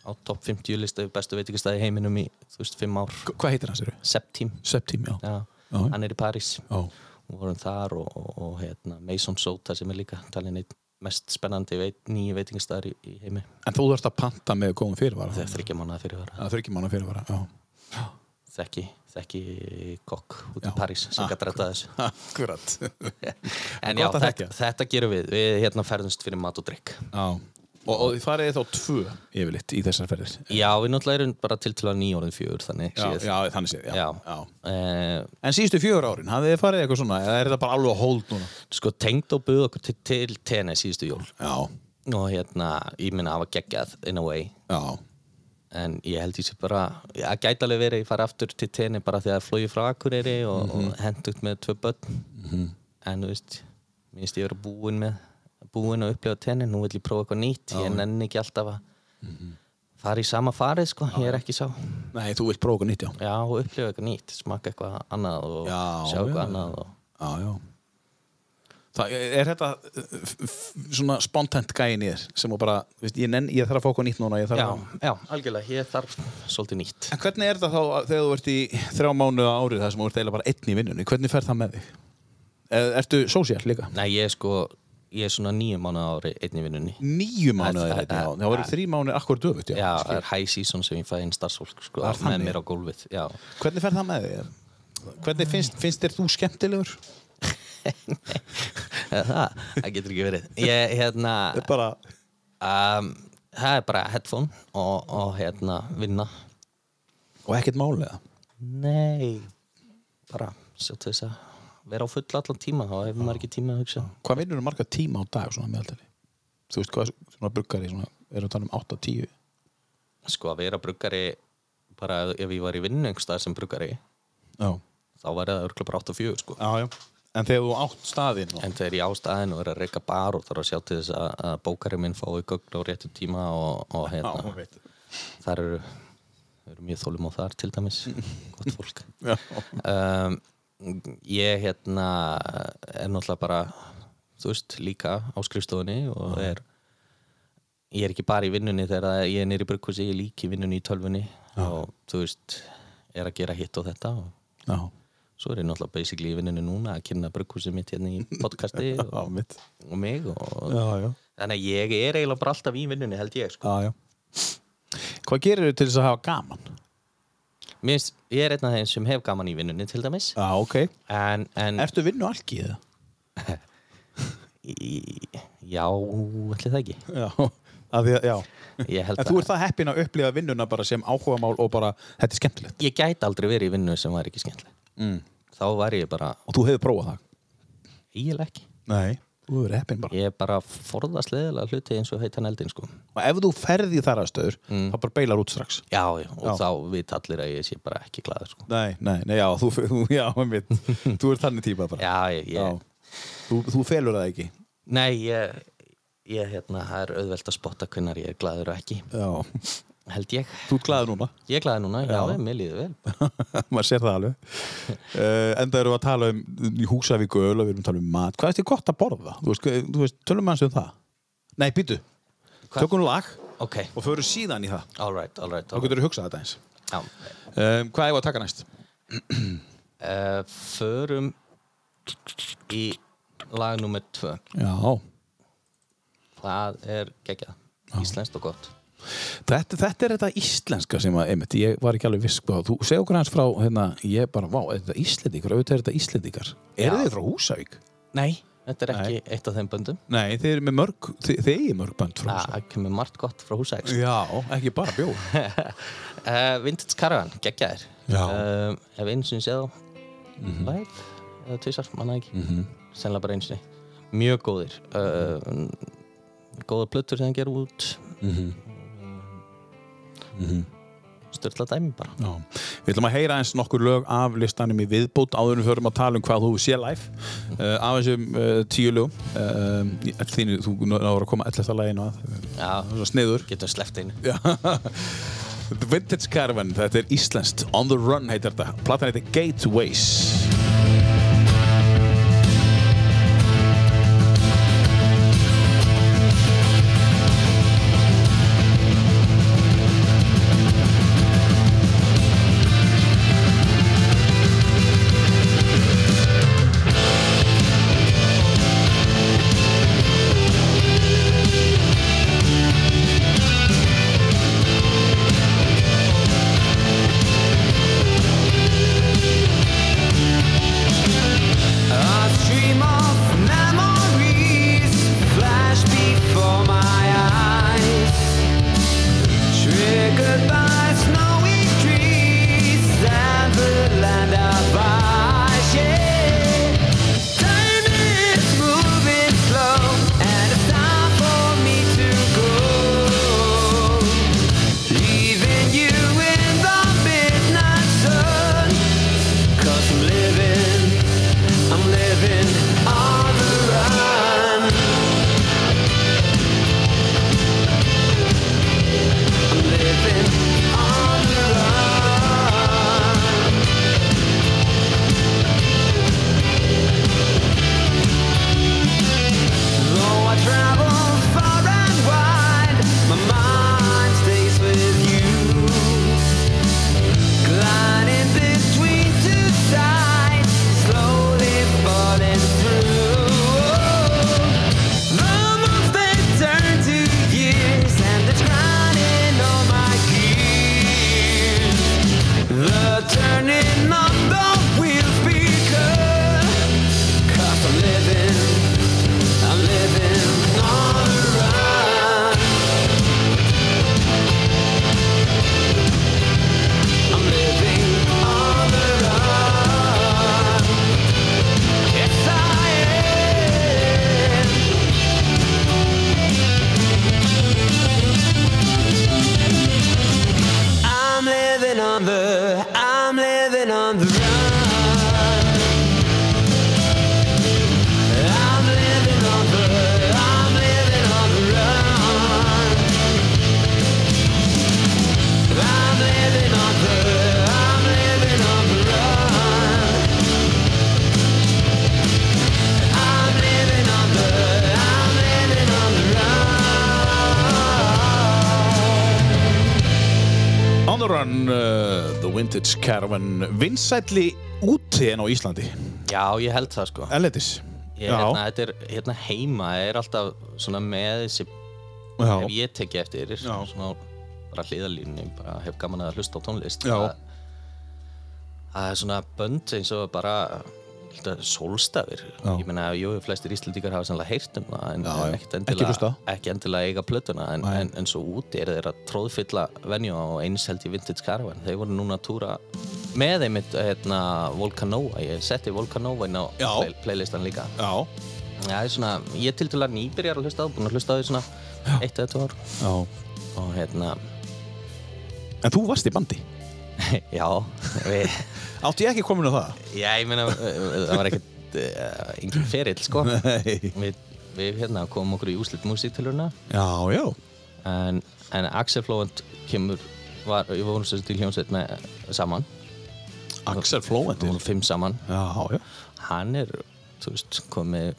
Speaker 3: á top 50 lista yfir bestu veitingastæði í heiminum í, þú veist, 5 ár
Speaker 2: Hva- Hvað heitir hans eru?
Speaker 3: Sepp team,
Speaker 2: Septím, já
Speaker 3: já,
Speaker 2: Já.
Speaker 3: hann er í París
Speaker 2: Já.
Speaker 3: og vorum þar og, og, og hérna, Mason Sota sem er líka talin eitt mest spennandi veit, nýju veitingastæðar í, í heimi
Speaker 2: En þú þarft að panta með góðum fyrirvara
Speaker 3: þegar þryggja mánuða fyrirvara
Speaker 2: Það þurfi ekki manna fyrirvara, já
Speaker 3: þekki, þekki kokk út í
Speaker 2: Já.
Speaker 3: París sem gætt rætta þessu
Speaker 2: Akkurat
Speaker 3: en já,
Speaker 2: Gott að
Speaker 3: þetta,
Speaker 2: þekkja.
Speaker 3: þetta gerum við við hérna ferðumst fyrir mat og drikk
Speaker 2: Já Og, og þið farið þá tvö yfirleitt í þessar ferðir
Speaker 3: já, við náttúrulega erum bara til til að nýjórðin fjögur þannig
Speaker 2: Já,
Speaker 3: séð.
Speaker 2: já, þannig séð, já,
Speaker 3: Já. Eh,
Speaker 2: En síðustu fjögur árin, hafið þið farið eitthvað svona eða er þetta bara alveg að hold núna?
Speaker 3: sko tengd og buð okkur til, til tenni síðustu jól
Speaker 2: Já,
Speaker 3: og hérna, ég minna hafa geggjað in a way
Speaker 2: já,
Speaker 3: en ég held ég sé bara að gæti alveg verið að ég fari aftur til tenni bara því að flóið frá Akureyri og,
Speaker 2: Mhm.
Speaker 3: og hendugt með tvö börn en þú veist, minnst ég vera búin með búin að upplega tenni, nú vill ég prófa eitthvað nýtt ég nenni ekki alltaf að
Speaker 2: Mhm.
Speaker 3: fara í sama farið sko, ég er ekki sá
Speaker 2: nei, þú vilt prófa okkur nýtt, já
Speaker 3: já, og upplega eitthvað nýtt, smaka eitthvað annað og
Speaker 2: Já,
Speaker 3: sjá eitthvað
Speaker 2: já, já.
Speaker 3: annað og
Speaker 2: Já, já Það, er þetta uh, f- f- svona spontant gæin í þér sem að bara, þú veist, ég, nenn, ég þarf að fá okkur nýtt núna ég þarf
Speaker 3: já,
Speaker 2: að...
Speaker 3: já, algjörlega, ég þarf svolítið nýtt
Speaker 2: En hvernig er þetta þá að- þegar þú ert í þrjá mánuða árið þar sem þú ert eiginlega bara einn í vinnunni hvernig fer það með þig? Er, ertu sósíal líka?
Speaker 3: Nei, ég er sko, ég er svona nýju mánuð ári einn í vinnunni
Speaker 2: Níu mánuða
Speaker 3: Það-
Speaker 2: er einn í
Speaker 3: það-
Speaker 2: árið, það verður þrý mánuði akkur döfut, já,
Speaker 3: Já, það er high season sem ég fæ inn starfsfólk sko,
Speaker 2: Það er
Speaker 3: með
Speaker 2: þannig.
Speaker 3: mér á gólfið já.
Speaker 2: Hvernig fer það með þér? Hvernig finnst, finnst þér þú skemmtilegur?
Speaker 3: það, það getur ekki verið ég, hérna,
Speaker 2: Bara,
Speaker 3: um, það er bara headphone og, og hérna, vinna
Speaker 2: og ekkert málega
Speaker 3: Nei bara sjá til þess að vera á fulla allan tíma, þá hefur maður ekki tíma að hugsa
Speaker 2: Hvað vinnur þú marga tíma á dag svona meðaltali? Þú veist hvað svona bruggari svona, erum við talað um 8-10
Speaker 3: sko að vera bruggari bara ef ég var í vinnu einhvers staðar sem bruggari
Speaker 2: Já,
Speaker 3: þá var það örgla bara 8 og 4 sko
Speaker 2: já, já En þegar þú átt staðinn og...
Speaker 3: En þegar ég á staðin og er að reyka bar og þarf að sjá til þess að, að bókari minn fái gögn á réttu tíma og, og hérna,
Speaker 2: veit
Speaker 3: þar eru, eru mjög þólum á þar til dæmis gott fólk
Speaker 2: Já.
Speaker 3: um, ég hérna er náttúrulega bara þú veist líka á skrifstofunni og er ég er ekki bara í vinnunni þegar að ég er nýri brugghúsi, ég er líki í vinnunni í tölfunni og þú veist er að gera hitt og þetta og
Speaker 2: Já,
Speaker 3: svo er ég náttúrulega basically í vinnunni núna að kynna brugghúsi mitt hérna í podcasti
Speaker 2: já,
Speaker 3: og,
Speaker 2: mitt
Speaker 3: og mig og,
Speaker 2: Já, já,
Speaker 3: þannig að ég er eiginlega bara alltaf í vinnunni held ég sko.
Speaker 2: já, já Hvað gerir þú til þess að hafa gaman?
Speaker 3: Mér, finnst- ég er einn af þeim sem hef gaman í vinnunni til dæmis
Speaker 2: Já, ok
Speaker 3: en, en
Speaker 2: Ertu vinnu algi í það?
Speaker 3: í, já, ætli það ekki
Speaker 2: Já, að því að, já
Speaker 3: ég held
Speaker 2: En þú ert það heppin að upplifa vinnuna bara sem áhugamál og bara, þetta er skemmtilegt
Speaker 3: ég gæti aldrei verið í vinnu sem var ekki skemmtileg mm. þá var ég bara
Speaker 2: Og þú hefur prófað það?
Speaker 3: eiginlega ekki
Speaker 2: Nei Þú verður heppin bara.
Speaker 3: Ég er bara að forðast leðilega hluti eins og heitan eldin sko
Speaker 2: Og ef þú ferði í þar aðstöður, þá bara beilar út strax.
Speaker 3: Já, já, og
Speaker 2: Já.
Speaker 3: þá vit allir að ég sé bara ekki glaður sko
Speaker 2: Nei, nei, nei, já, þú, þú- já, einmitt. þú er þannig típa bara.
Speaker 3: Já, ég, ég
Speaker 2: Þú, þú felur það ekki.
Speaker 3: Nei, ég, ég hérna, það er auðvelt að spotta hvernar ég er glaður og ekki
Speaker 2: Já.
Speaker 3: Held ég
Speaker 2: Þú er glaður núna.
Speaker 3: Ég er glaður núna, já, já mér líður vel
Speaker 2: maður sér það alveg uh, enda erum við að tala um í Húsavíku öl og við erum að tala um mat hvað er þetta gott að borða? Þú veist, hvað- þú veist tölum aðeins um það nei, býtu,
Speaker 3: Hvað?
Speaker 2: tökum lag
Speaker 3: Ok,
Speaker 2: og förum síðan í það
Speaker 3: all right, all right,
Speaker 2: þá
Speaker 3: all right.
Speaker 2: getur við hugsað þetta eins
Speaker 3: Já,
Speaker 2: um, hvað er að taka næst?
Speaker 3: uh, Förum í lag nummer tvö
Speaker 2: já,
Speaker 3: Það er geggjað, íslenskt og gott
Speaker 2: þetta, þetta er þetta íslenska sem að, einmitt, ég var ekki alveg viss hvað, þú segja okkur aðeins frá, hérna, ég bara vá, er þetta íslendingar, auðvitað er þetta íslendingar eru
Speaker 3: Já.
Speaker 2: þið frá Húsavík?
Speaker 3: Nei, þetta er ekki eitt af þeim böndum
Speaker 2: nei, þið eru með mörg, þið, þið eigi mörg band frá Húsavík
Speaker 3: Það kemur margt gott frá húsæk
Speaker 2: já, ekki bara bjóð
Speaker 3: uh, Vintage Caravan, geggjaðir
Speaker 2: Já. Mhm.
Speaker 3: uh, Ef einu sinni séð á live eða tvisar, manna ekki sennilega bara einu sinni Mjög góðir uh, Góða plötur sem hann gerir út mm
Speaker 2: Mhm.
Speaker 3: Sturla dæmi bara
Speaker 2: Já. Við ætlum að heyra eins nokkur lög af listanum í viðbútt áður en við förum að tala um hvað þú sé live uh, af þessum uh, tíu lögum uh, um, í- öll þínu, þú ná- náður að koma alltaf að læginu að
Speaker 3: Já,
Speaker 2: það er sniður
Speaker 3: getum sleppt einu
Speaker 2: The Vintage Caravan, þetta er íslenskt On the Run heitir þetta, platan heitir Gateways
Speaker 1: A stream of memories flash before my eyes, triggered by snowy trees and the land of ice. yeah. Time is moving slow, and it's time for me to go. Leaving you in the midnight sun, 'cause I'm living. I'm living on the run. I'm living on the run. Though I travel far and wide, my mind stays with you. Gliding between two sides, slowly falling through. The months they turn to years, and it's grinding on my gears. The turning of the wheels because I'm living, I'm living on the run. I'm living on the run. Yes, I am. I'm living on the, I'm living on the run. I'm living on the, I'm living on the run. I'm living on the, I'm living on the run. I'm living on the, I'm living on the run.
Speaker 2: On the Run, uh, The Vintage Caravan vinsælli úti en á Íslandi
Speaker 3: Já, ég held það sko
Speaker 2: Erlendis
Speaker 3: ég, hérna, þetta er, hérna heima er alltaf svona með þessi
Speaker 2: já,
Speaker 3: ef ég teki eftir svona bara hliðalínu, bara hef gaman að hlusta á tónlist
Speaker 2: Já.
Speaker 3: Það- það er svona bönd eins og bara hluta, sólstafir, ég meina jú, flestir íslendingar hafa sannlega heyrt um það en, en ekkert endilega,
Speaker 2: hlustað.
Speaker 3: ekki endilega eiga plötuna en, en, en svo úti er þeir að tróðfylla venju og eins held í Vintage Caravan þeir voru núna að túra með einmitt hérna, Volcanova, ég setti Volcanova inn á
Speaker 2: Já.
Speaker 3: play, playlistan líka
Speaker 2: já,
Speaker 3: Já, ég, er svona, ég er til til að nýbyrjar að hlusta á, búin að hlusta á því svona eitt eða tvö ár
Speaker 2: Já.
Speaker 3: og hérna,
Speaker 2: En þú varst í bandi.
Speaker 3: já, við,
Speaker 2: Átti ég ekki komin á það?
Speaker 3: já, ég meina, eh, það var ekkert uh, engin ferill, sko.
Speaker 2: Nei.
Speaker 3: Við, við hérna komum okkur í úslit músíktilurna
Speaker 2: Já, já.
Speaker 3: en, en Axel Flóent kemur, var, við vorum sér til hljómsveit með saman,
Speaker 2: Axel
Speaker 3: við
Speaker 2: Flóendur.
Speaker 3: vorum fimm saman,
Speaker 2: Já, já.
Speaker 3: hann er, þú veist, komið,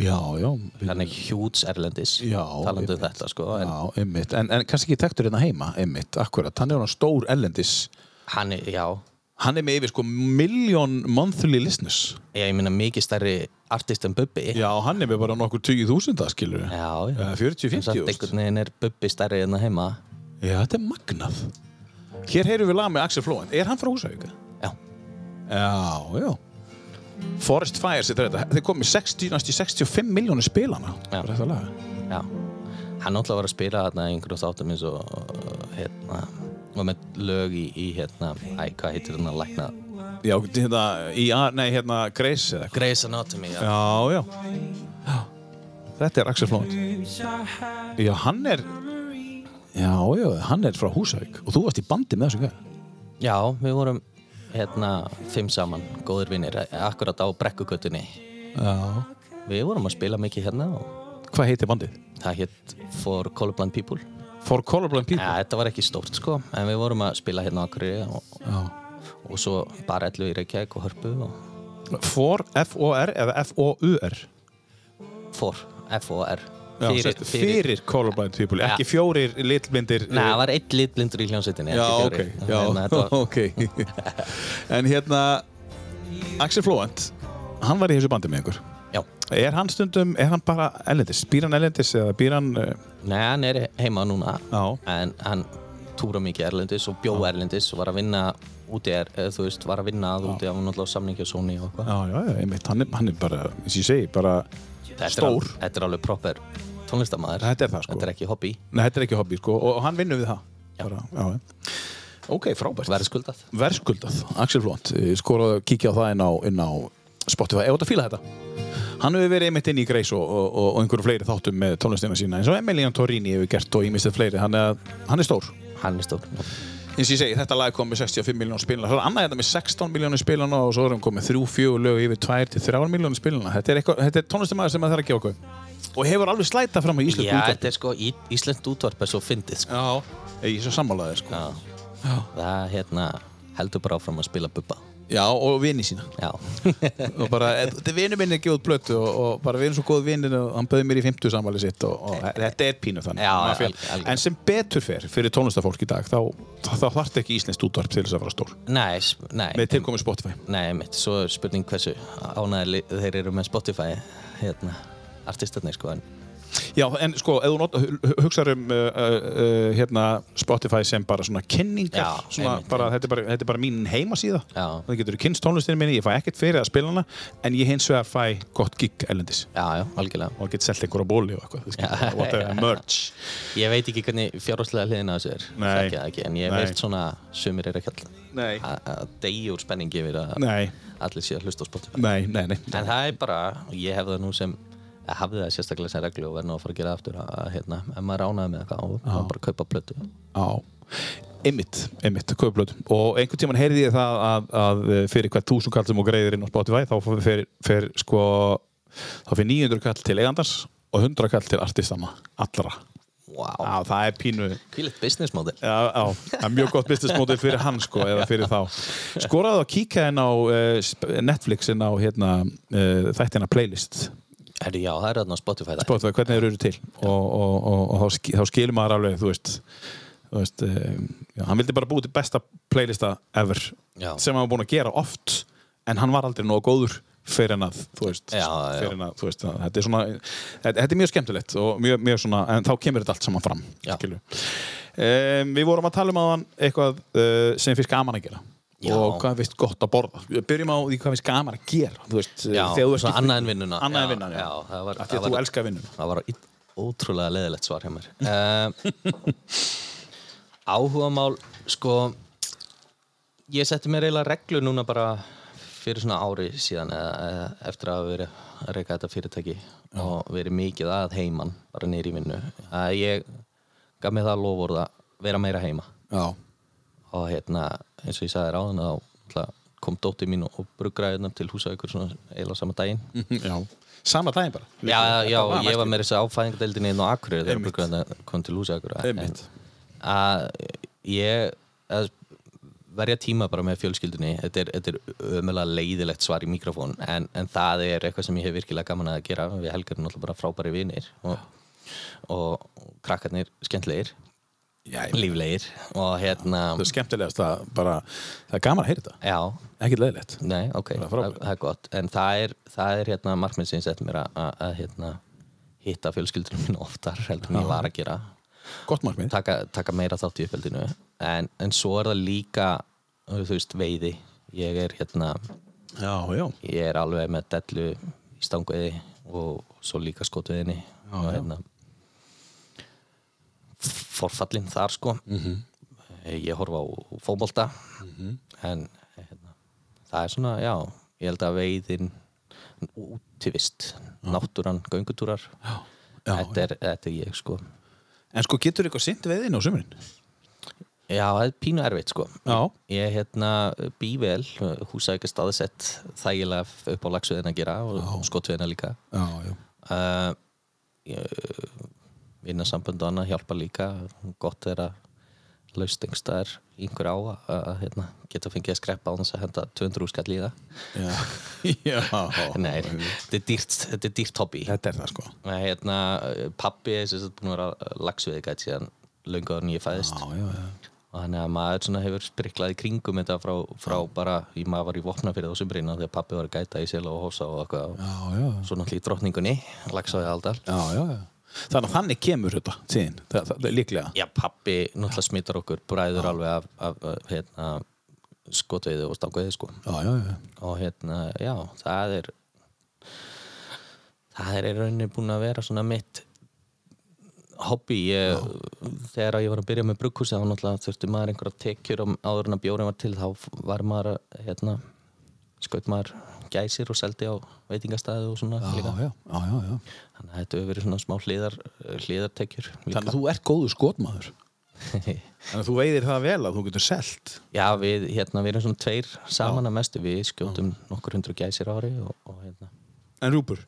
Speaker 2: Já, já.
Speaker 3: hann er hjúts erlendis,
Speaker 2: Já,
Speaker 3: talandi um
Speaker 2: einmitt.
Speaker 3: þetta, sko, en
Speaker 2: Já, einmitt. En, en kannski ekki tektur hérna heima, einmitt, akkurat. Hann er hann stór ellendis.
Speaker 3: hann er, já,
Speaker 2: Hann er með yfir sko million monthly listeners.
Speaker 3: Já, ég meina mikið stærri artist en Bubbi
Speaker 2: Já, hann er með bara nokkur 20.000 skilur við.
Speaker 3: já,
Speaker 2: Eh, 40,
Speaker 3: já.
Speaker 2: 50
Speaker 3: En samt
Speaker 2: þúsund.
Speaker 3: einhvern veginn er Bubbi stærri en það heima
Speaker 2: Já, þetta er magnað. Hér heyrum við lag með Axel Flóen. Er hann frá Húsavík?
Speaker 3: Já,
Speaker 2: Já, já. Forest Fires er þetta. Þeir komið 60, næstu 65 miljónir spilana.
Speaker 3: Já.
Speaker 2: fyrir Þetta lag.
Speaker 3: já Hann náttúrulega var að spila þarna í einhverjum þáttum eins og hérna var með lög í, í hérna æ, hvað heitir hann að lækna
Speaker 2: Já, hérna, í, A- nei, hérna, Grace eða eitthvað.
Speaker 3: Grey's Anatomy, já,
Speaker 2: Já, já. já. Þetta er Axel Flóen. Já, hann er, já, já, hann er frá Húsavík. Og þú varst í bandi með þessu gæði.
Speaker 3: já við vorum hérna fimm saman, góðir vinnir akkurat á brekkukötunni
Speaker 2: Já.
Speaker 3: Við vorum að spila mikið hérna og
Speaker 2: Hvað heitir bandið?
Speaker 3: það hétt For Colorblind People
Speaker 2: For Colorblind People.
Speaker 3: Já, þetta var ekki stórt sko en við vorum að spila hérna á Akureyri og, og svo bara ellu í Reykjavík og Hörpu og
Speaker 2: For, F-O-R eða F-O-U-R.
Speaker 3: for, F-O-R
Speaker 2: Já, fyrir, fyrir, fyrir colorblind people, ekki fjórir litlmyndir
Speaker 3: Nei, það var einn litblindur í hljómsveitinni
Speaker 2: Já,
Speaker 3: ekki
Speaker 2: ok,
Speaker 3: fjórir.
Speaker 2: já,
Speaker 3: Þannig að þetta var,
Speaker 2: ok En hérna Axel Flóent, hann var í þessu bandi með einhver
Speaker 3: já.
Speaker 2: Er hann stundum, er hann bara ellendis? Býr hann ellendis eða býr hann uh,
Speaker 3: Nei, hann er heima núna
Speaker 2: Já.
Speaker 3: en hann túra mikið Erlendis og bjó Erlendis og var að vinna úti er, eða, þú veist, var að vinna að úti af náttúrulega samningi og Sony og eitthvað
Speaker 2: Já, já, já, einmitt, hann er, hann er bara, eins og ég segi, bara
Speaker 3: Þetta er
Speaker 2: stór.
Speaker 3: alveg- Þetta er alveg proper tónlistamæður
Speaker 2: Þetta er það, sko.
Speaker 3: Þetta er ekki hobby,
Speaker 2: Nei, þetta er ekki hobby, sko, og, og hann vinnur við það bara, já, já. Ok, frábært
Speaker 3: verður skuldað
Speaker 2: verðskuldað, Axel Flónt skoraði að kíkja á það inn á, inn á Spotify, eða að fíla þetta hann hefur verið einmitt inn í Greis og, og, og, og einhverju fleiri þáttum með tónlistina sína eins og Emilian Torrini hefur gert og ímistið fleiri hann er, hann er stór,
Speaker 3: Hann er stór
Speaker 2: eins og ég segi, þetta lag kom með 65 miljónum spilana, svo er annað þetta með 16 miljónum spilana og svo erum komið 3-4 lög yfir 2-3 miljónum spilana, þetta er, eitthvað- þetta er tónlistamæður sem maður þarf að gefa okkur og hefur alveg slæta fram á Ísland
Speaker 3: Já, þetta er sko, í, Ísland útvarp er svo fyndið sko.
Speaker 2: Já, ég er svo sammálaðið sko.
Speaker 3: Já. Það hérna heldur bara áfram að spila bubba
Speaker 2: Já, og vini sína
Speaker 3: Já,
Speaker 2: og bara, eh, þetta er vinur minn að gefa út blötu og, og bara við erum svo góð vinir og hann bauði mér í 50 samvæli sitt og, og þetta er pínu þannig
Speaker 3: Já,
Speaker 2: Maður fer-
Speaker 3: alg- algjörlega.
Speaker 2: en sem betur fer fyrir tónlistafólk í dag þá, þá, þá þarf ekki íslenskt útvarp til þess að vera stór
Speaker 3: nei, sp- nei
Speaker 2: með tilkomi Spotify
Speaker 3: Nei, mitt, svo er spurning hversu ánæðli þeir eru með Spotify hérna, artistarnir sko en
Speaker 2: Já, en sko, ef þú not- hu- hu- hugsar um uh, uh, uh, hérna, Spotify sem bara svona kynningar
Speaker 3: Já,
Speaker 2: svona,
Speaker 3: einmitt,
Speaker 2: bara, þetta, er bara, þetta er bara mín heimasíða
Speaker 3: Já.
Speaker 2: það getur kynst tónlistinu minni, ég fæ ekkert fyrir að spila hana en ég hins vegar fæ gott gig ellendis
Speaker 3: já, já, algjörlega
Speaker 2: og get selt einhverja bóli og eitthvað þú skilur,
Speaker 3: Já,
Speaker 2: whatever,
Speaker 3: já.
Speaker 2: merch
Speaker 3: Ég veit ekki hvernig fjárháslega hliðin á þessu er
Speaker 2: Nei.
Speaker 3: Þekki það ekki, en ég
Speaker 2: Nei.
Speaker 3: veist svona sumir eru ekki all
Speaker 2: Nei.
Speaker 3: að- að deyja úr spenningi yfir að
Speaker 2: Nei.
Speaker 3: allir sé að hlusta á Spotify
Speaker 2: Nei, nei, nei
Speaker 3: En það er bara, ég hef það nú sem að hafði það sérstaklega sem reglu og verð nú að fara að gera það aftur að hérna, ef maður ránaði með eitthvað og þá bara kaupa plötu
Speaker 2: Já, einmitt, einmitt, köflöð og einhvern tímann heyrði ég það að, að fyrir hvert túsund kall sem þú greiðir inn á Spotify þá fer, fer sko þá fyrir 900 kall til eigandans og 100 kall til artistana, allra
Speaker 3: Vá,
Speaker 2: Já, það er pínu Já,
Speaker 3: hvílitt business model
Speaker 2: já, það er mjög gott business model fyrir hann sko, eða fyrir þá Skoraðu að kíka inn á eh, sp- Netflix inn á hérna, eh, þættina playlist
Speaker 3: Herri, já, það er þarna á Spotify það
Speaker 2: Spotify, hvernig þeir eru til og, og, og, og þá, ski, þá skilur maður alveg þú veist, þú veist um, já, hann vildi bara búið til besta playlista ever
Speaker 3: Já.
Speaker 2: sem hann var búin að gera oft en hann var aldrei nógu góður fyrir en að, þú veist,
Speaker 3: Já, já.
Speaker 2: Fyrir en að, þú veist að, þetta, er svona, þetta, þetta er mjög skemmtilegt og mjög, mjög svona, en þá kemur þetta allt saman fram
Speaker 3: Já.
Speaker 2: skilur. um, við vorum að tala um aðan eitthvað uh, sem finnst gaman að gera
Speaker 3: Já.
Speaker 2: og hvað finnst gott að borða Við byrjum á því hvað finnst gaman að gera þú veist,
Speaker 3: Já,
Speaker 2: þegar þú
Speaker 3: svona
Speaker 2: ekki-
Speaker 3: annað en vinnuna
Speaker 2: annað en
Speaker 3: Já,
Speaker 2: vinnan, já,
Speaker 3: já, það var-
Speaker 2: Af því
Speaker 3: það
Speaker 2: að þú
Speaker 3: var-
Speaker 2: elskar vinnuna
Speaker 3: Það var ít- ótrúlega leðilegt svar hjá mér uh, Áhugamál, sko Ég setti mér eiginlega reglu núna bara fyrir svona ári síðan eða, eða eftir að hafa verið að reyka þetta fyrirtæki og verið mikið að heiman bara neyri í vinnu að ég gaf mér það lofvörð að vera meira heima
Speaker 2: Já,
Speaker 3: og hérna eins og ég sagði ráðan þá náttúrulega kom dóttir mín og bruggraði hérna til húsa ykkur svona eiginlega sama daginn
Speaker 2: Mhm, já Sama daginn bara
Speaker 3: já, já,
Speaker 2: Bara
Speaker 3: ég var
Speaker 2: mætti.
Speaker 3: með þess að áfæðingadeildinni inn á Akureyri þegar
Speaker 2: Einmitt.
Speaker 3: bruggraðina kom til húsa Akureyri En-
Speaker 2: Einmitt.
Speaker 3: að ég að verja tíma bara með fjölskyldunni þetta er, þetta er ömulega leiðilegt svar í mikrofón en, en það er eitthvað sem ég hef virkilega gaman að gera við helgarum náttúrulega bara frábæri vinir og, og, og krakkarnir skemmtlegir,
Speaker 2: Já, ég-
Speaker 3: líflegir og hérna
Speaker 2: Það er skemmtilegast að bara Það er gaman að heyra þetta
Speaker 3: já,
Speaker 2: Ekkert leiðilegt
Speaker 3: Nei, ok,
Speaker 2: Það er
Speaker 3: það,
Speaker 2: frábært.
Speaker 3: það er gott en það er, það er hérna markmið sem ég sett mér að- að að, hérna, hitta fjölskyldunum mín oftar heldur en ég var að gera
Speaker 2: Gott markmið
Speaker 3: taka, taka meira þátt í uppeldinu en, en svo er það líka þú veist, veiði ég er hérna,
Speaker 2: Já, já
Speaker 3: ég er alveg með dellu í stanguði og svo líka skotviðinni og hérna forfallin þar sko
Speaker 2: Mhm.
Speaker 3: ég horfa á fótbolta en hérna, það er svona, já ég held að veiðin útivist, náttúran, göngutúrar já,
Speaker 2: já,
Speaker 3: þetta, er, þetta er ég sko
Speaker 2: En sko getur eitthvað sint veiðin á sumurinn
Speaker 3: Já, það er pínu erfitt sko
Speaker 2: Já.
Speaker 3: Ég hérna bý vel húsækja staðsett þægilega upp á lagsuðina að gera og skotviðina líka
Speaker 2: Já, já
Speaker 3: uh, vinna sambönd og annað hjálpa líka gott er að laust einhverstaðar í einhver á að- að hérna, geta fengið að skreppa á þess að henda 200 skall í það
Speaker 2: Já, já.
Speaker 3: Nei, þetta er dýrt, þetta er dýrt hobby
Speaker 2: Þetta er það sko
Speaker 3: Nei, hérna, pappi er sem sagt búin að vera lagsveiðgætt síðan löngu áður en ég fæðist
Speaker 2: Já, já, já
Speaker 3: og þannig að maður svona hefur spriklað í kringum þetta frá, frá bara, ég maður var í vopna fyrir þessum breyna þegar pappi var að gæta í sel og hósa og eitthvað og
Speaker 2: Já, já, já.
Speaker 3: svo náttúrulega í drottningunni lagsaði aldar
Speaker 2: já, já, já. Þannig að þannig kemur þetta tíðin, það, það er líklega
Speaker 3: já, pappi náttúrulega smittar okkur bræður alveg af, af, af hérna, skotveiði og stanguði sko
Speaker 2: Já, já, já,
Speaker 3: og hérna, já, það er það er í rauninni búin að vera svona mitt hobby ég, þegar ég var að byrja með brugghúsi þá náttúrulega þurfti maður einhverja tekjur og áður en að bjórin var til þá var maður að, hérna, skaut maður gæsir og seldi á veitingastæðu og svona
Speaker 2: já,
Speaker 3: líka
Speaker 2: já, já, já, já.
Speaker 3: þannig að þetta hefur verið svona smá hliðar, hliðartekjur líka.
Speaker 2: Þannig að þú ert góður skotmaður Þannig að þú veiðir það vel að þú getur selt
Speaker 3: já, við, hérna, við erum svona tveir saman að mestu við skjótum nokkur hundru gæsir á ári og, og hérna,
Speaker 2: En rjúpur,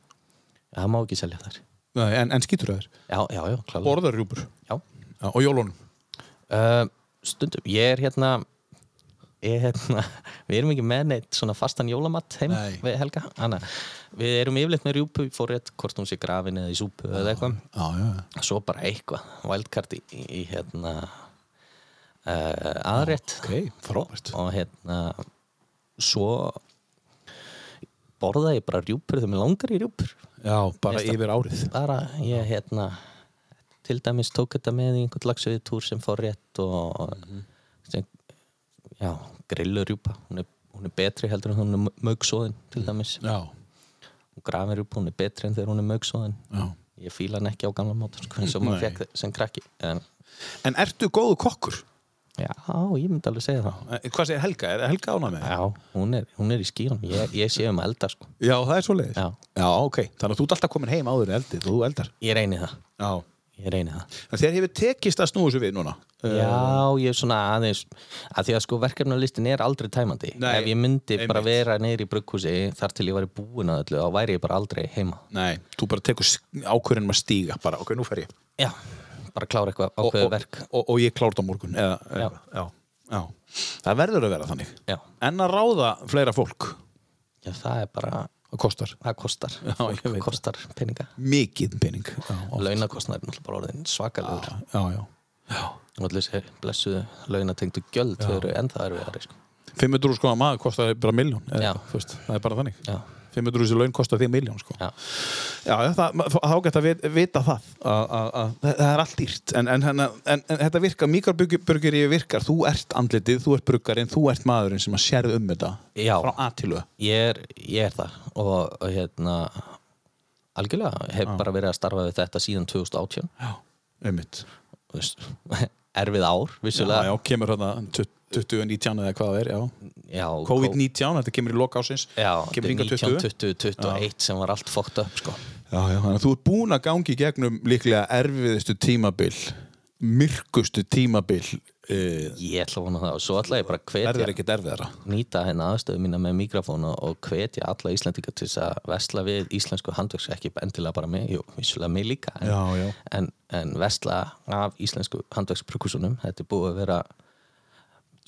Speaker 3: það má ekki selja þær
Speaker 2: Nei, en, en skýtur það þér
Speaker 3: Já, já, já, klálega
Speaker 2: Borðar rjúpur
Speaker 3: Já
Speaker 2: Já, Og jólunum
Speaker 3: uh, Stundum, ég er hérna Ég er hérna Við erum ekki með neitt svona fastan jólamatt heim
Speaker 2: Nei.
Speaker 3: við Helga Anna. Við erum yfirleitt með rjúpu fórrétt hvort hún sé grafin eða í súpu eða eitthvað
Speaker 2: Já, já, já
Speaker 3: Svo bara eitthvað, wildcard í, í, í hérna uh, aðrétt
Speaker 2: Ok, frábært.
Speaker 3: Og hérna Svo borða ég bara rjúpur þegar mér langar í rjúpur
Speaker 2: Já, bara
Speaker 3: Veist það.
Speaker 2: yfir árið
Speaker 3: bara ég hérna til dæmis tók þetta með í einhvern lagsöðu túr sem fór rétt og sem, já, grillurjúpa hún er, hún er betri heldur en hún er mögsóðin til dæmis,
Speaker 2: Já,
Speaker 3: og grafirjúpa hún er betri en þegar hún er mögsóðin
Speaker 2: já
Speaker 3: ég fíla hann ekki á gamla mátur sko, eins og maður
Speaker 2: Nei.
Speaker 3: fekk þe- sem krakki en,
Speaker 2: En ertu góður kokkur?
Speaker 3: já, ég myndi alveg segja það
Speaker 2: Eh, Hvað segir Helga? Er Helga ánað með? þig?
Speaker 3: já, hún er, hún er í skíun ég, ég sé um að elda sko
Speaker 2: Já, það er svo leiðis
Speaker 3: Já.
Speaker 2: ok Þannig að þú ert alltaf komin heim áður en eldið og þú eldar
Speaker 3: ég reyni það,
Speaker 2: Já
Speaker 3: ég reyni það
Speaker 2: En þér hefur tekist að snúa þessu við núna
Speaker 3: Já,
Speaker 2: Ehm.
Speaker 3: ég er svona aðeins að því að sko verkefnalistin er aldrei tæmandi
Speaker 2: Nei,
Speaker 3: ef ég myndi bara
Speaker 2: einmitt.
Speaker 3: vera neyri í brugghúsi þar til ég væri búin að öllu þá væri ég bara aldrei heima
Speaker 2: Nei, þú bara tekur ákvörðinum að stíga bara, ok, nú fer ég
Speaker 3: Já, bara klára eitthvað ákveðu
Speaker 2: og,
Speaker 3: verk
Speaker 2: og, og ég klárt á morgun eða,
Speaker 3: Já.
Speaker 2: eða, já. Já. það verður að vera þannig
Speaker 3: Já.
Speaker 2: en að ráða fleira fólk
Speaker 3: Já, það er bara,
Speaker 2: það kostar
Speaker 3: það kostar Já,
Speaker 2: ég veit það.
Speaker 3: Kostar peninga
Speaker 2: mikið pening já, oft.
Speaker 3: Launakostnar er náttúrulega bara orðin svakalegur
Speaker 2: já, já.
Speaker 3: og allir þessi blessuðu launatengdu gjöld þau eru ennþá erfiðari sko.
Speaker 2: 500 sko að maður kostar bara miljón
Speaker 3: Já.
Speaker 2: eða, þú veist, það er bara þannig
Speaker 3: Já.
Speaker 2: 500 þessi laun kostar þig miljón sko.
Speaker 3: Já.
Speaker 2: Já, já, það, ma- þá gett að vit- vita það að, að, að, það- það er allt dýrt en, en, en, en, en þetta virkar, mikrobyrgeri virkar þú ert andlitið, þú ert bruggarinn þú ert maðurinn sem að sérðu um þetta
Speaker 3: Já.
Speaker 2: frá A til Ö
Speaker 3: ég er, ég er það og, og hérna algjörlega, hef bara verið að starfa við þetta síðan 2018
Speaker 2: Já, einmitt
Speaker 3: Þú veist, erfið ár
Speaker 2: Já,
Speaker 3: vissulega
Speaker 2: já, kemur hérna 2019 eða hvað það er, já.
Speaker 3: já,
Speaker 2: COVID-19, þetta kemur í loka ásins,
Speaker 3: já,
Speaker 2: kemur hingað
Speaker 3: 19,
Speaker 2: 20.
Speaker 3: 20, 21 sem var allt fókt upp sko.
Speaker 2: Já, já, þannig að þú ert búin að gangi í gegnum líklega erfiðustu tímabil, myrkustu tímabil, eh,
Speaker 3: ég ætla að vona það og svo ætla ég bara að hvetja
Speaker 2: verður ekkert erfiðara.
Speaker 3: nýta hérna aðstöðu mína með mikrofónu og hvetja alla Íslendinga til þess að vesla við íslensku handverks ekki endilega bara mig, jú, vissulega mig líka en,
Speaker 2: Já, já.
Speaker 3: En, en vesla af íslensku handverksprökkusunum þetta er búið að vera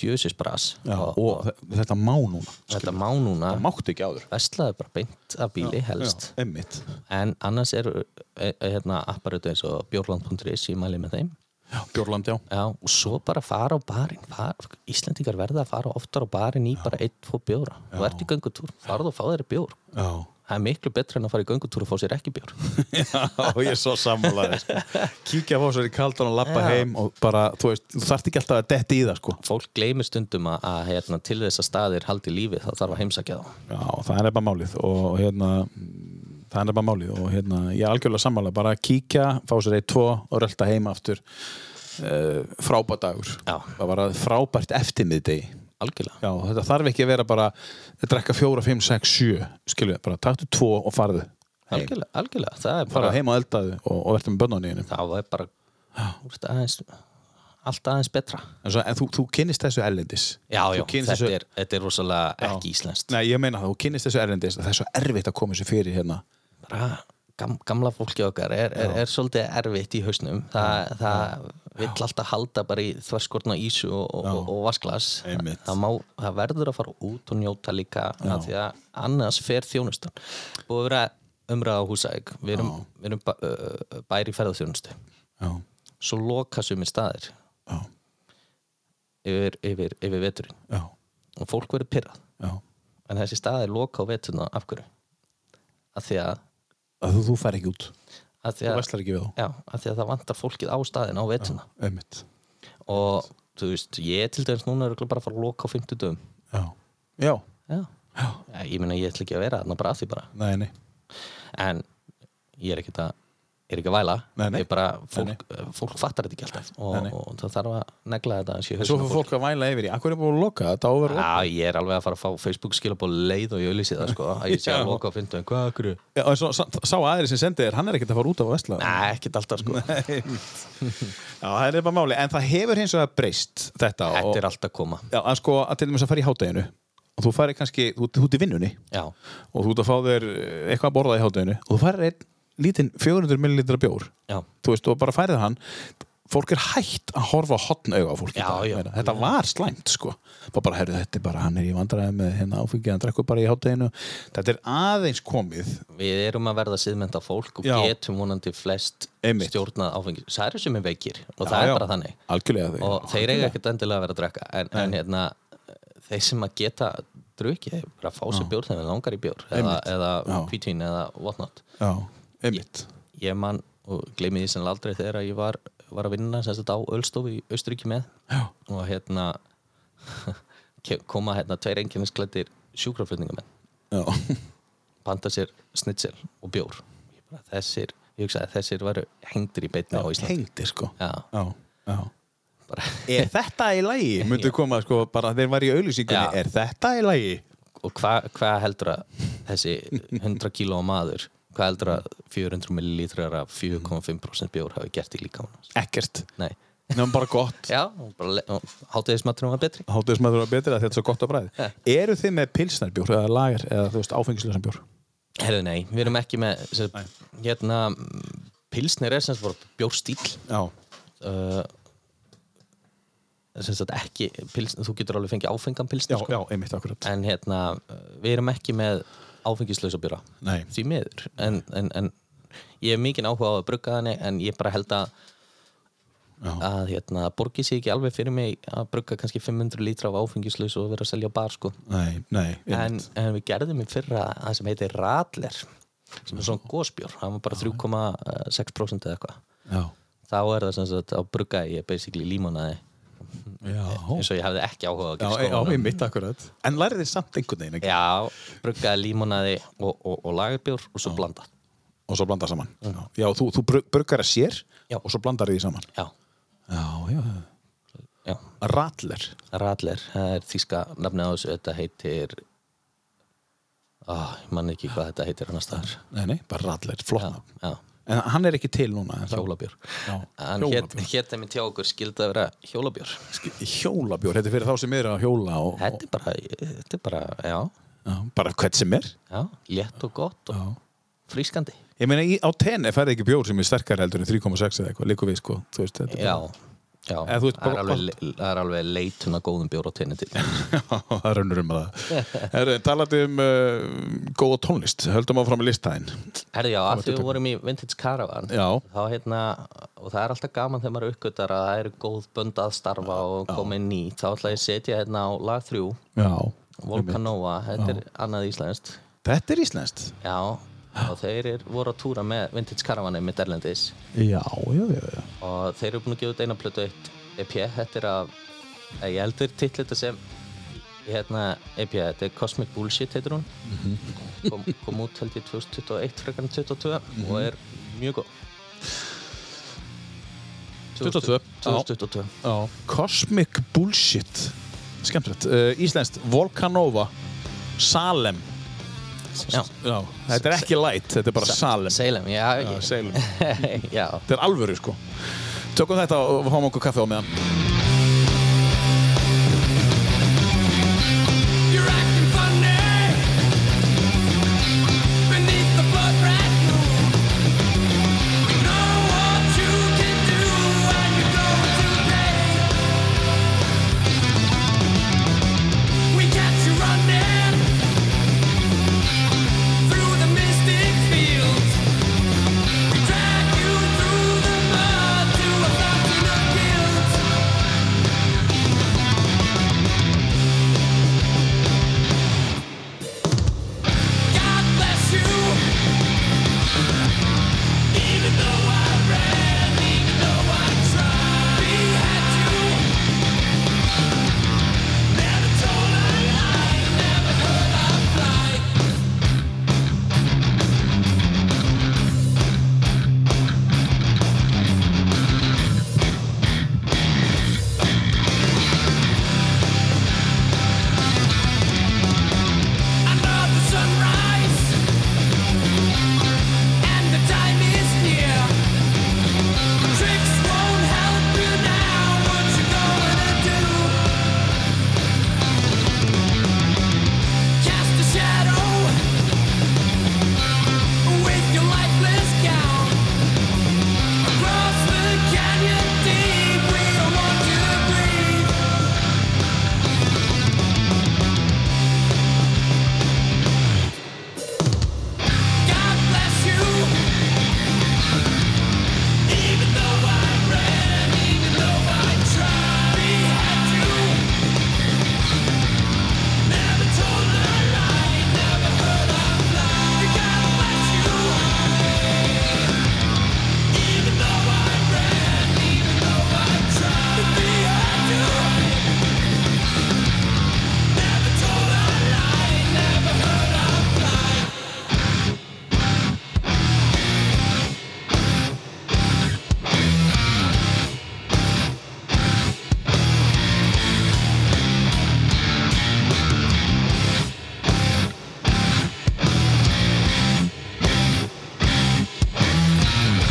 Speaker 3: djöðsisbras
Speaker 2: Já, og þe- þetta má núna.
Speaker 3: þetta má núna
Speaker 2: Það mátti ekki áður.
Speaker 3: veslaði bara beint af bíli helst
Speaker 2: Já, emmitt.
Speaker 3: en annars eru e, e, hérna, apparötu eins og bjórland.is ég mæli með þeim
Speaker 2: Björland, já.
Speaker 3: Já, og svo bara fara á barinn far, Íslendingar verða að fara oftar á barinn í bara eitt, tvo bjóra þú ert í göngutúr, farðu og fá þér bjór
Speaker 2: Já.
Speaker 3: það er miklu betra en að fara í göngutúr og fá sér ekki bjór
Speaker 2: Já, ég er svo sammálaði sko. Kíkja á þessari kaldan og lappa heim og bara, þú veist, þú þarft ekki alltaf að detti í það sko.
Speaker 3: fólk gleymir stundum að, að hérna, til þess að staðir haldi lífi þá þarf að heimsækja þá
Speaker 2: Já, það er bara málið og hérna það er bara málið og hérna ég er algjörlega sammála, bara kíkja, fá sér eitt, tvo og rölda heim aftur uh, frábært dagur
Speaker 3: Já.
Speaker 2: það var að frábært eftirmiðdegi
Speaker 3: algjörlega,
Speaker 2: Já, þetta þarf ekki að vera bara að drekka fjóra, fimm, sex, sjö skilju, bara taktu tvo og farðu heim.
Speaker 3: algjörlega, algjörlega. það er
Speaker 2: fara
Speaker 3: bara,
Speaker 2: heim og eldaðu og, og verður með bönnunni þínum.
Speaker 3: það er bara úst, aðeins, allt aðeins betra
Speaker 2: en, svo, en þú, þú kynnist þessu erlendis
Speaker 3: já, já,
Speaker 2: Þú kynnist
Speaker 3: þetta,
Speaker 2: þessu-
Speaker 3: er, þetta er rosalega ekki íslenskt
Speaker 2: Nei, ég meina það, þú kynnist þessu erlendis það er svo erfitt að koma þessu fyrir hérna
Speaker 3: bara gam, gamla fólki okkar er, er, er svolítið erfitt í hausnum Þa, það vill alltaf halda bara í þverskorna ísu og, og, og vasklas
Speaker 2: Einmitt.
Speaker 3: það, má, það verður að fara út og njóta líka af því að annars fer þjónustan og við vera umræða á húsæk við erum, við erum bæ, ö, bæri ferðarþjónustu
Speaker 2: Já,
Speaker 3: svo loka sumir staðir
Speaker 2: já,
Speaker 3: yfir, yfir, yfir veturinn
Speaker 2: já,
Speaker 3: og fólk verður pyrrað
Speaker 2: já
Speaker 3: en þessi staðir loka á veturna af hverju af því að,
Speaker 2: að þú, þú fær ekki út,
Speaker 3: að, því
Speaker 2: þú
Speaker 3: að
Speaker 2: veslar ekki við þá
Speaker 3: Já, af því að það vantar fólkið á staðin á vettuna
Speaker 2: Einmitt,
Speaker 3: og þú veist, ég til dæmis núna er örugglega bara að fara að loka á 50 dögum
Speaker 2: já, já,
Speaker 3: Já, Já ég meina ég ætla ekki að vera þarna bara að því bara
Speaker 2: nei, nei
Speaker 3: en ég er ekkert að ég er ekki að væla,
Speaker 2: Nei, nei.
Speaker 3: ég er bara
Speaker 2: Nei,
Speaker 3: fólk, eh, fólk fattar þetta ekki alltaf og,
Speaker 2: Nei, nei.
Speaker 3: og það þarf að negla þetta aðeins í
Speaker 2: En svo
Speaker 3: hausinn á
Speaker 2: fyrir fólk að væla yfir í, akkur er búin að loka þetta á að vera
Speaker 3: Já,
Speaker 2: loka
Speaker 3: ég er alveg að fara að fá Facebook skilabóð leið og ég auðlýsi það sko að ég sé
Speaker 2: Já.
Speaker 3: að loka á 50 dögum, hvað akkur
Speaker 2: Já, en svo, sá, sá aðri sem sendi þér, hann er ekkert að fara út á að vesla
Speaker 3: Nei, ekkert alltaf sko
Speaker 2: Já, það er bara máli, en það hefur hins vegar breyst þetta
Speaker 3: Þetta
Speaker 2: og,
Speaker 3: er alltaf að koma
Speaker 2: já, að sko, að til dæmis að fara í hádeginu og þú farir kannski, þú þú ert í vinnunni
Speaker 3: Já,
Speaker 2: og þú ert að fá þér eh, eitthvað að borða í hádeginu og þú farir einn lítinn 400 millilitra bjór
Speaker 3: já,
Speaker 2: þú veist, og bara færið hann fólk er hægt að horfa hotn auga á fólk í
Speaker 3: Já,
Speaker 2: dag,
Speaker 3: já.
Speaker 2: meina. þetta var slæmt sko bara, bara herru, þetta er bara, hann er í vandræði með hérna áfengi, hann drekkur bara í hátteginu þetta er aðeins komið
Speaker 3: við erum að verða síðmynda fólk og
Speaker 2: Já.
Speaker 3: getum vonandi flest
Speaker 2: Einmitt.
Speaker 3: stjórnað áfengi það eru sem er veikir og það er bara þannig
Speaker 2: algjörlega þeir,
Speaker 3: og þeir eiga ekkert endilega að vera að drekka en, en hérna, þeir sem að geta drukki, þeir bara fá sér bjór þegar þeir langar í bjór eða,
Speaker 2: Einmitt.
Speaker 3: eða
Speaker 2: Já.
Speaker 3: kvítín eða whatnot
Speaker 2: já, einmitt
Speaker 3: ég man og gleymi því sem aldrei þegar að ég var, var að vinna sem þetta á Ölstofi í Austuríki með
Speaker 2: Já.
Speaker 3: og hérna ke- koma hérna tveir enginnisklættir sjúkraflutningamenn
Speaker 2: já,
Speaker 3: panta sér snitsel og bjór Ég bara, þessir, ég hugsaði þessir væru hengdir í beinni á Íslandi
Speaker 2: hengdi sko
Speaker 3: já,
Speaker 2: já, já
Speaker 3: bara,
Speaker 2: Er þetta í lagi? Myndu koma sko, bara þeir var í auðlýsingunni,
Speaker 3: Já.
Speaker 2: er þetta í lagi?
Speaker 3: og hvað hva heldur að þessi 100 kíló maður hvað heldur að 400 millilítrar af 4,5% bjór hafi gert í líka hann
Speaker 2: Ekkert,
Speaker 3: nei,
Speaker 2: nefnum bara gott
Speaker 3: já, og bara le- og hátíðismaturinn var betri
Speaker 2: Hátæðismæður var betri að þetta er svo gott að bræði Eru þið með pilsnarbjór eða lager eða þú veist áfengislösa bjór?
Speaker 3: Herðu nei, við erum ekki með sem, hérna, pilsnir er sem sagt bara bjórstíl
Speaker 2: Já,
Speaker 3: uh, sem sagt ekki pilsn, þú getur alveg fengið áfengan
Speaker 2: já,
Speaker 3: pilsnir sko.
Speaker 2: já, einmitt akkurat
Speaker 3: en hérna, uh, við erum ekki með áfengislausa bjóra
Speaker 2: Nei.
Speaker 3: því miður en, en, en ég hef mikið áhuga á að brugga þannig en ég bara held að að hérna, það borgi sig ekki alveg fyrir mig að brugga kannski 500 lítra af áfengislaus og vera að selja á bar sko
Speaker 2: Nei, nei,
Speaker 3: en, en við gerðum í fyrra það sem heitir Radler sem er svona gósbjór, það var bara 3,6% eða eitthvað
Speaker 2: já,
Speaker 3: þá er það sem sagt að brugga ég basically límonaði
Speaker 2: já,
Speaker 3: eins og ég hafði ekki áhuga á að
Speaker 2: já,
Speaker 3: gera
Speaker 2: já,
Speaker 3: skólanum.
Speaker 2: einmitt akkurat En lærið þið samt einhvern veginn ekki?
Speaker 3: Já, bruggaði límonaði og, og, og lagerbjór og svo blanda
Speaker 2: Og svo blandar saman Já, þú, þú bruggar að sér
Speaker 3: Já.
Speaker 2: og svo blandar þið því saman
Speaker 3: Já,
Speaker 2: Já, já,
Speaker 3: já,
Speaker 2: Rattler
Speaker 3: Radler, það er þíska nafnið á þessu, þetta heitir ah, ég man ekki hvað þetta heitir annars staðar
Speaker 2: Nei, nei, bara Rattler, flott
Speaker 3: já,
Speaker 2: nafn
Speaker 3: já,
Speaker 2: En hann er ekki til núna en þá-
Speaker 3: hjólabjór
Speaker 2: Já,
Speaker 3: hann hét,
Speaker 2: hjólabjór.
Speaker 3: hét þeim í tjá okkur skildi að vera hjólabjór
Speaker 2: Hjólabjór, þetta er fyrir þá sem er að hjóla og, og,
Speaker 3: þetta er bara, þetta er bara, já,
Speaker 2: já, Bara hvern sem er
Speaker 3: já létt og gott og
Speaker 2: Já.
Speaker 3: frískandi
Speaker 2: Ég meina, í, á tenni færði ekki bjór sem er sterkar heldur en 3,6 eða eitthvað, líku við sko Þú veist, þetta er
Speaker 3: já, já,
Speaker 2: Eða þú
Speaker 3: það
Speaker 2: ert bara
Speaker 3: er alveg, le- það er alveg leitun að góðum bjór á tenni til
Speaker 2: það er önnur um að það Herru, talandi um uh, góða tónlist, höldum áfram í listæðin
Speaker 3: Herði já, að því við vorum í Vintage Caravan
Speaker 2: Já.
Speaker 3: þá hérna, og það er alltaf gaman þegar maður uppgötar að það eru góð bönd að starfa og komið ný, þá ætla ég að setja hérna á lag 3,
Speaker 2: Já,
Speaker 3: Volcanova þetta er annað íslenskt
Speaker 2: þetta er íslenskt
Speaker 3: já, og þeir er, voru að túra með Vintage Caravan mitt erlendis
Speaker 2: Já, já, já, já
Speaker 3: og þeir eru búin að gefa út eina plötu eitt EP, þetta er af eh, ég heldur titla þetta sem hérna, EP, þetta er Cosmic Bullshit heitir hún
Speaker 2: Mhm.
Speaker 3: kom, kom út held ég 2021 frekar en 22
Speaker 2: Mhm.
Speaker 3: og er mjög góð
Speaker 2: 22,
Speaker 3: 2022
Speaker 2: Já. Cosmic Bullshit Skemmtilegt, uh, íslenskt Volcanova Salem
Speaker 3: já,
Speaker 2: Já, þetta er ekki light, þetta er bara Salem
Speaker 3: Salem, já,
Speaker 2: Já,
Speaker 3: ég-
Speaker 2: Salem
Speaker 3: já,
Speaker 2: Þetta er alvöru sko Tökum þetta og fáum okkur kaffe á meðan
Speaker 6: You're acting funny beneath the blood red moon. You know what you can do when you're going to pay. We catch you running through the mystic fields. We drag you through the mud to a fountain of guilt. God bless you. Even though I ran, even though I tried, we had to. Never told I lied, never heard I flight. Another sunrise, and the time is near. Tricks won't help you now. What you gonna do? Cast a shadow with your lifeless gown across the canyon deep. We don't want you to breathe. God bless you. Even though I ran, even though I tried, we had to. Never told a lie, never heard a lie. God bless you. Even though I ran, even though I tried, we had to. Never told a lie, never heard a lie.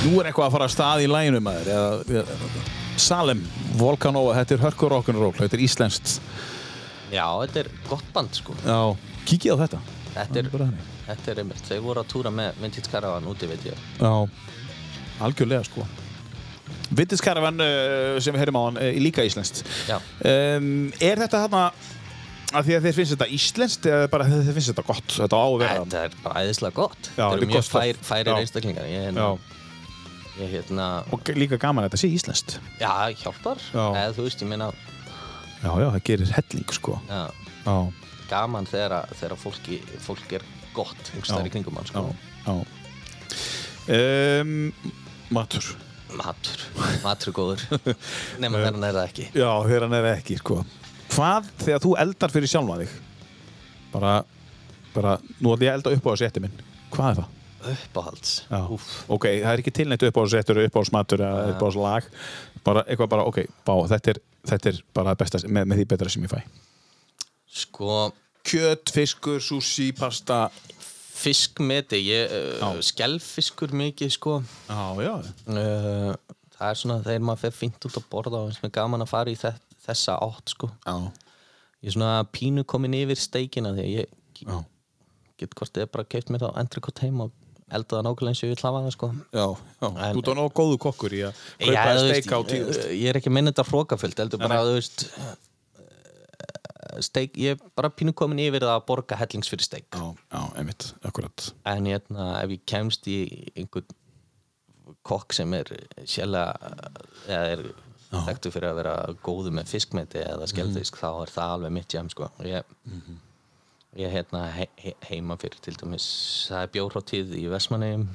Speaker 2: Nú er eitthvað að fara að stað í læginu maður eða, eða, Salem, Volcanova, þetta er hörkur rock'n'roll, þetta er íslenskt
Speaker 3: já, þetta er gott band sko
Speaker 2: Já, kikið á þetta
Speaker 3: þetta er,
Speaker 2: bara þannig.
Speaker 3: þetta er einmitt, þau voru að túra með Vintage Caravan úti veit ég
Speaker 2: Já, algjörlega sko Vittiskaravan sem við heyrim á hann uh, líka íslenskt
Speaker 3: Já.
Speaker 2: um, Er þetta þarna að því að þér finnst þetta íslenskt eða bara að þér finnst þetta gott, þetta á að vera
Speaker 3: Þetta er bara æðislega gott
Speaker 2: Já,
Speaker 3: Þetta
Speaker 2: þetta
Speaker 3: eru
Speaker 2: er
Speaker 3: mjög
Speaker 2: gott stoff.
Speaker 3: fær, færir
Speaker 2: Já.
Speaker 3: einstaklingar Ég, hérna,
Speaker 2: Já,
Speaker 3: ég hérna,
Speaker 2: og g- líka gaman að þetta sé íslenskt
Speaker 3: já, hjálpar
Speaker 2: Já.
Speaker 3: Eða þú veist, ég meina
Speaker 2: Já, já, það gerir helling sko
Speaker 3: já,
Speaker 2: Já,
Speaker 3: Gaman þegar, að- þegar að fólki, fólk er gott Einhvers
Speaker 2: Já.
Speaker 3: þær í kringum hann
Speaker 2: já,
Speaker 3: sko.
Speaker 2: já um, Matur
Speaker 3: Matur, matur er góður Nefn að þennan er það ekki
Speaker 2: Já, þegar hann er ekki sko Hvað þegar þú eldar fyrir sjálfa þig? Bara, bara, nú ætlum ég að elda upp á þessi eftir minn Hvað er það?
Speaker 3: uppáhalds
Speaker 2: Já. ok, það er ekki tilnætt uppáhaldsréttur uppáhaldsmatur eða uppáhaldslag bara eitthvað bara, ok, bá, þetta er, þetta er bara það besta, með, með því betra sem ég fæ
Speaker 3: sko
Speaker 2: kjöt, fiskur, sushi, pasta
Speaker 3: fiskmeti, ég uh, skelfiskur mikið sko
Speaker 2: já, já,
Speaker 3: uh, það er svona þegar maður fer fínt út að borða og finnst mér gaman að fara í þe þessa átt sko
Speaker 2: já,
Speaker 3: ég er svona pínu komin yfir steikina því að ég
Speaker 2: já,
Speaker 3: get hvort eða bara keipt mér þá entrekot heim og elda það nákvæmlega eins og ég vil hafa það sko
Speaker 2: já, já.
Speaker 3: En-
Speaker 2: þú tóð nóg góðu kokkur í að
Speaker 3: Já,
Speaker 2: kaupa
Speaker 3: þú
Speaker 2: að
Speaker 3: veist,
Speaker 2: steika á tíu
Speaker 3: ég- ég er ekki að minna þetta hrókafullt heldur bara að þú veist eh, steik, ég er bara pínu komin yfir það að borga hellings fyrir steik
Speaker 2: já, já, einmitt, akkurat
Speaker 3: en hérna ef ég kemst í einhvern kokk sem er sjæla eða er þekktu fyrir að vera góðu með fiskmeti eða skeldisk
Speaker 2: Mhm.
Speaker 3: þá er það alveg mitt jæm sko ég, ég hérna he, he, heima fyrir til dæmis það er bjórháttíð í Vestmanneum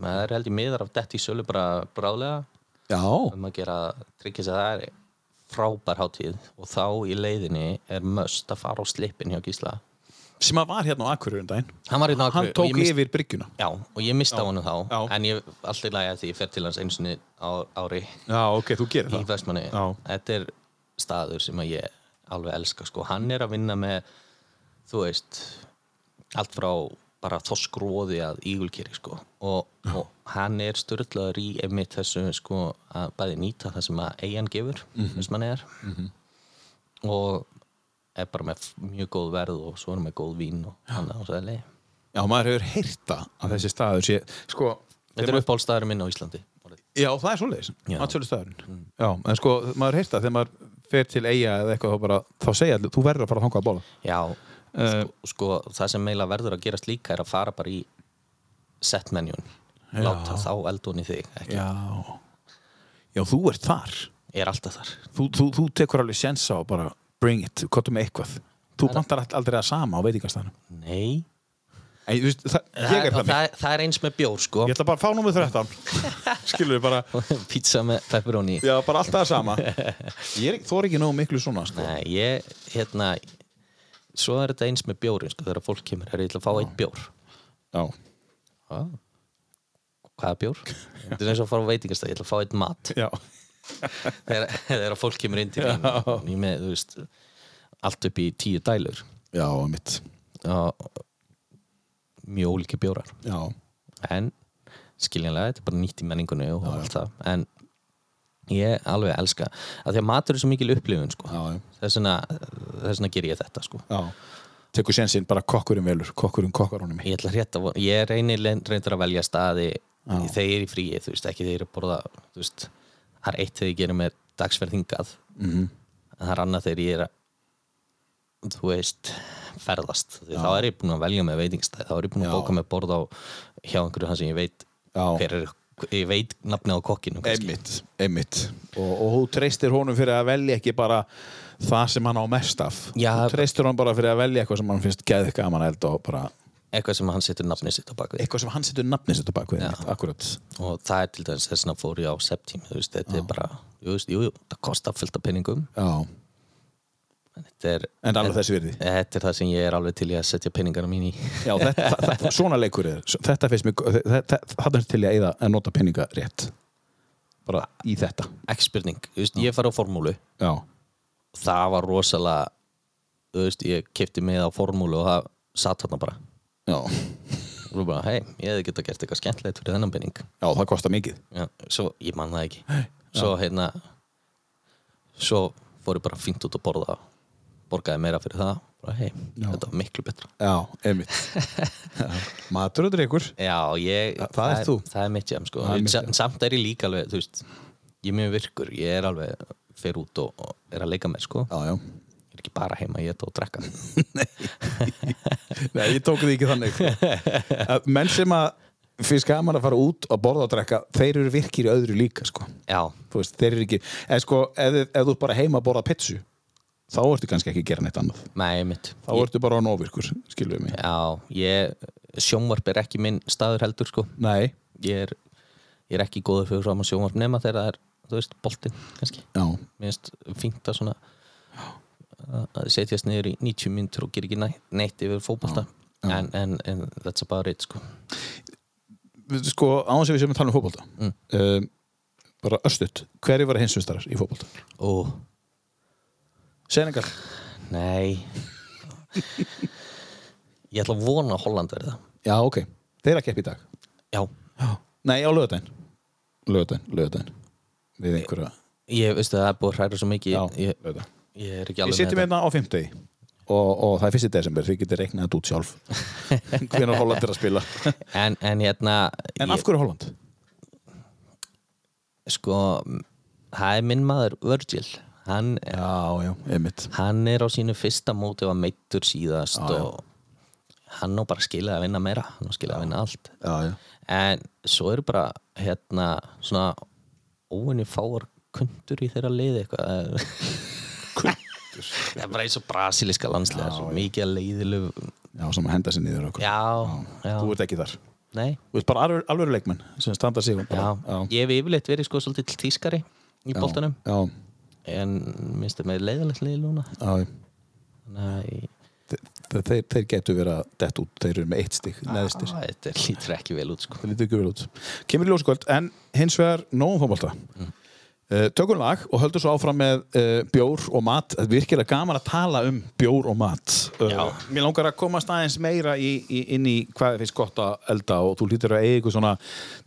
Speaker 3: maður er held í miðar af detti í sölu bara brálega
Speaker 2: já,
Speaker 3: um að gera tryggis að það er frábær hátíð og þá í leiðinni er möst að fara á slippin hjá Gísla
Speaker 2: sem að var hérna á Akureyri um daginn
Speaker 3: hann var hérna í nákvæm
Speaker 2: hann tók yfir bryggjuna
Speaker 3: Já, og ég mista honum þá
Speaker 2: já.
Speaker 3: En ég alltaf í lagi að því ég fer til hans einu sinni á, ári
Speaker 2: já, ok, þú gerir
Speaker 3: í Vestmanni
Speaker 2: Já.
Speaker 3: Þetta er staður sem að ég alveg elska sko. Hann er að vinna með þú veist allt frá bara þoskróði að ígulkeri sko. og, og hann er störðlaður í einmitt þessu sko, að bæði nýta það sem að eigin gefur Vestmanni er og er bara með mjög góð verð og svo er hann með góð vín og hann á svo leið
Speaker 2: já, maður hefur heyrta að þessi staður sé, sko,
Speaker 3: Mm. Þetta er uppáhaldstæður minn á Íslandi
Speaker 2: Já, það er svoleiðis,
Speaker 3: Já. Mm.
Speaker 2: matsölu staðurinn Já, en sko, maður heyrst það þegar maður fer til eiga eða eitthvað þá bara, þá segja allir, þú verður að fara að þangað að bóla
Speaker 3: Já,
Speaker 2: Eh,
Speaker 3: sko, sko það sem meila verður að gerast líka er að fara bara í setmenjun láta þá eldun í þig ekki,
Speaker 2: Já Já, þú ert þar
Speaker 3: er alltaf þar
Speaker 2: Þú, þú, þú tekur alveg sensa og bara bring it, kottu með eitthvað Þú bantar all- aldrei að sama á veitingastæðanum
Speaker 3: Nei,
Speaker 2: En ég, veist, það, Eh, ég er
Speaker 3: það,
Speaker 2: þannig
Speaker 3: það, það er eins með bjór sko
Speaker 2: Ég ætla bara að fá númið 13 Skilur við bara,
Speaker 3: pizza með pepperoni
Speaker 2: já, bara alltaf að sama Ég er, þor ekki nógu miklu svona sko.
Speaker 3: Nei, ég, hérna svo er þetta eins með bjórin sko þegar fólk kemur, er ég ætla að fá eitt bjór
Speaker 2: Já,
Speaker 3: Já. Hvaða bjór? Þetta er eins og að fara á veitingastæð, ég ætla að fá eitt mat
Speaker 2: já,
Speaker 3: þegar, þegar fólk kemur inn til mín ég er með, þú veist, allt upp í tíu dælur
Speaker 2: já, mitt
Speaker 3: og mjög ólíki bjórar
Speaker 2: Já,
Speaker 3: en skiljanlega, þetta er bara nýtt í menningunni og allt það en ég alveg elska að því að matur er svo mikil upplifun sko.
Speaker 2: Já, já.
Speaker 3: þess vegna þess vegna ger ég þetta sko.
Speaker 2: já Tekur sensin bara kokkurinn velur, kokkurinn kokkar honum í
Speaker 3: ég, ætla rétt að, ég reynir reyndur að velja staði þegar ég er í fríi þú veist, ekki þegar ég er að borða þú veist, það er eitt þegar ég gerir mér dagsverðingað mm
Speaker 2: Mhm.
Speaker 3: en það er annað þegar ég er að þú veist, ferðast Því þá er ég búinn að velja með veitingstæð þá er ég búinn að
Speaker 2: Já.
Speaker 3: bóka með borð á hjá einhverju hann sem ég veit
Speaker 2: Já.
Speaker 3: hver er, ég veit nafni á kokkinu kannski.
Speaker 2: Einmitt, einmitt. Og, og þú treystir honum fyrir að velja ekki bara það sem hann á mest af
Speaker 3: Já.
Speaker 2: þú treystir honum bara fyrir að velja eitthvað sem hann finnst geðið gaman eld og bara
Speaker 3: eitthvað sem hann setur nafni sitt á bakvið
Speaker 2: eitthvað sem hann setur nafnið sitt á bakvið einmitt, akkurat
Speaker 3: og það er til dæmis þess að fór ég á septími þú veist, þetta er bara, jú, veist, jú, jú, það kostar fullt af penningum
Speaker 2: Já.
Speaker 3: en þetta er,
Speaker 2: en alveg þessi virði
Speaker 3: þetta er það sem ég er alveg til í að setja peningana mín í
Speaker 2: Já, þetta, það, það, svona leikur er þetta finnst mér, gó- þe- þe- þe- þarna er til ég að nota peninga rétt bara í þetta
Speaker 3: ekki spurning, þú veist, ég fari á formúlu
Speaker 2: Já,
Speaker 3: það var rosalega þú veist, ég kefti með á formúlu og það satt þarna bara
Speaker 2: já,
Speaker 3: og þú bara, hei, ég hefði getað gert eitthvað skemmtilegt fyrir þennan penning
Speaker 2: já það kostar mikið
Speaker 3: já, svo, ég man það ekki svo hérna svo fór ég bara fínt út að borða borgaði meira fyrir það bara, hei, þetta var miklu betra
Speaker 2: Já, einmitt Já. Matur og dreikur
Speaker 3: Já, ég,
Speaker 2: Þa- það ert þú.
Speaker 3: það er mitt jam sko.
Speaker 2: Það er mitt
Speaker 3: Sa-
Speaker 2: jam.
Speaker 3: Samt er ég líka alveg, þú veist Ég er mjög virkur, ég er alveg Fer út og, og er að leika með sko.
Speaker 2: Já, já
Speaker 3: Ég er ekki bara heima, ég er það að drekka
Speaker 2: Nei, ég tók því ekki þannig sko. Að Menn sem að finnst gaman að fara út og borða og drekka, þeir eru virkir í öðru líka sko.
Speaker 3: Já,
Speaker 2: Þú veist, þeir eru ekki en sko, ef, þið- ef þú ert bara heima að borða pitsu þá ertu kannski ekki að gera neitt annað
Speaker 3: með mitt
Speaker 2: þá ertu bara án ofirkur, skilum við mig
Speaker 3: Já, ég, sjónvarp er ekki minn staður heldur sko.
Speaker 2: Nei,
Speaker 3: ég, er, ég er ekki góður fyrir fram á sjónvarp nema þegar það er, þú veist, boltinn kannski
Speaker 2: já,
Speaker 3: Mér finnst fínt að svona að setjast niður í 90 myndur og gera ekki næ- neitt yfir fótbolta en, en, en that's about it sko
Speaker 2: við- sko, án sem við séum að tala um fótbolta um, bara östut, hverju var hinsumstarar í fótbolta?
Speaker 3: Ó,
Speaker 2: Senegal,
Speaker 3: nei Ég ætla að vona að Holland verði það
Speaker 2: já ok þeirra kepp í dag,
Speaker 3: Já,
Speaker 2: nei á lögadaginn lögadaginn, lögadaginn við einhverja,
Speaker 3: ég veistu það er búið að hræra svo mikið
Speaker 2: já,
Speaker 3: ég,
Speaker 2: laugardaginn.
Speaker 3: ég er ekki alveg
Speaker 2: Ég setjum hérna á 50 og, og það er 1. desember, þið getur reiknað þetta út sjálf hvenar Holland er að spila
Speaker 3: En, en hérna
Speaker 2: En af
Speaker 3: ég,
Speaker 2: hverju Holland?
Speaker 3: Sko, það er minn maður Virgil Hann,
Speaker 2: Já, já, einmitt
Speaker 3: hann er á sínu fyrsta móti og var meittur síðast og hann á bara skiljaði að vinna meira hann á skiljaði að vinna allt
Speaker 2: já, já.
Speaker 3: en svo eru bara hérna svona óinni fáar kundur í þeirra liði eitthvað það er bara eins og brasiliska landslega svo mikið að leiðilu
Speaker 2: Já, sem að henda sér niður okkur
Speaker 3: já, já,
Speaker 2: Þú ert ekki þar Þú
Speaker 3: nei
Speaker 2: ert bara alvöru, alvöru leikmenn sem standa sig um
Speaker 3: já.
Speaker 2: bara. já,
Speaker 3: ég hef yfirleitt verið sko svolítið tískari í boltanum
Speaker 2: já,
Speaker 3: en minnst það með leiðilegt liði núna
Speaker 2: já.
Speaker 3: nei,
Speaker 2: Þe- Þeir, þeir, þeir getur verið að dett út Þeir eru með eitt stig, neðstir
Speaker 3: á, þetta lítur ekki vel út sko
Speaker 2: Það lítur ekki vel út Kemur í ljóskvöld, en hins vegar nógum fótbolta mm. Tökum lag og höldum svo áfram með uh, bjór og mat Það er virkilega gaman að tala um bjór og mat uh, Mér langar að komast aðeins meira í, í, inn í hvað þið finnst gott að elda og þú lítur að eiga eitthvað svona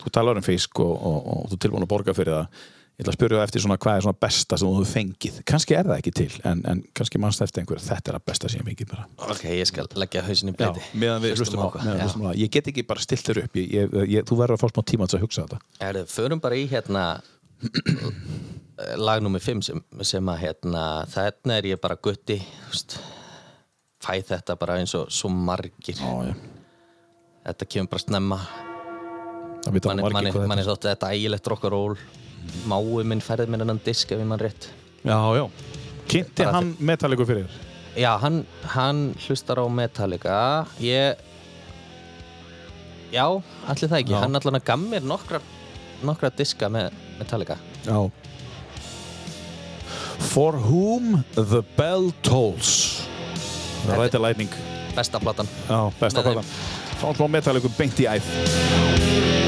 Speaker 2: þú talar um fisk og, og, og, þú er tilbúin að borga fyrir það Ég ætla að spyrja það eftir svona hvað er svona besta sem þú hefur fengið Kannski er það ekki til, en, en kannski mannst eftir einhver Þetta er að besta sem ég hef fengið bara
Speaker 3: ok, ég skal leggja hausin í
Speaker 2: Já,
Speaker 3: bleiti
Speaker 2: meðan við hlustum á,
Speaker 3: hvað.
Speaker 2: meðan
Speaker 3: Já.
Speaker 2: við hlustum á það. Ég get ekki bara stilt þér upp ég, ég, ég, Þú verður að fá smá tíma til að hugsa þetta
Speaker 3: Erðu, förum bara í hérna lag nummer 5 sem, sem að hérna þarna er ég bara gutti þú veist, fæ þetta bara eins og svo margir
Speaker 2: Já, já.
Speaker 3: þetta kemur bara snemma
Speaker 2: Það vita
Speaker 3: manni,
Speaker 2: margir
Speaker 3: manni,
Speaker 2: hvað
Speaker 3: manni
Speaker 2: þetta
Speaker 3: þótti þetta ægilegt rock and roll máu minn færði mér hennan disk ef ég mann rétt
Speaker 2: er. Já, já. Kynnti
Speaker 3: Bara
Speaker 2: hann metallíku fyrir þér?
Speaker 3: já, hann, hann hlustar á Metallica ég já, allir það ekki
Speaker 2: Já.
Speaker 3: hann allan að gaf mér nokkra, nokkra diska með Metallica
Speaker 2: Já. For whom the bell tolls. Það er rætið lætning.
Speaker 3: besta platan
Speaker 2: Já, besta
Speaker 3: Með þeim.
Speaker 2: platan. Fá smá metallíku beint í æð.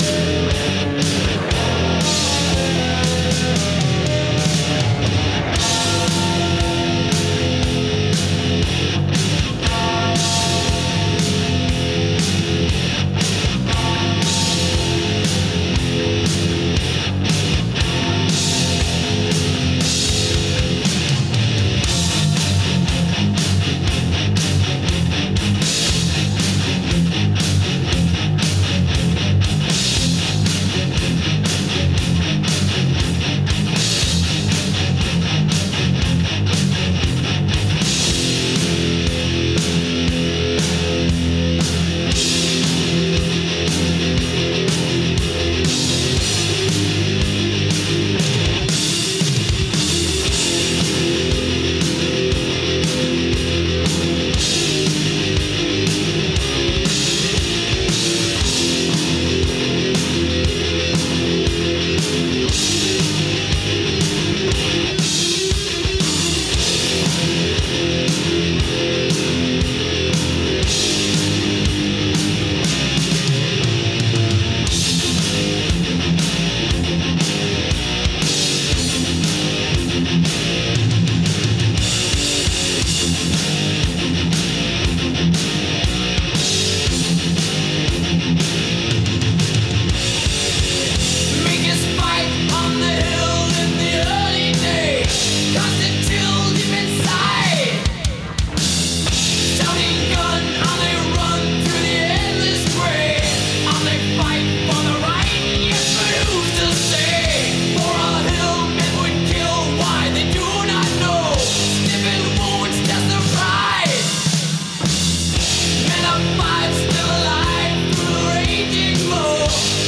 Speaker 6: Still alive through the raging glow,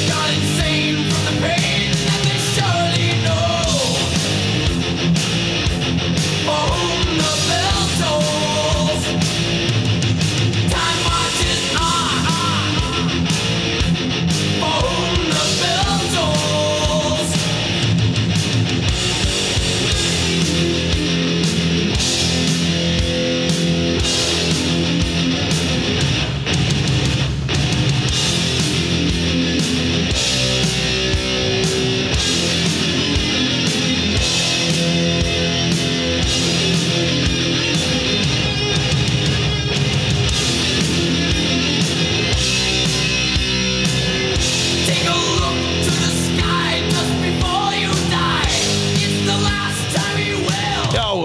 Speaker 6: gone insane from the pain that they surely know. For whom the bell tolls, time marches on. For whom the bell tolls.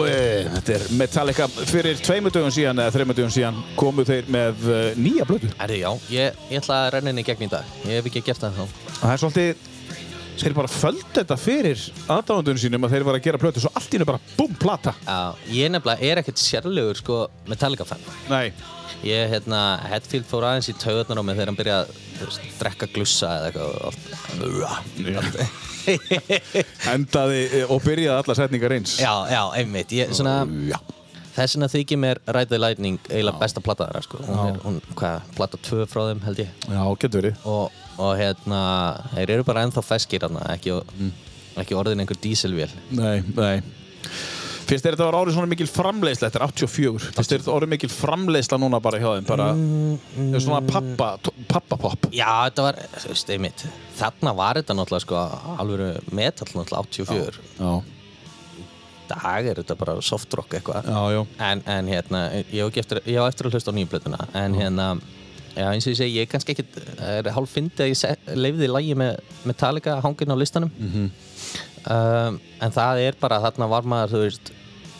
Speaker 2: eh, Metallica fyrir tveimur dögum síðan eða þreimur dögum síðan komu þeir með uh, nýja blödu.
Speaker 3: Herri, já, ég, ég ætla að renna henni í gegn í dag. Ég hef ekki gert það þá.
Speaker 2: Og það er svolítið, þeir bara földu þetta fyrir aðdáðundunum sínum að þeir var að gera blödu svo allt í hennu bara búm, plata.
Speaker 3: Já, ég nefnilega er ekkert sérlegur, sko, Metallica-fan.
Speaker 2: Nei.
Speaker 3: Ég, hérna, Hetfield fór aðeins í taugarnar á mig þegar hann byrjaði að, þú veist, drekka glussa eða eitthvað og allt.
Speaker 2: Endaði eh, og byrjaði alla setningar eins.
Speaker 3: Já, já, einmitt. Ég, svona,
Speaker 2: Já.
Speaker 3: þess vegna þykir mér Ride the Lightning eiginlega besta plata þeirra, sko. Hún er, hún, hvað, plata 2 frá þeim, held ég.
Speaker 2: Já, getur verið.
Speaker 3: Og, og hérna, þeir eru bara ennþá feskir hérna, ekki, ekki orðin einhver dísilvél.
Speaker 2: Nei, nei. Finnst þér þetta var árið svona mikil framleiðsla, þetta er 84. Finnst þér þetta orðið mikil framleiðsla núna bara hjá þeim, bara svona pappa, pappa-pop.
Speaker 3: Já, þetta var, þú veist, einmitt Þarna var þetta náttúrulega sko alvöru metal náttúrulega 84
Speaker 2: Já,
Speaker 3: Í dag er þetta bara soft rock eitthvað
Speaker 2: já, já.
Speaker 3: en, en hérna, ég á, ekki eftir, ég á eftir að hlusta á nýju plötuna En hérna, já, eins og ég segi, ég er kannski ekkit er hálf fyndi að ég se, leifði lægi með Metallica hangin á listanum
Speaker 2: Mhm.
Speaker 3: um, En það er bara, þarna var maður, þú veist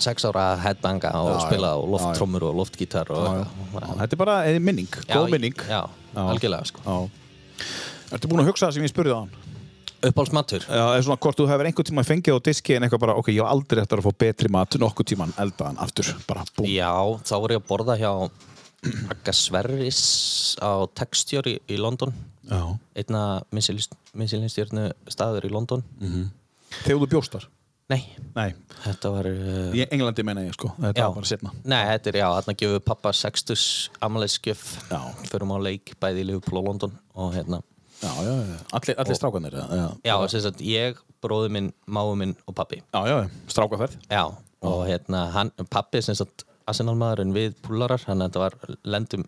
Speaker 3: sex ára að headbanga og
Speaker 2: Já,
Speaker 3: spila
Speaker 2: já.
Speaker 3: og lofttrommur og loftgítar og
Speaker 2: Já, já.
Speaker 3: eitthvað.
Speaker 2: Þetta er bara eh, minning, góð
Speaker 3: Já,
Speaker 2: minning.
Speaker 3: Já, algjörlega sko
Speaker 2: Já. Ertu búin að hugsa það sem ég spurði á hann?
Speaker 3: Uppáhaldsmatur
Speaker 2: Já, eða svona hvort þú hefur einhvern tíma fengið á diski en eitthvað bara, ok, ég á aldrei eftir að fá betri mat nokkuð tíman eldaðan aftur, bara búm.
Speaker 3: Já, þá var ég að borða hjá Agga Sverris á Textjör í, í London
Speaker 2: Já.
Speaker 3: einna missilinstjörnu staður í London
Speaker 2: Þegar þú bjóstar?
Speaker 3: Nei,
Speaker 2: Nei,
Speaker 3: þetta var uh,
Speaker 2: í Englandi meina ég sko, þetta var bara setna.
Speaker 3: Nei, þetta er, já, þarna gefur pappa sextus amaleisgjöf
Speaker 2: Já.
Speaker 3: förum á leik bæði í Liverpool og London og hérna
Speaker 2: Já, já, já, allir, allir strákanir, já, já.
Speaker 3: Já, sem sagt, ég, bróður minn, máu minn og pappi
Speaker 2: Já, já, strákaferð.
Speaker 3: Já, og hérna, hann, pappi sem sagt Arsenalmaðurinn við púlarar, hann þetta var lendum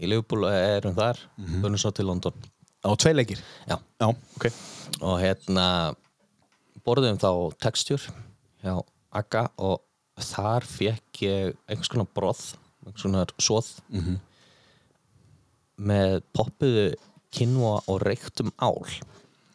Speaker 3: í Liverpool og erum þar, mm svo til London
Speaker 2: Á tvei leikir.
Speaker 3: Já,
Speaker 2: Já, ok.
Speaker 3: og hérna borðum þá textjur hjá Aga og þar fekk ég einhvers konar broð einhvers konar svoð með poppuðu kynva og reyktum ál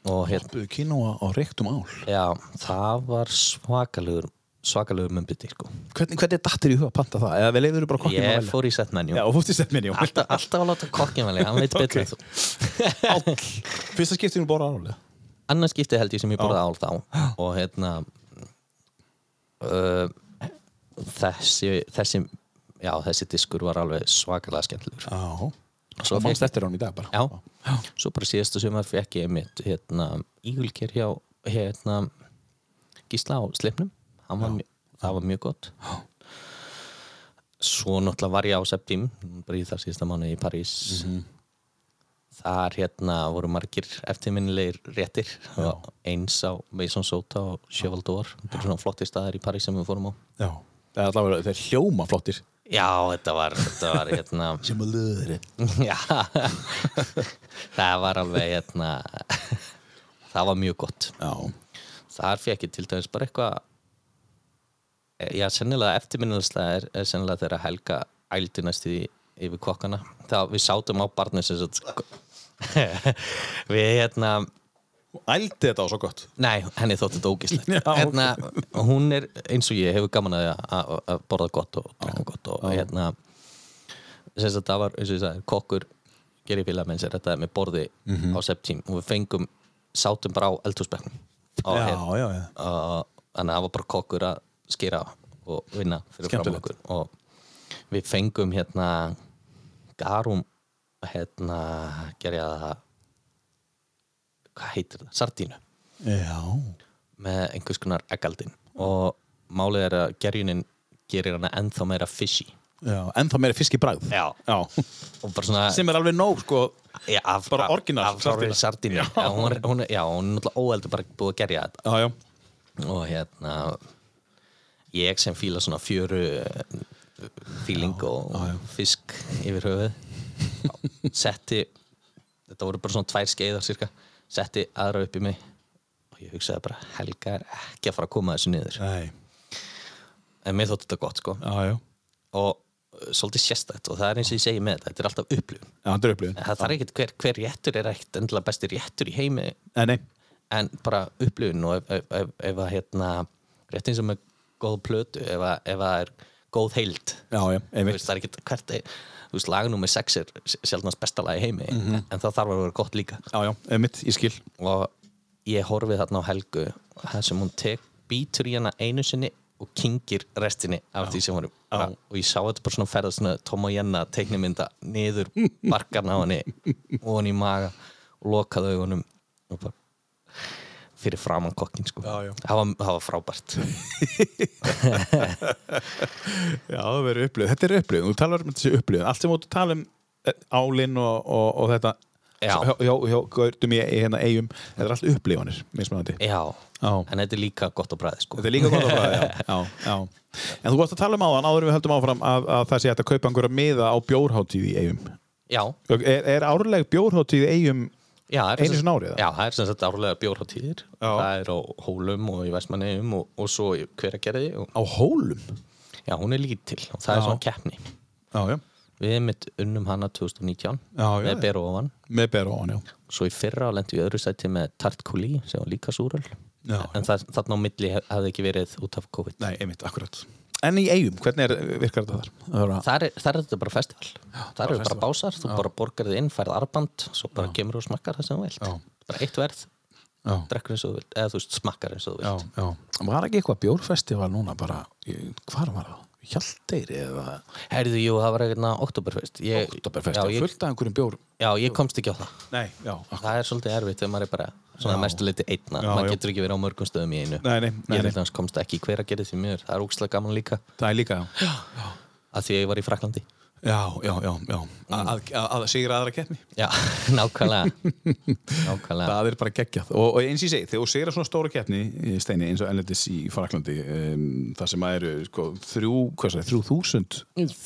Speaker 3: og hérna
Speaker 2: Buðu kínóa á reyktum ál.
Speaker 3: já, það var svakalugur svakalugur mömbiti sko
Speaker 2: Hvernig, hvernig dattir í huga að panta það? Eða við leiður bara kokkinn
Speaker 3: ég fór í setmenni
Speaker 2: Já, og fórst í sett minni, já.
Speaker 3: alltaf, alltaf að láta kokkin velja, hann veit betur en þú
Speaker 2: Fyrsta skiptinu bara álega.
Speaker 3: annars skipti held ég sem ég borða ál þá og hérna uh, þessi, þessi já, þessi diskur var alveg svakalega skemmtilegur
Speaker 2: Já.
Speaker 3: svo,
Speaker 2: Og
Speaker 3: fékk,
Speaker 2: mannst eftir hann í dag bara.
Speaker 3: já, Sko. svo bara síðasta sumar fekk ég mitt hérna, ígulker hjá hérna, gísla á slipnum Hann var, mjö- það var mjög gott svo náttúrulega var ég á septim bara í það síðasta mánu í París þar hérna voru margir eftirminnilegir réttir og eins á Maison Sota og Cheval d'Or þetta er svona flotti staðar í París sem við fórum á
Speaker 2: Já. Það er allavega, þeir hljóma flottir.
Speaker 3: já, þetta var, þetta var hérna
Speaker 2: Sem að löður.
Speaker 3: já það var alveg hérna það var mjög gott
Speaker 2: Já.
Speaker 3: þar fekk ég til dæmis bara eitthvað eh, já, sennilega eftirminnilegsta er, er sennilega þegar Helga ældi næst í yfir kokkana þá við sátum á barnu sem sagt sko. við hérna
Speaker 2: Ældi þetta á svo gott.
Speaker 3: Nei, henni þótti þetta ógislegt
Speaker 2: Já, ok.
Speaker 3: hérna, Hún er eins og ég hefur gaman að, að, að borða gott og drekka gott og hérna sem sagt það var, eins og ég sagði, kokkur gerir fíla með sér þetta með borði
Speaker 2: Mhm.
Speaker 3: á septím og við fengum sátum bara á eldhúsbekknum og
Speaker 2: Já,
Speaker 3: hérna,
Speaker 2: já, já.
Speaker 3: og- þannig að það var bara kokkur að skýra og vinna fyrir fram
Speaker 2: Skemmtilegt.
Speaker 3: okkur og við fengum hérna garum hérna gerja það hvað heitir það, sardínu
Speaker 2: Já.
Speaker 3: með einhvers konar eggaldin og málið er að gerjunin gerir hana ennþá meira fishy
Speaker 2: Já, en það meira fisk í bragð.
Speaker 3: Já.
Speaker 2: Já.
Speaker 3: og bara svona
Speaker 2: Sem er alveg nóg, sko.
Speaker 3: já, af,
Speaker 2: bara orginal
Speaker 3: af, af, af sardinu já. Já, hún, er- hún, er- já, hún er náttúrulega óeldur bara búið að gerja þetta
Speaker 2: Já, já.
Speaker 3: og hérna ég sem fíla svona fjöru eh, fíling og fisk yfir höfuð setti þetta voru bara svona tvær skeiðar cirka setti aðra upp í mig og ég hugsaði bara Helga er ekki að fara að koma þessu niður
Speaker 2: Nei.
Speaker 3: en mér þótti þetta gott sko
Speaker 2: Já, já.
Speaker 3: og uh, svolítið sérstætt og það er eins og ég segi með þetta, þetta er alltaf upplifun
Speaker 2: Já, það er upplifun.
Speaker 3: það þarf ekkert hver, hver réttur er ekkert endilega besti réttur í heimi
Speaker 2: Nei, nei.
Speaker 3: en bara upplifun og ef, ef, ef, ef að hérna rétt eins og með góð plötu ef, að, ef að er góð heild
Speaker 2: Já, já,
Speaker 3: Þú
Speaker 2: einmitt
Speaker 3: veist, það er ekki hvert þú veist, lag nummer 6 er sjálfnast besta lag í heimi
Speaker 2: Mhm.
Speaker 3: en það þarf að vera gott líka
Speaker 2: Já, já, einmitt, ég skil
Speaker 3: og ég horfið þarna á Helgu það sem hún tek, býtur í hana einu sinni og kynkir restinni af því sem hún á og ég sá þetta bara svona ferða svona Tom og Jenna teiknimynda niður barkarna á henni og henni í maga og lokaði augunum og bara fyrir framann kokkin sko
Speaker 2: Já, já.
Speaker 3: Það, var, það var frábært
Speaker 2: Já, það verður upplöð, þetta er upplöð, þú talar um þessi upplöð allt sem þú tala um eh, álinn og, og, og þetta
Speaker 3: Já.
Speaker 2: hjá, hjá, hjá gautum í, í hérna eigum þetta er allt upplifanir, mismunandi
Speaker 3: já,
Speaker 2: Já.
Speaker 3: en þetta er líka gott á bræði sko
Speaker 2: Þetta er líka gott að bræða, já, já, já. En þú varst að tala um áðan, áður en við höldum áfram að, að það sé hægt að kaupa einhverja miða á bjórháttíð í eigum.
Speaker 3: já,
Speaker 2: Er, er árleg bjórháttíð í eigum
Speaker 3: Já, það er
Speaker 2: Einu
Speaker 3: sem-
Speaker 2: sinni árið, eða?
Speaker 3: Já, það er sem sagt árlega bjórháttíðir Það er á Hólum og í Vestmanneum og, og svo í Hveragerði og,
Speaker 2: á hólum?
Speaker 3: Já, hún er lítil og það
Speaker 2: Já.
Speaker 3: er svona keppni
Speaker 2: Já, já,
Speaker 3: Við mitt unnum hana 2019
Speaker 2: Já, já, já.
Speaker 3: með Beru ofan
Speaker 2: með bjórháttíð, já.
Speaker 3: Svo í fyrra lendi við öðru sæti með Tart Kuli sem var líka súröl
Speaker 2: Já, já.
Speaker 3: En það, þarna á milli hef- hafði ekki verið út af COVID
Speaker 2: Nei, einmitt, akkurat. En í eigum, hvernig er, virkar þetta þar? Það er að-
Speaker 3: Þar er, þar er þetta bara festival Þar eru bara básar, þú bara borgar þið inn, færð arband Svo bara kemur og smakkar það sem þú vilt
Speaker 2: Já.
Speaker 3: Bara eitt verð,
Speaker 2: Já,
Speaker 3: drekkur eins og þú vilt Eða þú veist, smakkar eins og þú vilt
Speaker 2: já, já. Var ekki eitthvað bjórfestival núna bara, í- hvar var það? Hjaldeiri eða
Speaker 3: Herðu, jú, það var eitthvað oktoberfest ég,
Speaker 2: Oktoberfest,
Speaker 3: já, ég,
Speaker 2: fullt af einhverjum bjór.
Speaker 3: já, ég komst ekki á það
Speaker 2: Nei, já, akkurat.
Speaker 3: Það er svolítið erfitt þegar maður er bara svona mestu liti einna,
Speaker 2: Já,
Speaker 3: maður
Speaker 2: já.
Speaker 3: getur ekki verið á mörgum stöðum í einu
Speaker 2: Nei, nei, nei,
Speaker 3: Ég
Speaker 2: nei.
Speaker 3: held að hans komst ekki í hver að gera því mér Það er úkslega gaman líka,
Speaker 2: Það er líka, já.
Speaker 3: að því að ég var í Fraklandi
Speaker 2: Já, já, já, já. Að, að, að sigra aðra keppni.
Speaker 3: Já, nákvæmlega Nákvæmlega
Speaker 2: Það er bara geggjað og, og eins og ég segi, þegar þú segir að svona stóra keppni í steini eins og ennletis í Fraklandi um, þar sem að eru sko, þrjú, hvað sagði, þrjú þúsund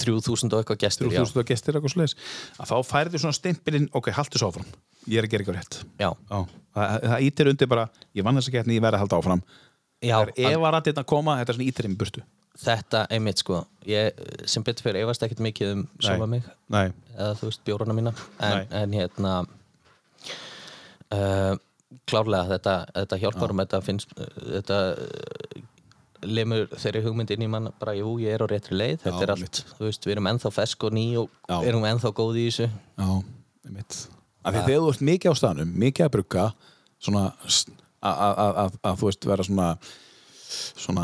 Speaker 3: 3000 og eitthvað gestur,
Speaker 2: þrjú
Speaker 3: já,
Speaker 2: þúsund og gestir eitthvað svoleiðis að þá færðu svona stimpilinn, ok, haltu svo áfram ég er að gera eitthvað rétt
Speaker 3: já,
Speaker 2: Á, það, það ítir undir bara, ég vann þessa keppni, ég verði að halda áfram
Speaker 3: já
Speaker 2: þegar ef að rættirna koma, þetta er svona ítirinn í burtu
Speaker 3: Þetta einmitt sko ég, sem betur fyrir efast ekkert mikið um sjálfa mig
Speaker 2: Nei,
Speaker 3: eða þú veist bjórana mína en,
Speaker 2: Nei.
Speaker 3: en hérna uh, klárlega þetta, þetta hjálpar um þetta finnst uh, þetta uh, lemur þeirri hugmynd inn í mann bara jú, ég er á réttri leið, þetta
Speaker 2: Já,
Speaker 3: er allt
Speaker 2: einmitt.
Speaker 3: þú veist, við erum ennþá fesk og ný og
Speaker 2: Já.
Speaker 3: erum ennþá góð í þessu
Speaker 2: Já, einmitt Af því þegar þú ert mikið á staðnum, mikið að brugga svona s- að- að að- að- að þú veist vera svona svona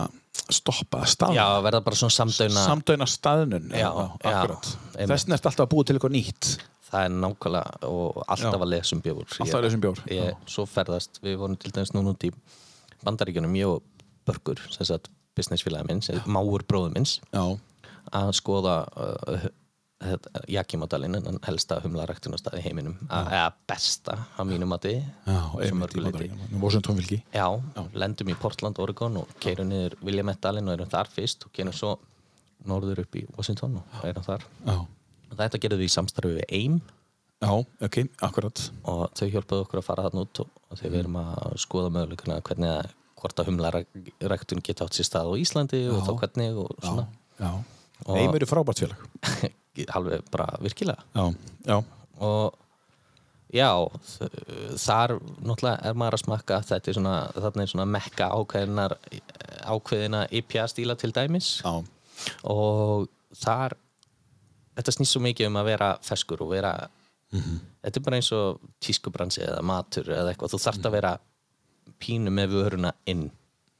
Speaker 2: stoppa að staðna
Speaker 3: já, verða bara svona samdöina
Speaker 2: samdöina staðnun
Speaker 3: Já, já,
Speaker 2: akkurat
Speaker 3: einmitt.
Speaker 2: Þess vegna ertu alltaf að búa til eitthvað nýtt
Speaker 3: það er nákvæmlega og alltaf að lesa um bjór
Speaker 2: Alltaf að lesa um bjór, já.
Speaker 3: ég, svo ferðast, við vorum til dæmis núna út í bandaríkjunum, ég og Börgur sem sagt businessfélagi minn, sem máur bróður minns
Speaker 2: Já,
Speaker 3: að skoða uh, Jakimodalinn, en helsta humlaræktunastað í heiminum, að, eða besta að mínum mati
Speaker 2: já,
Speaker 3: svo
Speaker 2: einmitt
Speaker 3: mörgu
Speaker 2: í
Speaker 3: leyti.
Speaker 2: bandaríkjum Washington vilki
Speaker 3: Já, lendum í Portland, Oregon og keirum niður Williamettdalinn og erum þar fyrst og keirum svo norður upp í Washington og erum þar
Speaker 2: Já,
Speaker 3: Þetta gerðum við í samstarfi við AIM
Speaker 2: já, ok, akkurat
Speaker 3: og þau hjálpaðu okkur að fara þarna út og og þegar við erum að skoða möguleikana hvernig að hvort að humlaræktun geta átt sér stað á Íslandi og þá hvernig og
Speaker 2: Já,
Speaker 3: svona
Speaker 2: já Eimur eru frábært félag
Speaker 3: alveg bara virkilega
Speaker 2: Já, já,
Speaker 3: og já, þ- þar náttúrulega er maður að smakka að þetta er svona, þarna er svona mekka ákveðinar ákveðina IPA stíla til dæmis
Speaker 2: já,
Speaker 3: og þar þetta snýst svo mikið um að vera feskur og vera þetta er bara eins og tískubransi eða matur eða eitthvað, þú þarft að vera pínu með vöruna inn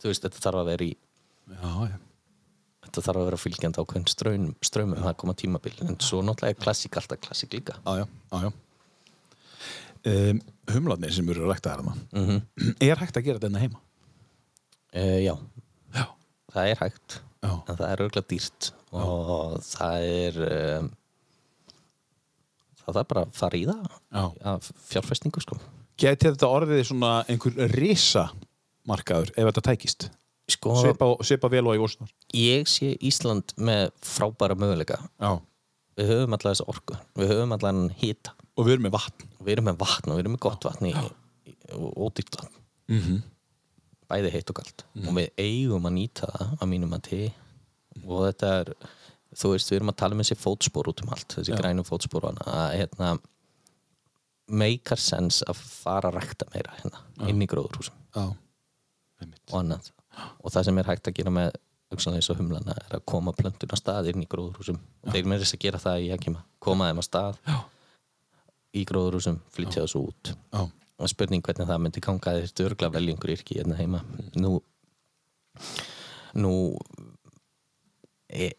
Speaker 3: þú veist, þetta þarf að vera í
Speaker 2: já, já.
Speaker 3: þetta þarf að vera fylgjandi ákveðin straunum, straumum það koma tímabil, en svo náttúrulega er klassík alltaf klassík líka
Speaker 2: Já, já, já, já. Um, humlarnir sem eru rækta þarna er hægt að gera þetta hérna heima
Speaker 3: uh, Já,
Speaker 2: já,
Speaker 3: það er hægt
Speaker 2: Já.
Speaker 3: en það er auðvitað dýrt og það er um, það er bara að fara í það
Speaker 2: Já.
Speaker 3: að fjárfestingu sko
Speaker 2: geti þetta orðið svona einhver risa markaður ef þetta tækist
Speaker 3: sko,
Speaker 2: svipa, svipa vel og í vórsnar
Speaker 3: ég sé Ísland með frábæra möguleika
Speaker 2: já.
Speaker 3: við höfum alla þessa orku, við höfum alla hann hýta
Speaker 2: og við erum með vatn
Speaker 3: við erum með vatn og við erum með gott vatn í, í, og ódýrt vatn -hmm.
Speaker 2: Mhm.
Speaker 3: bæði heitt og kalt og við eigum að nýta það að mínum að til og þetta er þú veist, við erum að tala um þessi fótspor út um allt þessi grænu fótspor og annað, að hérna meikar sens að fara að rækta meira hérna, inn í gróðurhúsum
Speaker 2: já,
Speaker 3: og annað og það sem er hægt að gera með hugsanlega eins og humlana er að koma plöntun að stað inn í gróðurhúsum og þeir með þess að gera það í Jakima koma þeim að stað Já. í gróðurhúsum, flytja þessu út
Speaker 2: Já.
Speaker 3: og spurning hvernig það myndi ganga þeir dörgla veljengur yrki hérna heima nú nú er,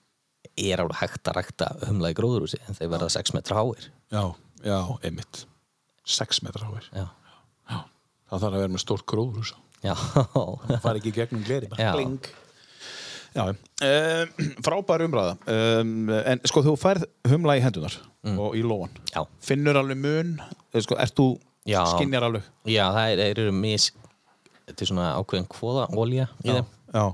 Speaker 3: er alveg hægt að rækta humla í gróðurhúsi en þeir verða 6 metra háir
Speaker 2: já, já, einmitt 6 metra háir
Speaker 3: Já,
Speaker 2: það þarf að vera með stórt gróðurhús
Speaker 3: Já.
Speaker 2: það fari ekki í gegnum gleri bara
Speaker 3: Já.
Speaker 2: kling. já, um, frábær umræða um, en sko þú færð humla í hendunar og í lóan
Speaker 3: Já.
Speaker 2: finnur alveg mun eh, sko, ert þú
Speaker 3: Já.
Speaker 2: skinjar alveg
Speaker 3: Já, það er, eru mis þetta er svona ákveðin kvóða olja í þeim
Speaker 2: já,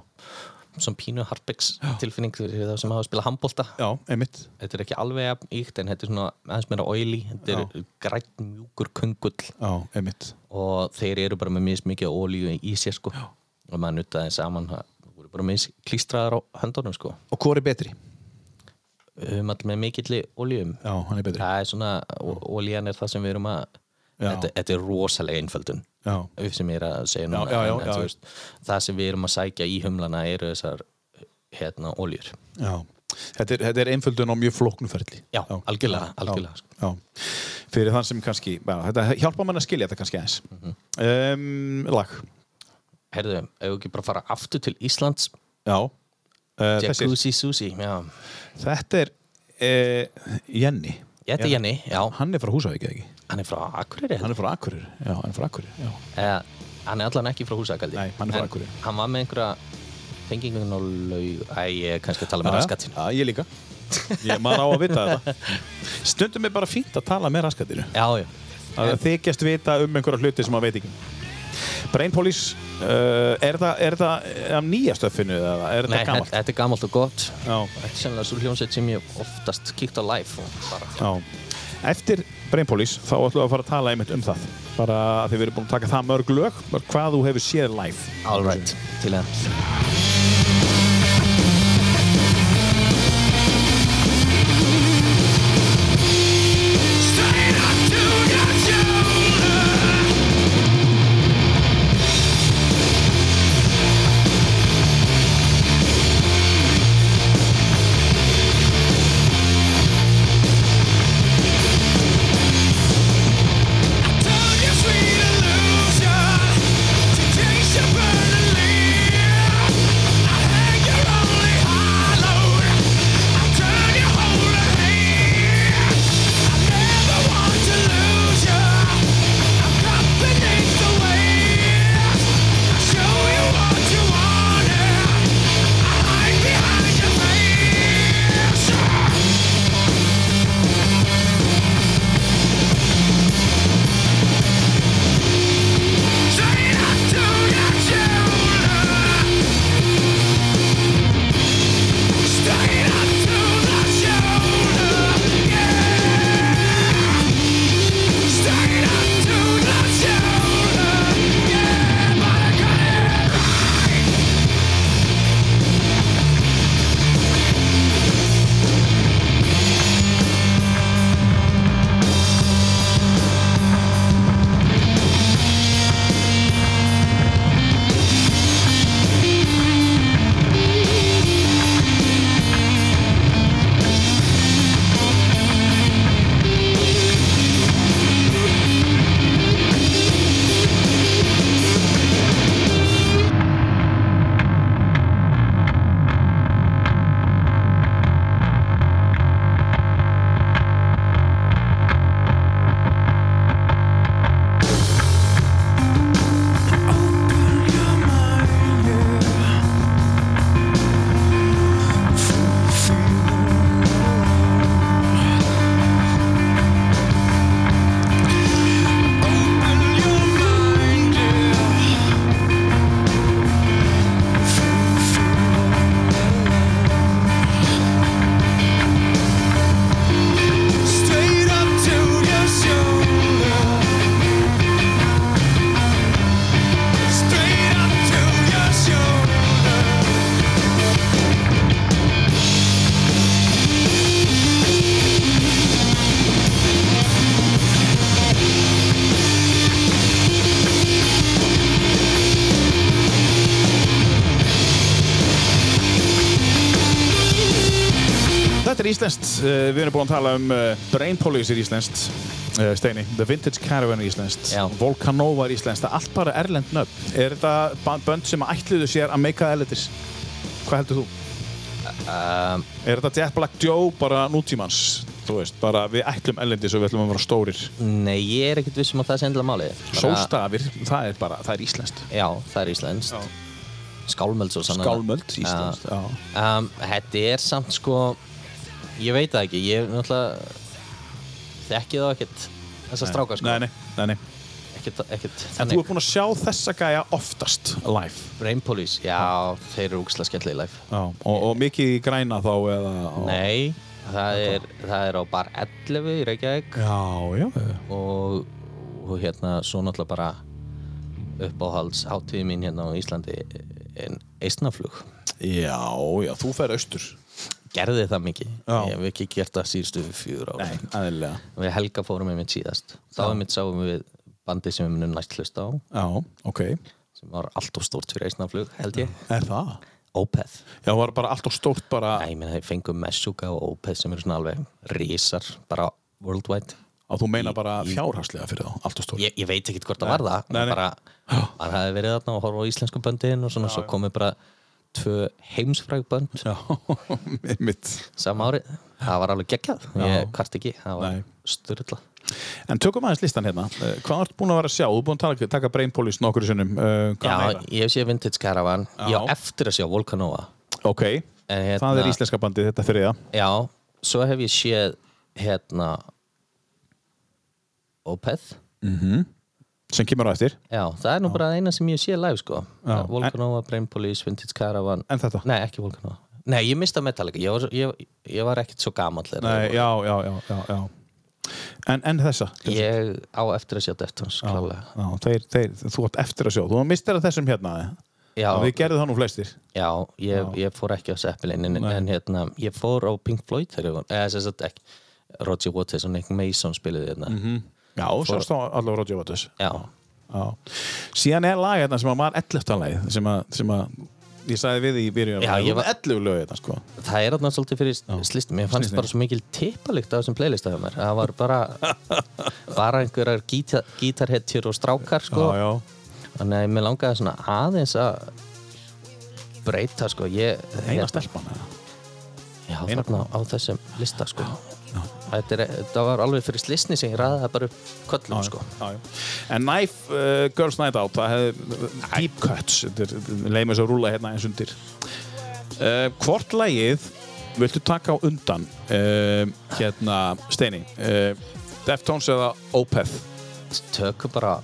Speaker 3: sem pínu harpex tilfinning fyrir það sem hafa að spila handbólta
Speaker 2: já, einmitt
Speaker 3: þetta er ekki alveg jafn íkt en þetta er svona aðeins meira oily þetta er grætt mjúkur kungull
Speaker 2: já, einmitt
Speaker 3: og þeir eru bara með mis mikið olíu í sér sko og maður nuttaði saman það voru bara mis klístraðar á höndunum sko
Speaker 2: og hvor er betri?
Speaker 3: um all með mikilli olíum
Speaker 2: já, hann er betri
Speaker 3: það er svona, olían er það sem við erum að þetta, þetta er rosalega einföldun
Speaker 2: já,
Speaker 3: upp sem ég er að segja núna
Speaker 2: já, já,
Speaker 3: en, en,
Speaker 2: já.
Speaker 3: þú Veist, það sem við erum að sækja í humlana eru þessar hérna oljur
Speaker 2: já Þetta er, þetta er einföldun á mjög flóknuferðli
Speaker 3: Já, algjörlega, algjörlega, sko.
Speaker 2: já. Fyrir þann sem kannski já, Þetta hjálpa mann að skilja þetta kannski aðeins
Speaker 3: Mhm.
Speaker 2: um, Lag
Speaker 3: herðu, ef við ekki bara fara aftur til Íslands
Speaker 2: Já uh, þessir,
Speaker 3: Jacuzzi Susi já.
Speaker 2: Þetta er uh, Jenny
Speaker 3: ég heiti Jenny, já,
Speaker 2: Hann er frá Húsavík eða ekki?
Speaker 3: hann er frá Akureyri hérna.
Speaker 2: Hann
Speaker 3: hann,
Speaker 2: er frá Akureyri Já, hann er frá Akureyri Já,
Speaker 3: hann er allan ekki frá Húsakaldi
Speaker 2: Nei, hann er frá
Speaker 3: En
Speaker 2: Akureyri.
Speaker 3: hann var með einhverja tengingun og laug æ, ég er kannski að tala með raskatinn
Speaker 2: Já, ég líka Ég maður á að vita þetta Stundum er bara fínt að tala með raskatinu
Speaker 3: já, já,
Speaker 2: að þykjast vita um einhverja hluti sem maður veit ekki Brain Police uh, er það, er það af nýja stöffinu eða er það
Speaker 3: nei, þetta
Speaker 2: gammalt?
Speaker 3: þetta er gamalt og gott
Speaker 2: Já,
Speaker 3: þetta er sannlega svo hljómsveit sem ég oftast kíkt á live og bara,
Speaker 2: já Eftir Brain Police þá ætlum við að fara að tala einmitt um það bara að þið verið búin að taka það mörg lög hvað þú hefur séð live
Speaker 3: all right, til enn
Speaker 7: Illusion, temptation burning.
Speaker 2: íslenskt, uh, við erum búin að tala um uh, Brain Police er íslenskt, uh, Steini, The Vintage Caravan er íslenskt,
Speaker 3: Já.
Speaker 2: Volcanova er íslenskt, það er allt bara erlend nöfn. Er þetta ba- bönd sem ætluðu sér að meika það erlendis? Hvað heldur þú?
Speaker 3: um,
Speaker 2: Er þetta Jet Black Joe bara nútímans? Þú veist, bara við ætlum erlendis og við ætlum að vera stórir.
Speaker 3: Nei, ég er ekkert vissum að það sé endilega málið Bara-
Speaker 2: Sólstafir, það er bara, það er íslenskt.
Speaker 3: Já, það er íslenskt Skálmöld svo sannan
Speaker 2: Skálmöld, íslenskt, já.
Speaker 3: um, Þetta er samt sko Ég veit það ekki, ég náttúrulega Þekki þá ekkert Þessa stráka sko
Speaker 2: Nei, nei, nei, nei.
Speaker 3: Ekkert,
Speaker 2: En
Speaker 3: ekkert
Speaker 2: þú
Speaker 3: þannig
Speaker 2: ert búin að sjá þessa gæja oftast live.
Speaker 3: Rain Police, já, þeir eru úkslega skemmtilega í life
Speaker 2: Já, og, og mikið í græna þá eða...
Speaker 3: Nei, það er, það er á bar 11 í Reykjavík
Speaker 2: Já, já.
Speaker 3: og, og hérna svo náttúrulega bara uppáhalds hátíð mín hérna á Íslandi en eistnaflug
Speaker 2: Já, já, þú fer austur
Speaker 3: gerði það mikið,
Speaker 2: Já.
Speaker 3: ég hef ekki gert það síðustu fjör ára
Speaker 2: aðeinlega
Speaker 3: við Helga fórum einmitt síðast þá einmitt sáum við bandið sem við munum næst hlusta á
Speaker 2: Já, ok
Speaker 3: sem var allt of stórt fyrir eistnaflug held ég,
Speaker 2: Er það?
Speaker 3: Opeth
Speaker 2: Já, það var bara allt og stórt bara
Speaker 3: Æ, ég meina þeir fengum Meshuga og Opeth sem eru svona alveg risar, bara worldwide
Speaker 2: að þú meina bara fjárhagslega fyrir þá, allt og stórt
Speaker 3: ég, ég veit ekkert hvort það var það
Speaker 2: nei, nei.
Speaker 3: bara, hann hafði verið þarna og horfa á íslensku böndin og svona, svo komið bara tvö heimsfræg bönd
Speaker 2: Já, mitt
Speaker 3: sama árið, það var alveg geggjað ég kvart ekki, það var
Speaker 2: Nei.
Speaker 3: styrla
Speaker 2: En tökum aðeins listan hérna Eh, Hvað ertu búin að vera að sjá? Þú er búin að taka, taka brain police nokkur sinnum uh,
Speaker 3: Já,
Speaker 2: Hvað meira?
Speaker 3: ég hef séð Vintage Caravan
Speaker 2: Já.
Speaker 3: ég á eftir að sjá Volcanova
Speaker 2: Ok,
Speaker 3: En hérna-
Speaker 2: það er íslenska bandið þetta fyrir það
Speaker 3: Já, svo hef ég séð hérna Opeth
Speaker 2: sem kemur á eftir
Speaker 3: Já, það er nú bara eina sem ég sé live sko
Speaker 2: Já.
Speaker 3: Volcanova, Brain Police, Vintage Caravan
Speaker 2: En þetta?
Speaker 3: Nei, ekki Volcanova Nei, ég mista Metallica, ég var, ég, ég var ekkert svo gamall þegar
Speaker 2: Nei,
Speaker 3: þeir voru.
Speaker 2: já, já, já, já, já. En, en þessa?
Speaker 3: Ég á eftir að sjá Deftones, klálega
Speaker 2: Já, þeir, þeir, þú átt eftir að sjá Þú mistir að þessum hérna
Speaker 3: Já,
Speaker 2: Við gerðum það nú flestir
Speaker 3: Já, ég, ég fór ekki á Zeppelin en, en hérna, ég fór á Pink Floyd þegar ég var, eða sem sagt ekki Roger Waters og Nick Mason spiluði hérna
Speaker 2: Já, sást þá allavega Roger Waters
Speaker 3: Já,
Speaker 2: Já. Síðan er lag hérna sem að var 11. lagið sem að, sem að ég sagði við í byrjun
Speaker 3: Já,
Speaker 2: að
Speaker 3: ég
Speaker 2: var
Speaker 3: var-
Speaker 2: 11 lög hérna sko
Speaker 3: það er þarna svolítið fyrir slistum, mér fannst
Speaker 2: Slistin.
Speaker 3: bara svo mikil tippalikt á þessum playlista hjá mér, það var bara bara einhverjar gítar, gítarhetjur og strákar sko
Speaker 2: já,
Speaker 3: þannig að mér langaði svona aðeins að breyta sko ég,
Speaker 2: eina
Speaker 3: hérna-
Speaker 2: stelpan eða?
Speaker 3: Já,
Speaker 2: Eina
Speaker 3: þarna á þessum lista sko Þetta, er, þetta var alveg fyrir slisni sem ég ræði það bara upp köllum sko
Speaker 2: já, já. En Knife uh, Girls Night Out það hefði deep cuts þetta er- þetta er- leið mér svo að rúla hérna eins undir uh, Hvort lagið viltu taka á undan uh, hérna Steini uh, Deftones eða Opeth
Speaker 3: sko. tökum bara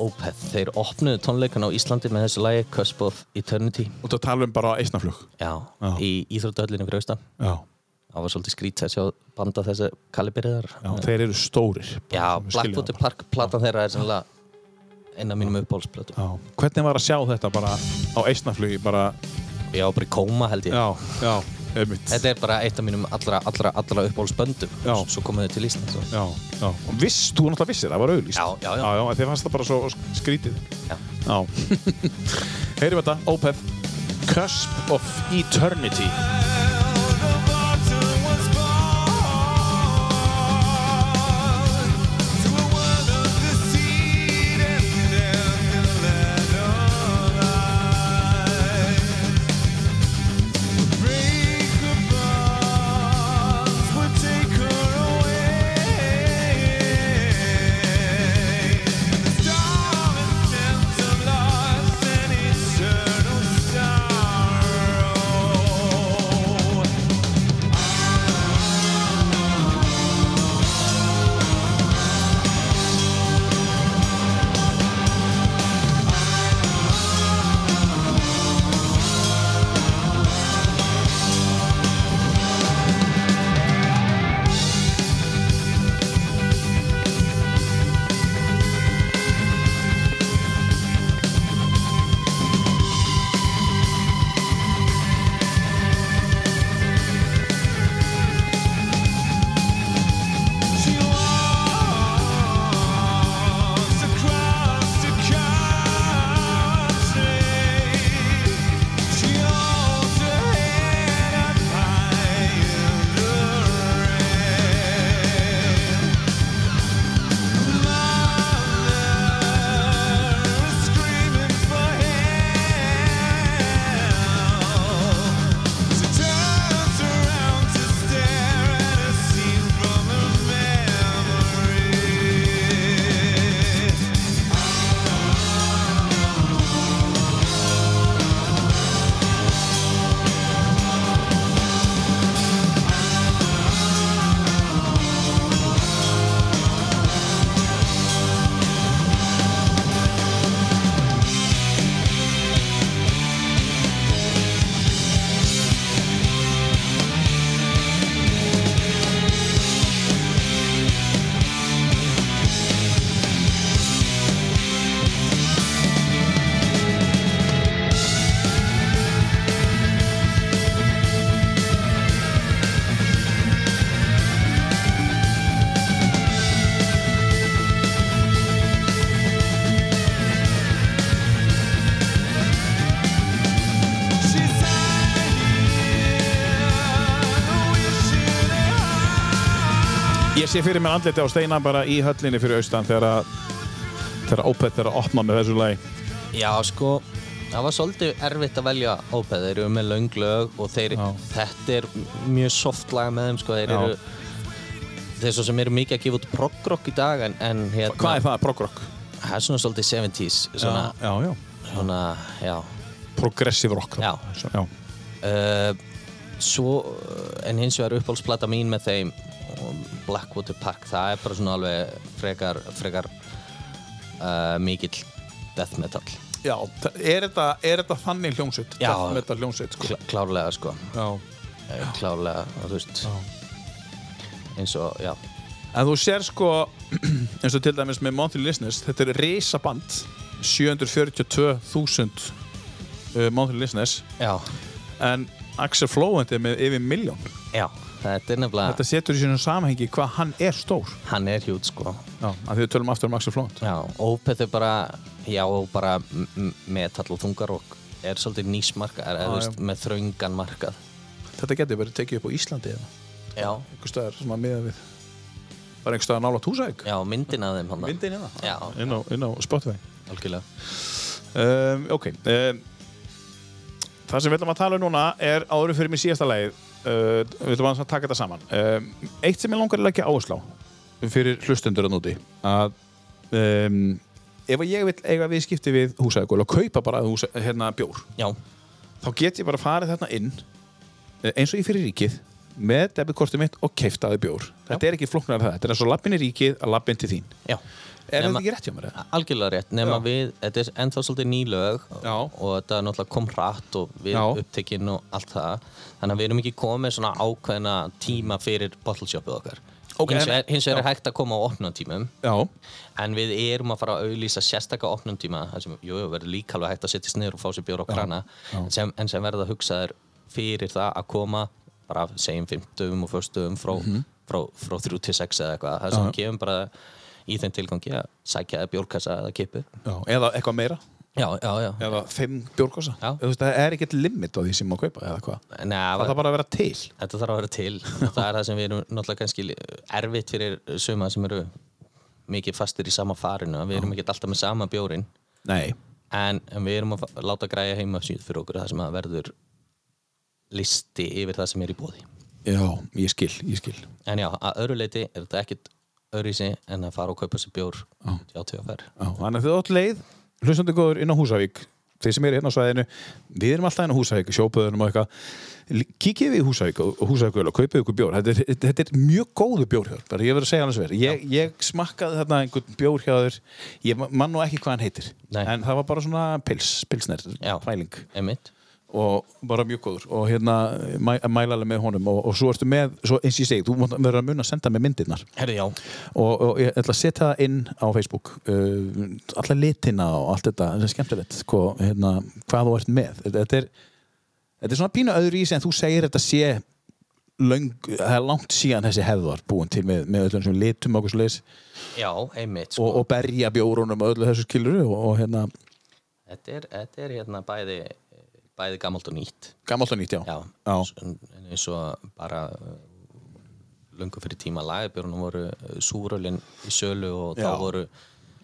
Speaker 3: Opeth, þeir opnuðu tónleikan á Íslandi með þessu lagi Cusp of Eternity
Speaker 2: og það tala um bara eisnaflug
Speaker 3: já,
Speaker 2: Já.
Speaker 3: í Íþróttahöllinni fyrir austan
Speaker 2: Já,
Speaker 3: það var svolítið skrítið að sjá banda þessu kaliberiðar
Speaker 2: já, þeir eru stórir
Speaker 3: já
Speaker 2: Við skiljum það
Speaker 3: Blackwater Park, platan þeirra er sannlega eina af mínum uppbólsplötum
Speaker 2: Já. Hvernig var að sjá þetta bara á eisnaflugi bara,
Speaker 3: ég á bara í kóma held ég
Speaker 2: já, já, einmitt
Speaker 3: þetta er bara eitt af mínum allra, allra, allra uppbólsböndum
Speaker 2: Já.
Speaker 3: svo komuðu til Ísland svo.
Speaker 2: Já, já, og viss, þú náttúrulega vissir, það var auðlýst
Speaker 3: Já, já, já.
Speaker 2: Já, já, en þið fannst það bara svo sk- skrítið
Speaker 3: Já.
Speaker 2: Já Heyrim þetta, Opeth Cusp of Eternity
Speaker 6: Eternal sorrow.
Speaker 2: Ég sé fyrir mér andliti á steina bara í höllinni fyrir austan þegar að þegar að Opeth er að opna með þessu lagi
Speaker 3: Já, sko, það var svolítið erfitt að velja ópeð. Þeir eru með löng lög og þeir, þetta er mjög soft lag með þeim, sko. Þeir
Speaker 2: Já.
Speaker 3: eru, þeir svo sem eru mikið að gefa út prog-rock í dag, en, en hérna...
Speaker 2: Hvað er það? Prog-rock?
Speaker 3: Það er svona svolítið 70s, svona,
Speaker 2: Já, já
Speaker 3: svona, já.
Speaker 2: Progressive rock
Speaker 3: Já.
Speaker 2: Svo- já.
Speaker 3: Uh, svo, en hins vegar uppáhaldsplata mín með þeim, Blackwater Park, það er bara svona alveg frekar, frekar uh, mikill death metal.
Speaker 2: já þa- er, þetta, er þetta þannig hljómsveit?
Speaker 3: Já.
Speaker 2: Death metal hljómsveit sko.
Speaker 3: Klá, klárlega, sko.
Speaker 2: Já
Speaker 3: Eh, klárlega, þú veist eins og, já,
Speaker 2: En þú sér sko, eins og til dæmis með Monthly Listeners, þetta er reysaband 742.000 uh, Monthly Listeners
Speaker 3: já,
Speaker 2: en Axel Flóent er með yfir miljón
Speaker 3: já þetta er nefnilega,
Speaker 2: Þetta setur í sínum samhengi hvað hann er stór
Speaker 3: hann er hjút sko
Speaker 2: Já, af því við tölum aftur um Axel Flóent
Speaker 3: já, Opeth er bara já, og bara m- m- metall og þungarokk er svolítið nýsmarkað, eða þú veist, með þröngan markað
Speaker 2: Þetta getur verið tekið upp á Íslandi eða
Speaker 3: já,
Speaker 2: einhver staðar svona miða við bara einhver staðar nála túsæk
Speaker 3: já, myndin að þeim hann
Speaker 2: Myndin hérna?
Speaker 3: já,
Speaker 2: inn á, inn á Spotify
Speaker 3: algjörlega
Speaker 2: um, Ok um, Það sem við ætlum að tala um núna er áður fyrir mig síðasta lagið uh, Við ætlum aðeins að taka þetta saman um, Eitt sem ég langar að leggja áherslu á fyrir hlustundur að núti að um, ef að ég vil eiga viðskipti við húsæðugul og kaupa bara húsa, hérna bjór
Speaker 3: já,
Speaker 2: þá get ég bara farið þarna inn eh, eins og ég fyrir ríkið með debitkortið mitt og keiftaði bjór þetta er ekki flóknar það, þetta er eins og lappin í ríkið að lappin til þín
Speaker 3: já
Speaker 2: Er þetta
Speaker 3: Nema-
Speaker 2: ekki rétt hjá mér? eða?
Speaker 3: Algjörlega rétt, nema
Speaker 2: Já.
Speaker 3: við, þetta er ennþá svolítið nýlög
Speaker 2: Já.
Speaker 3: og þetta er náttúrulega kom hratt og við
Speaker 2: Já.
Speaker 3: upptekinn og allt það þannig að við erum ekki komið svona ákveðna tíma fyrir bottleshopið okkar
Speaker 2: Ok,
Speaker 3: hins,
Speaker 2: en-
Speaker 3: vegar, hins vegar er hægt að koma á opnuntímum
Speaker 2: Já,
Speaker 3: en við erum að fara að auðlýsa sérstaka opnuntíma þar sem, jú, jú, verður líka alveg hægt að setjast niður og fá sér bjór á krana en sem, en sem verða að hugsa þér fyrir það að koma bara segjum fimmtum og förstum frá, frá, frá þrjú til sex eða eitthvað það sem við kemum bara í þeim tilgangi að sækja eða bjórkassa eða kipu
Speaker 2: já, eða eitthvað meira
Speaker 3: Já, já, já.
Speaker 2: eða fimm bjórkosa
Speaker 3: Já.
Speaker 2: Þú veist, það er ekkert limit á því sem má kaupa eða hvað
Speaker 3: Nei,
Speaker 2: það
Speaker 3: var,
Speaker 2: þarf bara að vera til
Speaker 3: þetta þarf að vera til. það er það sem við erum náttúrulega kannski li- erfitt fyrir suma sem eru mikið fastir í sama farinu. Við erum ekki alltaf með sama bjórin.
Speaker 2: Nei,
Speaker 3: En, en við erum að fa- láta græja heima síð fyrir okkur það sem að verður listi yfir það sem er í bóði.
Speaker 2: já, ég skil, ég skil
Speaker 3: En já, að öðru leiti er þetta ekkit öðruvísi en að fara og kaupa sér bjór hjá TFR.
Speaker 2: Já, Þannig að þið átt leið, hlustandi góður inn á Húsavík þeir sem eru hérna á svæðinu við erum alltaf inn á Húsavík, sjópaðunum og eitthvað L- kíkið við í Húsavík og Húsavík og kaupið ykkur bjór, þetta er, þetta er mjög góðu bjór hjá þér, bara ég verður að segja hann þess verið ég, ég smakkaði þarna einhvern bjór hjá þér ég ma- man nú ekki hvað hann heitir
Speaker 3: Nei.
Speaker 2: en það var bara svona pils, pilsner
Speaker 3: Já.
Speaker 2: pæling
Speaker 3: Einmitt.
Speaker 2: og bara mjög góður og hérna mæ, mæla alveg með honum og, og svo ertu með, svo eins og ég segi, þú mátt- verður að muna að senda með myndirnar
Speaker 3: Herri, já.
Speaker 2: og, og ég ætla að setja það inn á Facebook uh, alla litina og allt þetta þetta er skemmtilegt hvað, hérna, hvað þú ert með þetta, þetta, er, þetta er svona pínu öðru í sem þú segir þetta sé löng, það er langt síðan þessi hefðar búin til með, með öllum sem litum okkur slis
Speaker 3: Já, einmitt. Sko.
Speaker 2: og, og berja bjórunum og öllu þessu skiluru og, og hérna,
Speaker 3: Þetta, er, þetta er hérna bæði, bæði gamalt og nýtt.
Speaker 2: gamalt og nýtt já,
Speaker 3: Já,
Speaker 2: já.
Speaker 3: En, en eins og bara uh, löngu fyrir tíma lagabjörnum voru súrölinn í sölu og
Speaker 2: Já,
Speaker 3: þá voru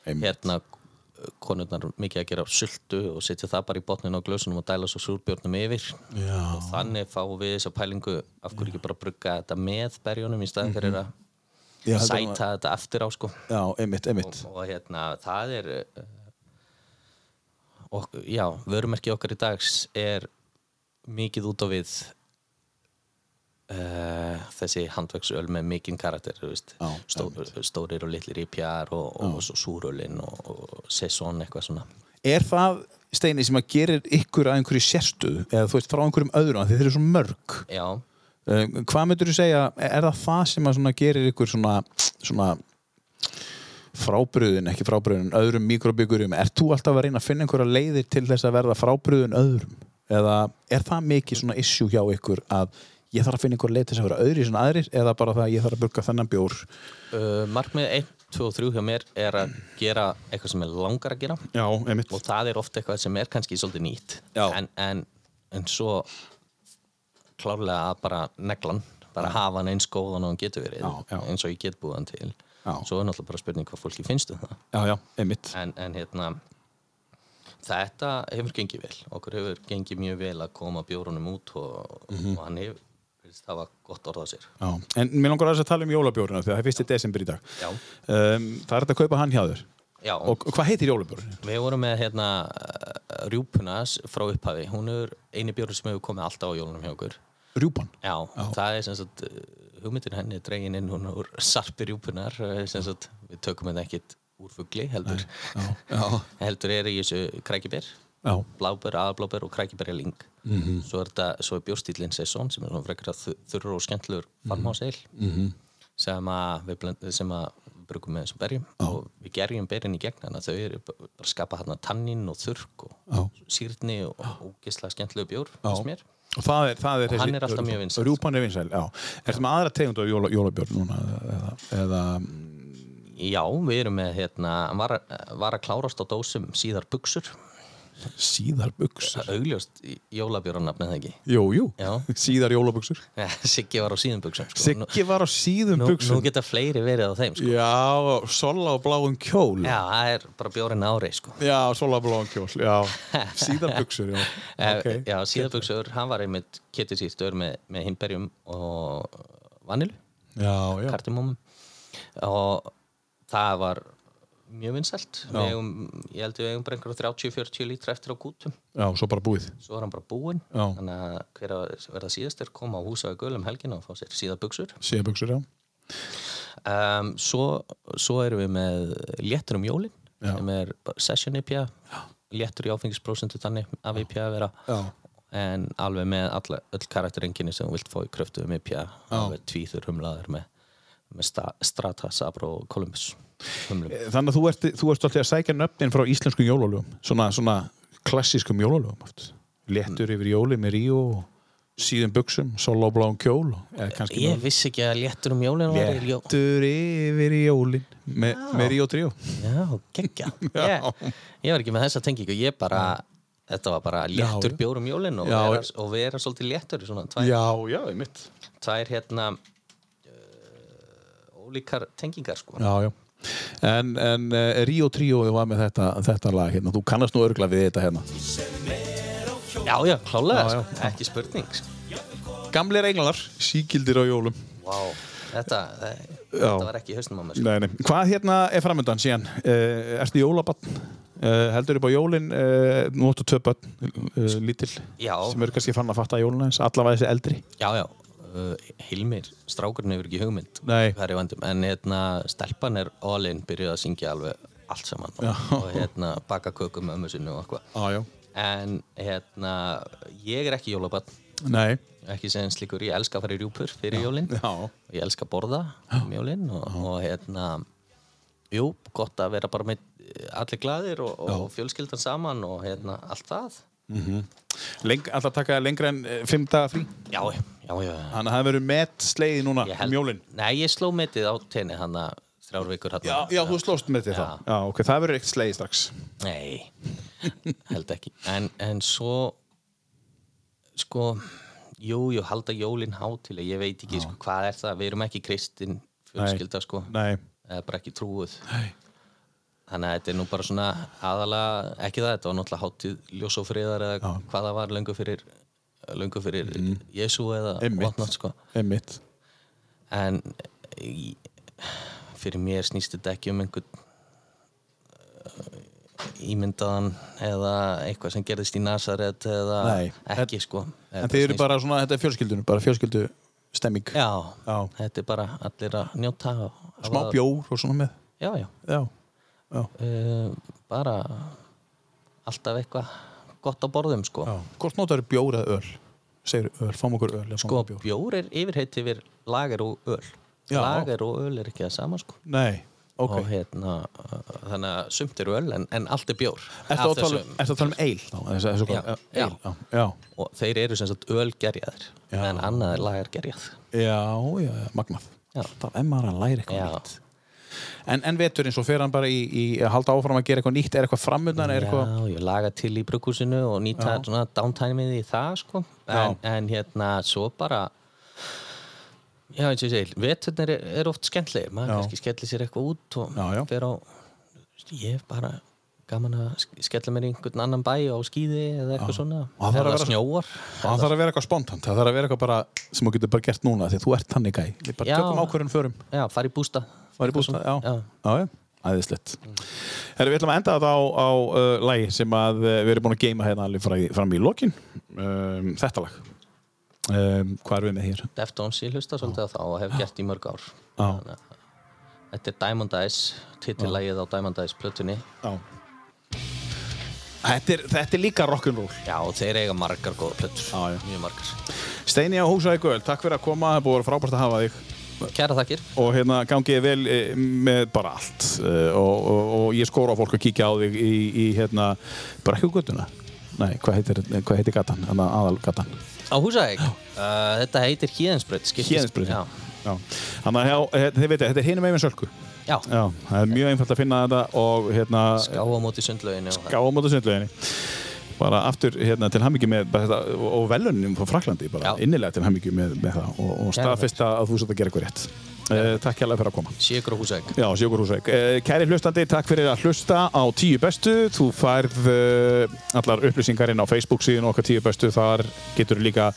Speaker 2: einmitt.
Speaker 3: hérna uh, konurnar mikið að gera sultu og setja það bara í botnin á glösunum og dæla svo súrbjörnum yfir Já. og þannig fáum við þessa pælingu af hverju ekki bara brugga þetta með berjónum í staðin fyrir Mhm. að
Speaker 2: Já, þetta var-
Speaker 3: sæta þetta eftir á sko
Speaker 2: já, einmitt, einmitt
Speaker 3: og hérna það er uh, ok, já, vörumerki okkar í dags er mikið út á við uh, þessi handverksöl með mikinn karakter þú veist,
Speaker 2: Já,
Speaker 3: Stó, stórir og litlir í pjar og, og, og svo súrölin og, og sesón eitthvað svona
Speaker 2: er það steini sem að gerir ykkur að einhverju sérstuð eða þú veist frá einhverjum öðrum af því þeir eru svo mörg
Speaker 3: já,
Speaker 2: Uh, hvað myndur þú segja, er það það sem að svona gerir ykkur svona, svona frábriðin, ekki frábriðin öðrum mikrobyggurum, er þú alltaf að reyna að finna einhverja leiðir til þess að verða frábriðin öðrum eða er það mikið svona issue hjá ykkur að ég þarf að finna einhverja leið til þess að vera öðri sem aðrir eða bara það að ég þarf að burka þennan bjór
Speaker 3: uh, markmið 1, 2 og 3 hjá mér er að gera eitthvað sem er langar að gera
Speaker 2: Já, einmitt
Speaker 3: og það er ofta eitthvað sem er kannski svolítið nýtt
Speaker 2: Já.
Speaker 3: en, en, en svo klárlega að bara neglan bara hafa hann eins góðan og hann getur verið
Speaker 2: Já, já.
Speaker 3: eins og ég get búið hann til
Speaker 2: Já.
Speaker 3: svo er náttúrulega bara spurning hvað fólki finnst um það
Speaker 2: já, já, einmitt
Speaker 3: en, en hérna þetta hefur gengið vel okkur hefur gengið mjög vel að koma bjórunum út og,
Speaker 2: Mhm.
Speaker 3: og hann hefur virðist hafa gott orð á sér
Speaker 2: já. en mér langar aðeins að tala um jólabjóruna því að það er fyrst í desember í dag
Speaker 3: Já.
Speaker 2: um, það er hægt að kaupa hann hjá þér
Speaker 3: Já,
Speaker 2: og hvað heitir jólabjórun?
Speaker 3: við vorum með hérna eh, rjúpuna s- frá upphafi hún er eini bjórun sem hefur komið alltaf á jólunum hjá okkur
Speaker 2: Rjúpan
Speaker 3: Já, það er sem sagt eh, hugmyndin henni er dregin inn hún úr sarpi rjúpunar eh, sem sagt við tökum henni ekkit úr fugli heldur heldur er í þessu krækibér
Speaker 2: Já.
Speaker 3: blábér, aðblábér og krækibér er ling -hmm. svo er þetta, svo er bjórstílinn sesón sem er svona frekar að þurru og skemmtlur farmáseil mm -hmm. sem að við blend, sem að við brugum með þessum berjum og við gerjum berjum í gegn þannig að þau eru b- bara að skapa hérna tannin og þurrk og
Speaker 2: Já.
Speaker 3: sírni og, og gísla skemmtlegu bjór finnst mér
Speaker 2: og það er, það er
Speaker 3: Og hann er alltaf mjög vinsæll.
Speaker 2: Rjúpan er vinsæl, já Ertu með aðra tegund af jóla, jólabjórn núna eða, eða mm,
Speaker 3: Já, við erum með hérna, hann var, var að klárast á dósum síðar buksur,
Speaker 2: síðarbuksur?
Speaker 3: augljóst jólabjörnarnafn eða ekki.
Speaker 2: Jú, jú,
Speaker 3: Já.
Speaker 2: síðar jólabuksur
Speaker 3: Siggi var á síðum buksum sko. Nú-
Speaker 2: Siggi var á síðum
Speaker 3: nú,
Speaker 2: buksum
Speaker 3: nú geta fleiri verið á þeim sko.
Speaker 2: Já, sola á bláum kjól
Speaker 3: Já, það er bara bjórinn ári sko.
Speaker 2: Já, sola á bláum kjól, já Síðarbuksur, já
Speaker 3: okay.
Speaker 2: Ok.
Speaker 3: Eh, Já, síðar buksur, hann var einmitt kettir sístur með, með himberjum og vanilu,
Speaker 2: Já, já,
Speaker 3: kartimómum og það var mjög vinsælt Við eigum- ég held við eigum bara einhverja 30-40 lítra eftir á gútum
Speaker 2: já, svo bara búið
Speaker 3: svo er hann bara búinn
Speaker 2: Já.
Speaker 3: þannig að hver að verða síðastur koma á húsa að gulum helgina og fá sér síða buksur
Speaker 2: Síðarbuksur, já
Speaker 3: um, svo, svo erum við með léttur um jólin sem er bara session IPA léttur í áfengisprósentu þannig af IPA að vera
Speaker 2: Já.
Speaker 3: en alveg með alla, öll karakterenginni sem þú vilt fá í kröftu um IPA alveg tvíþur humlaður með, með sta, Strata, Sabro og Columbus humlum
Speaker 2: Þannig að þú ert, þú ert alltaf að sækja nöfnin frá íslenskum jólalögum svona, svona klassískum jólalögum oft. Léttur yfir jóli með ríu og síðum buksum, sola á bláum kjól og- eða kannski
Speaker 3: ég vissi ekki að léttur um jólin var í ljó
Speaker 2: Léttur yfir jólin Me, með ríu og tríu
Speaker 3: Já, geggja ég, ég var ekki með þessa tengingu Ég bara, þetta var bara léttur
Speaker 2: Já.
Speaker 3: bjór um jólin og,
Speaker 2: Já.
Speaker 3: vera, og vera svolítið léttur í svona tvær,
Speaker 2: Já, já, einmitt
Speaker 3: tvær hérna uh, ólíkar tengingar sko
Speaker 2: Já, já En, en uh, Ríó Tríói var með þetta, þetta lag hérna, þú kannast nú örgla við þetta hérna
Speaker 3: Já, já, klálega, sko. ekki spurning sko.
Speaker 2: Gamlir englar, síkildir á jólum
Speaker 3: wow. þetta, eh,
Speaker 2: Já.
Speaker 3: þetta var ekki í hausnum á mér sko.
Speaker 2: nei, nei. Hvað hérna er framöndan síðan? Uh, ertu jólabann? Uh, heldur upp á jólin uh, nú áttu tvö börn uh, lítil
Speaker 3: Já.
Speaker 2: sem eru kannski fann að fatta jólina eins allavega þessi eldri
Speaker 3: Já, já, uh, Hilmir strákurinn hefur ekki hugmynd
Speaker 2: Nei.
Speaker 3: Hvar í vændum. en hérna, stelpan er all-in byrjuð að syngja alveg allt saman og hérna, baka kökum ömmu sinni og eitthvað
Speaker 2: ah,
Speaker 3: En hérna, ég er ekki jólabann,
Speaker 2: Nei,
Speaker 3: ekki sem slíkur, ég elska að fara í rjúpur fyrir jólinn
Speaker 2: já.
Speaker 3: og ég elska að borða um jólinn og, og hérna, jú, gott að vera bara með eh, allir glaðir og, og fjölskyldan saman og hérna, allt það.
Speaker 2: Leng, alltaf taka lengra en uh, fimm daga frí
Speaker 3: Já, já, já. já.
Speaker 2: Þannig að það verður met sleið núna
Speaker 3: Ég
Speaker 2: um jólin
Speaker 3: Nei, ég sló metið á tenni hann að þrjár vikur hann.
Speaker 2: Já, já, þú slóst með þetta
Speaker 3: Já.
Speaker 2: Já, ok, það verður eitt sleið strax
Speaker 3: Nei, held ekki en, en svo sko, jú, jú, halda jólin hátileg, ég veit ekki, sko, hvað er það við erum ekki kristin fjölskylda, sko
Speaker 2: Nei,
Speaker 3: eða bara ekki trúið Nei. þannig að þetta er nú bara svona aðalega, ekki það, þetta var náttúrulega hátíð ljós og friðar eða hvað það var löngu fyrir löngu fyrir mm. Jésu eða
Speaker 2: Einmitt.
Speaker 3: whatnot, sko
Speaker 2: einmitt
Speaker 3: en í- fyrir mér snýst þetta ekki um einhvern uh, ímyndaðan eða eitthvað sem gerðist í Nasaret eða
Speaker 2: Nei,
Speaker 3: ekki sko
Speaker 2: En þið eru bara svona, þetta er fjölskyldunum, bara fjölskyldu stemming
Speaker 3: já,
Speaker 2: Já.
Speaker 3: þetta er bara allir að njóta og hafa-
Speaker 2: Smá bjór og svona með
Speaker 3: já, já,
Speaker 2: Já,
Speaker 3: uh, bara alltaf eitthvað gott á borðum sko
Speaker 2: já Hvort notar bjór eða öl? Segir öl, fáum okkur öl eða fáum
Speaker 3: sko,
Speaker 2: okkur bjór
Speaker 3: bjór er yfirheit yfir lager og öl
Speaker 2: Já.
Speaker 3: lager og öl er ekki það sama sko
Speaker 2: Nei, ok
Speaker 3: og hérna, uh, þannig að sumt eru öl en, en allt er bjór
Speaker 2: Ertu
Speaker 3: Af
Speaker 2: að, tala,
Speaker 3: þessu-
Speaker 2: ertu að tala um eil? þá? Þessu- þessu-
Speaker 3: Já,
Speaker 2: eil,
Speaker 3: já.
Speaker 2: já, já,
Speaker 3: og þeir eru sem sagt ölgerjaðir en annað er lagergerjað
Speaker 2: já, já, já, magnað
Speaker 3: Já.
Speaker 2: Það er maður að læra eitthvað
Speaker 3: Já.
Speaker 2: nýtt En, en veturinn, svo fer hann bara í, í að halda áfram að gera eitthvað nýtt Er eitthvað framöndan, er eitthvað
Speaker 3: Já, ég laga til í brukhúsinu og nýta svona downtimeið í það sko. en, en hérna svo bara Já, eins og ég segi, veturnir er, er oft skemmtlegir maður
Speaker 2: Já.
Speaker 3: kannski skellir sér eitthvað út og
Speaker 2: Já, já.
Speaker 3: fer á ég er bara gaman að sk- skella mér í einhvern annan bæ á skíði eða eitthvað svona
Speaker 2: Og það þarf
Speaker 3: eða
Speaker 2: að vera-
Speaker 3: snjóar
Speaker 2: Og það þarf að vera eitthvað spontant, það þarf að vera eitthvað bara sem þú getur bara gert núna því að þú ert þannig gæ Við bara
Speaker 3: Já.
Speaker 2: tökum ákvörðun förum,
Speaker 3: já, fara í bústa
Speaker 2: var í bústa, já
Speaker 3: Já.
Speaker 2: Já, já, æðislegt Herra, við ætlum að enda þetta á, á uh, lagi sem að uh, við erum búin að geima hérna alveg fram í, fram í lokin um, Þetta lag um, Hvað erum við með hér?
Speaker 3: Deftones ég hlusta svolítið á þá og hef gert í mörg ár
Speaker 2: Já.
Speaker 3: Þannig að Þetta er Diamond Eyes, titillægið á Diamond Eyes plötunni
Speaker 2: Já Þetta er, þetta er líka rock'n'roll
Speaker 3: Já, og þeir eiga margar góða plötur
Speaker 2: Já, já.
Speaker 3: mjög margar
Speaker 2: Steini á Húsæði Göl, takk fyrir að koma, það er búið að vera frábært að hafa þig
Speaker 3: Kæra þakkir
Speaker 2: og hérna gangið þið vel eh, með bara allt Eh, og, og, og ég skóra á fólk að kíkja á þig í, í hérna brekkugötuna Nei, hvað heitir, eh, hvað heitir gatan, hérna aðal gatan
Speaker 3: Á Húsæk, uh, þetta heitir Híðinsbröð
Speaker 2: Héðinsbröð
Speaker 3: Já,
Speaker 2: Þannig að eh, þið veitir, þetta er hinum megin með sölku Já,
Speaker 3: já.
Speaker 2: það er mjög einfalt að finna þetta og hérna
Speaker 3: ská á móti sundlöginu og það.
Speaker 2: gáðum á sundleginni bara aftur hérna, til hammingi með bara þetta, og- og velunum frá Fraklandi bara
Speaker 3: Já.
Speaker 2: innilega til hammingi með, með það og, og
Speaker 3: Kæra
Speaker 2: staðfest að þú satt að gera eitthvað rétt uh, Takk hérlega fyrir að koma
Speaker 3: Sjökur á Húsæk
Speaker 2: Já, Sigur Húsveik. Eh, Kæri hlustandi, takk fyrir að hlusta á Tíu Bestu. Þú færð eh, allar upplýsingarinn á Facebook síðan okkar Tíu Bestu. Þar getur líka,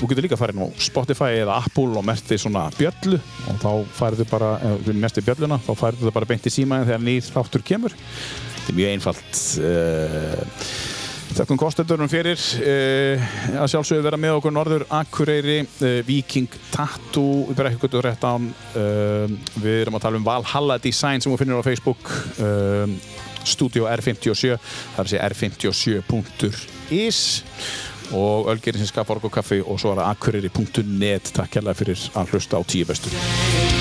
Speaker 2: þú getur líka farið á Spotify eða Apple og merti svona bjöllu og þá færðu bara, ef þú merti bjölluna, þá færðu það bara beint í símaðin þegar nýr þáttur kemur. Þetta er mjög einfalt. eh, Þakkum kostendurum fyrir uh, að sjálfsögðu vera með okkur Norður Akureyri, uh, Viking Tattoo, við brekkum guttu rétt án uh, við erum að tala um Valhalla Design sem þú finnir á Facebook uh, Studio R57 þar sé r57.is og Ölgerinn sem skapar okkur kaffi og svo er það akureyri.net takk hérlega fyrir að hlusta á tíu bestu
Speaker 1: Thank